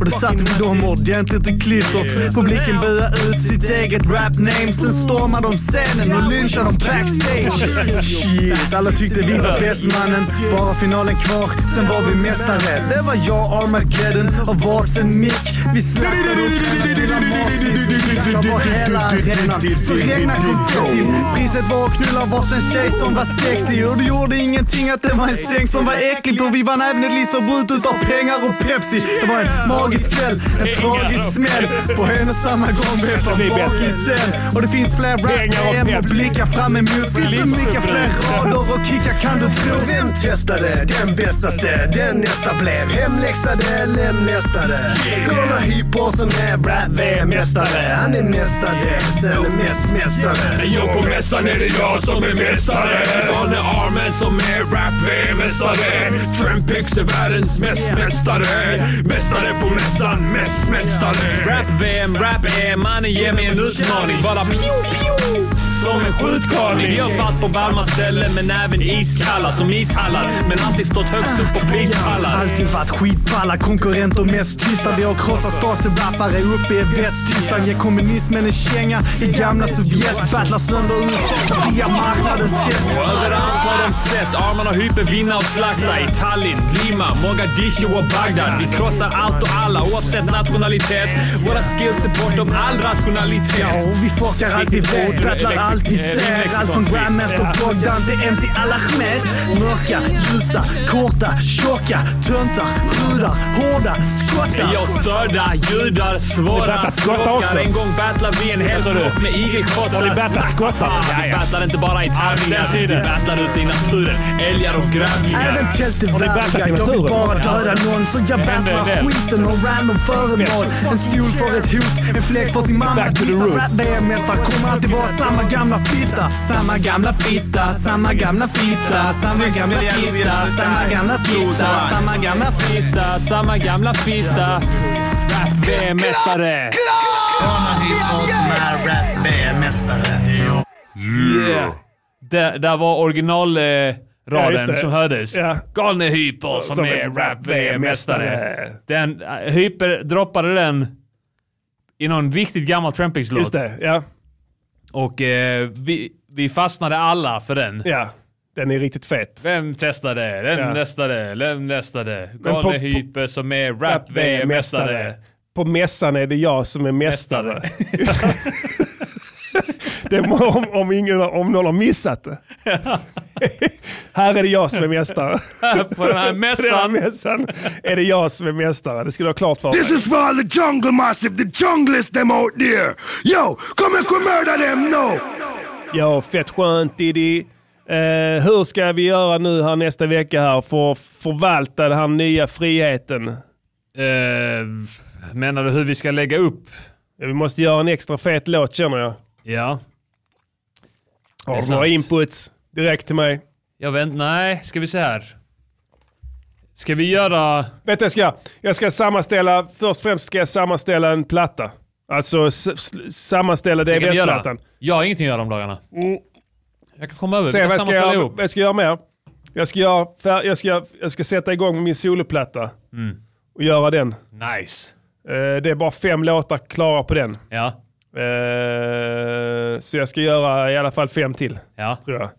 Speaker 10: Och då satte vi dem ordentligt i klister.
Speaker 2: Yeah.
Speaker 10: Publiken buade ut sitt eget rap-name. Sen stormade de scenen och lynchade dem backstage. Shit, alla tyckte vi var bäst mannen. Bara finalen kvar, sen var vi mästare. Det var jag, Armageddon och varsin mick. Vi slaktade upp hennes lilla matsvin. Jag var hela arenan. Så regnade konfettin. Priset var att knulla varsin tjej som var sexig. Och det gjorde ingenting att det var en säng som var äcklig. För vi vann även ett listerbrut utav pengar och Pepsi. Det var en magisk kväll, en tragisk smäll. På en och samma gång blev
Speaker 2: Det är
Speaker 10: jag
Speaker 2: bättre.
Speaker 10: bakisen. Och det finns fler
Speaker 2: Pengar och
Speaker 10: rap-VM och
Speaker 2: Pepsi.
Speaker 10: blickar fram emot. Finns det mycket fler rader och kickar kan du tro.
Speaker 2: Vem
Speaker 10: testade den bästaste? Den nästa blev hemläxade, lemlästade. Kolla hyper som är rap-VM-mästare. Han är mästare, sen är mest mästare.
Speaker 6: Jag på mässan är det jag som är mästare. Galne Armen som är rap-VM-mästare. Trampix är världens mest mästare. Mästare på mässan, mest mästare. Rap-VM, rap-EM, mannen ger mig en utmaning. Bara pju, pju. Som en skjutkarlning. Jag har varit på varma ställen men även iskalla som ishallar. Men alltid stått högst upp på prispallar.
Speaker 10: Alltid varit skitballa, konkurrenter mest tysta. Vi har krossat stasi-rappare uppe i Västtyskland. Ger kommunismen en känga i gamla Sovjet. Battlar sönder USA, via marknadens sätt.
Speaker 6: Och överallt har de sett armarna hyper vinna och slakta i Tallinn, Lima, Mogadishu och Bagdad. Vi krossar allt och alla oavsett nationalitet. Våra skills är bortom all rationalitet.
Speaker 10: Och vi fuckar allt vi vet, battlar allt vi ser. Allt från Grandmaster Bogdan till MC Al-Ahmed. Mörka, ljusa, korta, tjocka, töntar, brudar, hårda, skottar.
Speaker 6: Jag störda judar,
Speaker 10: Har ni
Speaker 6: svåra
Speaker 10: battlat skottar också?
Speaker 6: En gång battlade vi en hel flock med igelkottar. Har ni battlat skottar? Vi battlar inte bara i tävlingar. Vi battlar ute i naturen. Älgar och grävlingar.
Speaker 10: Även tältevärdiga. Jag vill
Speaker 6: naturen?
Speaker 10: bara döda någon så jag battlar skiten och random föremål. En stol för ett hot, en fläck för sin mamma.
Speaker 6: Back to the roots.
Speaker 10: VM-mästare kommer alltid vara samma gamla fitta. Samma gamla fitta, samma gamla fitta, samma gamla fitta, samma gamla fitta, samma gamla
Speaker 6: fitta, samma gamla fitta. Rap-VM-mästare. Yeah. Där, där var originalraden
Speaker 2: Ja, just
Speaker 6: raden
Speaker 2: det.
Speaker 6: som hördes.
Speaker 2: Ja.
Speaker 6: Galne Hyper som,
Speaker 2: Som
Speaker 6: är
Speaker 2: är
Speaker 6: rap-VM-mästare.
Speaker 2: rap-VM-mästare.
Speaker 6: Den, eh, Hyper droppade den i någon riktigt gammal Trampix-låt.
Speaker 2: Just det, ja.
Speaker 6: Och eh, vi, vi fastnade alla för den.
Speaker 2: Ja, den är riktigt fet.
Speaker 6: Vem testade? Den
Speaker 2: Ja.
Speaker 6: testade? Den testade?
Speaker 2: Men på-
Speaker 6: Galne Hyper som är rap-VM-mästare.
Speaker 2: På mässan är det jag som är mästare. Det må, om, om, ingen, om någon har missat det. här är det jag som är mästare.
Speaker 6: På den här
Speaker 2: På den här mässan är det jag som är mästare. Det ska du ha klart för dig.
Speaker 17: This is for all the jungle massive, the junglers them out there. Yo, come and come murder them now.
Speaker 2: Ja, fett skönt Diddy. Eh, hur ska vi göra nu här nästa vecka här för att förvalta den här nya friheten?
Speaker 6: Eh, menar du hur vi ska lägga upp?
Speaker 2: Vi måste göra en extra fet låt känner jag.
Speaker 6: Ja. Det är
Speaker 2: Har du några
Speaker 6: sant.
Speaker 2: inputs direkt till mig?
Speaker 6: Jag vet Nej, ska vi se här. Ska vi göra...
Speaker 2: Vet du, jag ska, jag ska sammanställa, först och främst ska jag sammanställa en platta. Alltså s- s- sammanställa
Speaker 6: Vad kan vi göra?
Speaker 2: DVS-plattan.
Speaker 6: Jag har ingenting att göra om dagarna. Jag kan komma över.
Speaker 2: Sen
Speaker 6: vi
Speaker 2: Mm. vad jag ska
Speaker 6: kan
Speaker 2: jag göra,
Speaker 6: sammanställa ihop.
Speaker 2: vad jag ska göra mer? Jag ska, göra, fär- jag, ska, jag ska sätta igång med min soloplatta
Speaker 6: Mm.
Speaker 2: och göra den.
Speaker 6: Nice.
Speaker 2: Eh, det är bara fem låtar klara på den.
Speaker 6: Ja.
Speaker 2: Eh, så jag ska göra i alla fall fem till.
Speaker 6: Ja.
Speaker 2: Tror jag.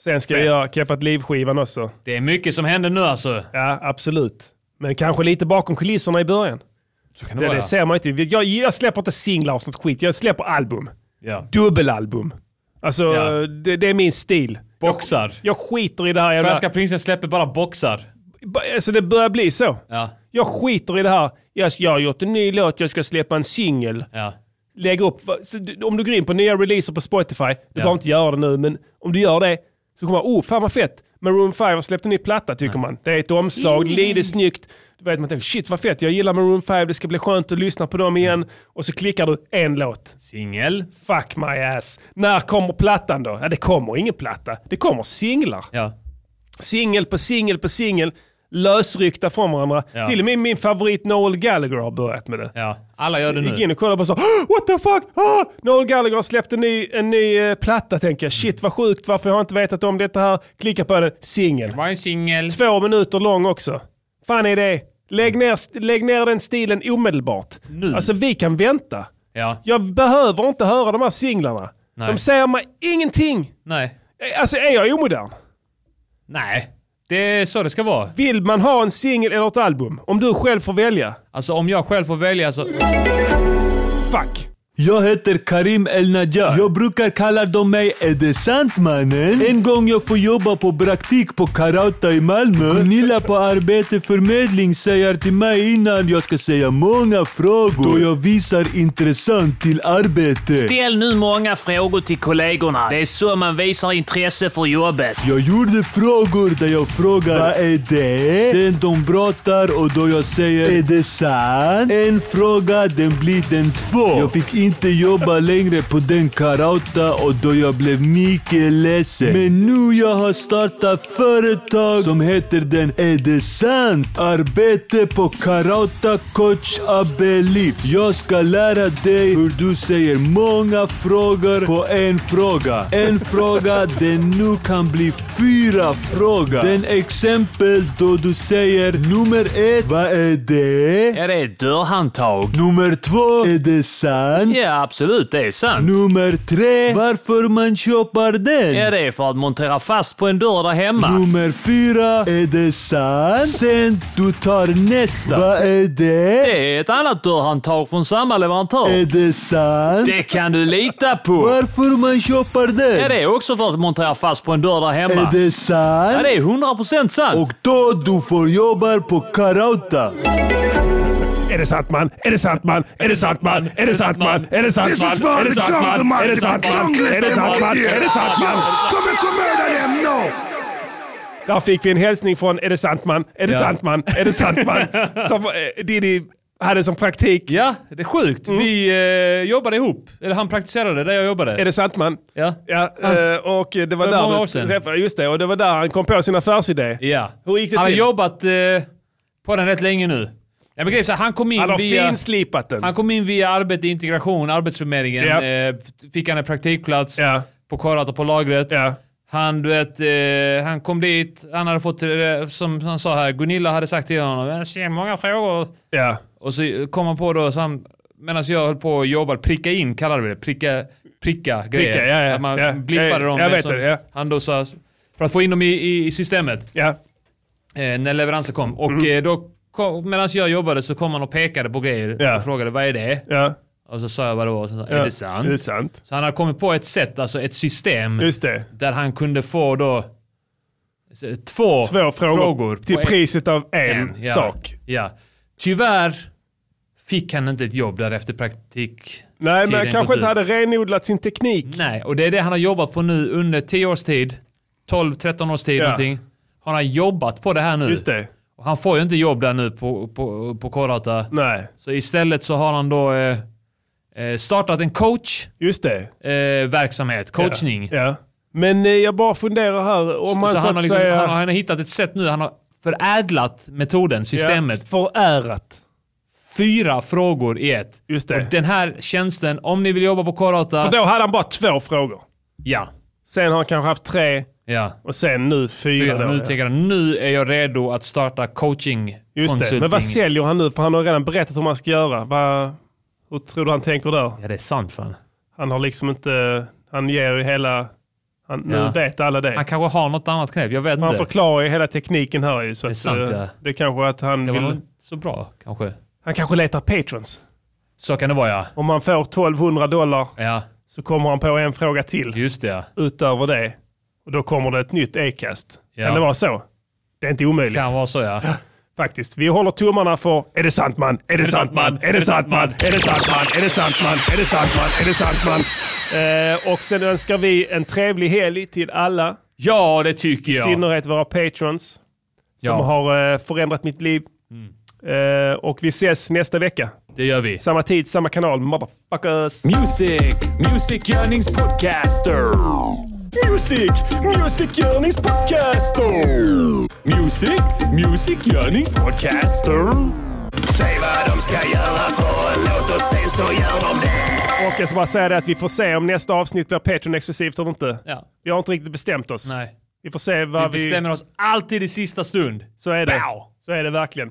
Speaker 2: Sen ska
Speaker 6: Fett.
Speaker 2: jag göra Keffat liv-skivan också.
Speaker 6: Det är mycket som händer nu alltså.
Speaker 2: Ja, absolut. Men kanske lite bakom kulisserna i början. Så
Speaker 6: kan det
Speaker 2: det,
Speaker 6: vara,
Speaker 2: det
Speaker 6: ja.
Speaker 2: ser man inte. Jag, jag släpper inte singlar och sånt skit. Jag släpper album.
Speaker 6: Ja.
Speaker 2: Dubbelalbum. Alltså,
Speaker 6: Ja.
Speaker 2: det, det är min stil.
Speaker 6: Boxar.
Speaker 2: Jag skiter i det här jävla...
Speaker 6: Franska prinsen släpper bara boxar.
Speaker 2: Ba- Alltså det börjar bli så.
Speaker 6: Ja.
Speaker 2: Jag skiter i det här. Jag, jag har gjort en ny låt, jag ska släppa en singel.
Speaker 6: Ja.
Speaker 2: Lägg upp. va- Så, du- om du går in på nya releaser på Spotify, du behöver inte göra det nu, men om du gör det så kommer man, oh fan vad fett. Maroon 5 har släppt en ny platta tycker man. Det är ett omslag, lite snyggt. Du vet man tänker, shit vad fett, jag gillar Maroon 5, det ska bli skönt att lyssna på dem igen. Och så klickar du en låt.
Speaker 6: Singel.
Speaker 2: Fuck my ass. När kommer plattan då? Ja, det kommer ingen platta. Det kommer singlar.
Speaker 6: Ja.
Speaker 2: Singel på singel på singel. Lösryckta från varandra.
Speaker 6: Ja.
Speaker 2: Till och med min favorit Noel Gallagher har börjat med det.
Speaker 6: Ja. Alla gör det
Speaker 2: Gick in
Speaker 6: nu.
Speaker 2: och kollade på så What the fuck? Ah! Noel Gallagher släppte en ny, en ny eh, platta tänker jag. Shit vad sjukt, varför har jag inte vetat om detta här? Klicka på den, singel.
Speaker 6: var en singel.
Speaker 2: Två minuter lång också. Fan är det? Lägg ner, lägg ner den stilen omedelbart.
Speaker 6: Nu.
Speaker 2: Alltså vi kan vänta.
Speaker 6: Ja.
Speaker 2: Jag behöver inte höra de här singlarna.
Speaker 6: Nej.
Speaker 2: De säger mig ingenting.
Speaker 6: Nej.
Speaker 2: Alltså är jag omodern?
Speaker 6: Nej. Det är så det ska vara.
Speaker 2: Vill man ha en singel eller ett album? Om du själv får välja.
Speaker 6: Alltså om jag själv får välja så...
Speaker 2: Fuck.
Speaker 10: Jag heter Karim El Najjar. Jag brukar kalla dem mig Är det sant mannen? En gång jag får jobba på praktik på Karauta i Malmö. Gunilla på arbeteförmedling säger till mig innan jag ska säga många frågor. Då jag visar intressant till arbete.
Speaker 18: Ställ nu många frågor till kollegorna. Det är så man visar intresse för jobbet.
Speaker 10: Jag gjorde frågor där jag frågar Vad är det? Sen de pratar och då jag säger Är det sant? En fråga, den blir den två. Jag fick inte jobba längre på den karauta och då jag blev mycket ledsen. Men nu jag har startat företag som heter den Är det sant? Arbete på karauta coach Abelip. Jag ska lära dig hur du säger många frågor på en fråga. En fråga, den nu kan bli fyra frågor. Den exempel då du säger nummer ett, vad är det?
Speaker 18: Ja, det är ett dörrhandtag.
Speaker 10: Nummer två, är det sant?
Speaker 18: Ja, absolut. Det är sant.
Speaker 10: Nummer tre, varför man köper den?
Speaker 18: Ja, det är för att montera fast på en dörr där hemma.
Speaker 10: Nummer fyra, är det sant? Sen du tar nästa. Vad är det?
Speaker 18: Det är ett annat dörrhandtag från samma leverantör.
Speaker 6: É
Speaker 10: Är det sant?
Speaker 18: Det kan du lita på.
Speaker 10: Varför man köper den?
Speaker 18: Ja, det är också för att montera fast på en dörr där
Speaker 6: É
Speaker 18: hemma.
Speaker 10: Är det sant?
Speaker 18: Ja, det är 100% sant.
Speaker 10: Och då du får jobba på Karauta.
Speaker 2: Är det sant man? Är det sant man? Är det sant man? Är det sant man? Är det sant
Speaker 17: This
Speaker 2: man?
Speaker 17: is for
Speaker 2: Är
Speaker 17: the
Speaker 2: det sant
Speaker 17: jungle
Speaker 2: man? Är
Speaker 17: massive,
Speaker 2: det sant
Speaker 17: the
Speaker 2: man?
Speaker 17: junglers
Speaker 2: Är det
Speaker 17: them
Speaker 2: sant
Speaker 17: out
Speaker 2: man?
Speaker 17: there.
Speaker 2: Är det sant man?
Speaker 17: Yo, come and come murder them now.
Speaker 2: Där fick vi en hälsning från Är det sant man? Är det
Speaker 6: Ja.
Speaker 2: sant man? Är det sant man? Som eh, Diddy hade som praktik.
Speaker 6: Ja, det är sjukt.
Speaker 10: Mm.
Speaker 6: Vi eh, jobbade ihop. Eller han praktiserade där jag jobbade.
Speaker 2: Är det sant man?
Speaker 6: Ja.
Speaker 2: Ja, eh, och det var
Speaker 6: För
Speaker 2: där
Speaker 6: många
Speaker 2: du
Speaker 6: år sedan.
Speaker 2: träffade- Just det, och det var där han kom på sin affärsidé.
Speaker 6: Ja.
Speaker 2: Hur gick det
Speaker 6: han
Speaker 2: till?
Speaker 6: har jobbat eh, på den rätt länge nu. Ja, men grejen är så här, han kom in
Speaker 2: Han har
Speaker 6: via...
Speaker 2: finslipat den.
Speaker 6: Han kom in via arbete, integration, Arbetsförmedlingen.
Speaker 2: Ja.
Speaker 6: Eh, fick han en praktikplats på Karlata på lagret. Han, du vet, eh, han kom dit, han hade fått, eh, som han sa här, Gunilla hade sagt till honom, jag ser många frågor.
Speaker 2: Ja.
Speaker 6: Och så kom han på då, så han, medan jag höll på och jobbade, pricka in kallade vi det, pricka, pricka grejer.
Speaker 2: Pricka, ja, ja,
Speaker 6: att man
Speaker 2: ja,
Speaker 6: blippade
Speaker 2: ja,
Speaker 6: dem.
Speaker 2: jag
Speaker 6: men
Speaker 2: vet
Speaker 6: som
Speaker 2: det, ja.
Speaker 6: Han då sa, för att få in dem i, i, i systemet. Eh, när leveransen
Speaker 2: Mm.
Speaker 6: kom. Och eh, då, kom- medan jag jobbade så kom han och pekade på grejer
Speaker 2: Ja.
Speaker 6: och frågade vad är det?
Speaker 2: Ja.
Speaker 6: Och så sa jag vad det var. och Så sa,
Speaker 2: Ja,
Speaker 6: är, det sant?
Speaker 2: är det sant?
Speaker 6: Så han hade kommit på ett sätt, alltså ett system.
Speaker 2: Just det.
Speaker 6: Där han kunde få då eh, två,
Speaker 2: Två frågor
Speaker 6: på
Speaker 2: till
Speaker 6: en-
Speaker 2: priset av en
Speaker 6: ja,
Speaker 2: sak.
Speaker 6: Ja. Tyvärr fick han inte ett jobb där efter praktik.
Speaker 2: Nej, men han kanske inte hade renodlat sin teknik.
Speaker 6: Nej, och det är det han har jobbat på nu under 10 års tid. 12-13 års tid
Speaker 2: Ja.
Speaker 6: någonting. Har han jobbat på det här nu.
Speaker 2: Just det.
Speaker 6: Och han får ju inte jobb där nu på, på, på Korata.
Speaker 2: Nej.
Speaker 6: Så istället så har han då eh, eh, startat en coach.
Speaker 2: Just det.
Speaker 6: Eh, verksamhet, coachning.
Speaker 2: Ja. ja. Men eh, jag bara funderar här om man
Speaker 6: så
Speaker 2: så,
Speaker 6: han, har
Speaker 2: att
Speaker 6: liksom,
Speaker 2: säga...
Speaker 6: han, har, han har hittat ett sätt nu, han har förädlat metoden, systemet.
Speaker 2: Ja, förärat.
Speaker 6: Fyra frågor i ett.
Speaker 2: Just det.
Speaker 6: Och den här tjänsten, om ni vill jobba på Korata...
Speaker 2: För då hade han bara två frågor.
Speaker 6: Ja.
Speaker 2: Sen har han kanske haft tre.
Speaker 6: Ja.
Speaker 2: Och sen nu fyra. då,
Speaker 6: nu
Speaker 2: ja.
Speaker 6: tänker han, nu är jag redo att starta coaching
Speaker 2: Just det.
Speaker 6: consulting.
Speaker 2: Men vad säljer han nu? För han har redan berättat hur man ska göra. Vad, hur tror du han tänker där?
Speaker 6: Ja, det är sant fan.
Speaker 2: Han har liksom inte... Han ger ju hela... Han,
Speaker 6: Ja.
Speaker 2: Nu vet alla det.
Speaker 6: Han kanske har något annat knep, jag vet
Speaker 2: Han
Speaker 6: inte.
Speaker 2: förklarar ju hela tekniken här ju. Så det är
Speaker 6: sant, ja.
Speaker 2: Det är kanske att han
Speaker 6: Det var
Speaker 2: vill...
Speaker 6: nog inte så bra kanske.
Speaker 2: Han kanske letar patrons.
Speaker 6: Så kan det vara ja.
Speaker 2: Om han får 1200 dollar
Speaker 6: ja.
Speaker 2: så kommer han på en fråga till.
Speaker 6: Just det ja.
Speaker 2: Utöver det. Och då kommer det ett nytt e-kast.
Speaker 6: Ja.
Speaker 2: Kan det vara så? Det är inte omöjligt.
Speaker 6: Kan vara så ja.
Speaker 2: Faktiskt. Vi håller tummarna för... Är det sant man? Är det sant man? Är det sant man? Är det sant man? Är det sant man? Är det sant man? Är det sant man? Eh, och sen önskar vi en trevlig helg till alla.
Speaker 6: Ja, det tycker
Speaker 2: I
Speaker 6: jag.
Speaker 2: synnerhet våra patrons. Som
Speaker 6: Ja.
Speaker 2: har eh, förändrat mitt liv. Eh, och vi ses nästa vecka.
Speaker 6: Det gör vi.
Speaker 2: Samma tid, samma kanal. Motherfuckers!
Speaker 10: Music, Music Yearnings Podcaster. Music, Music Yearnings Podcaster. Music, Music Yearnings Podcaster.
Speaker 19: Säg vad de ska göra för en låt och sen så gör de det.
Speaker 2: Och jag ska bara säga det att vi får se om nästa avsnitt blir Patreon exklusivt eller inte.
Speaker 6: Ja.
Speaker 2: Vi har inte riktigt bestämt oss.
Speaker 6: Nej.
Speaker 2: Vi får se vad vi...
Speaker 6: Vi bestämmer oss alltid i sista stund.
Speaker 2: Så är det.
Speaker 6: Pow!
Speaker 2: Så är det verkligen.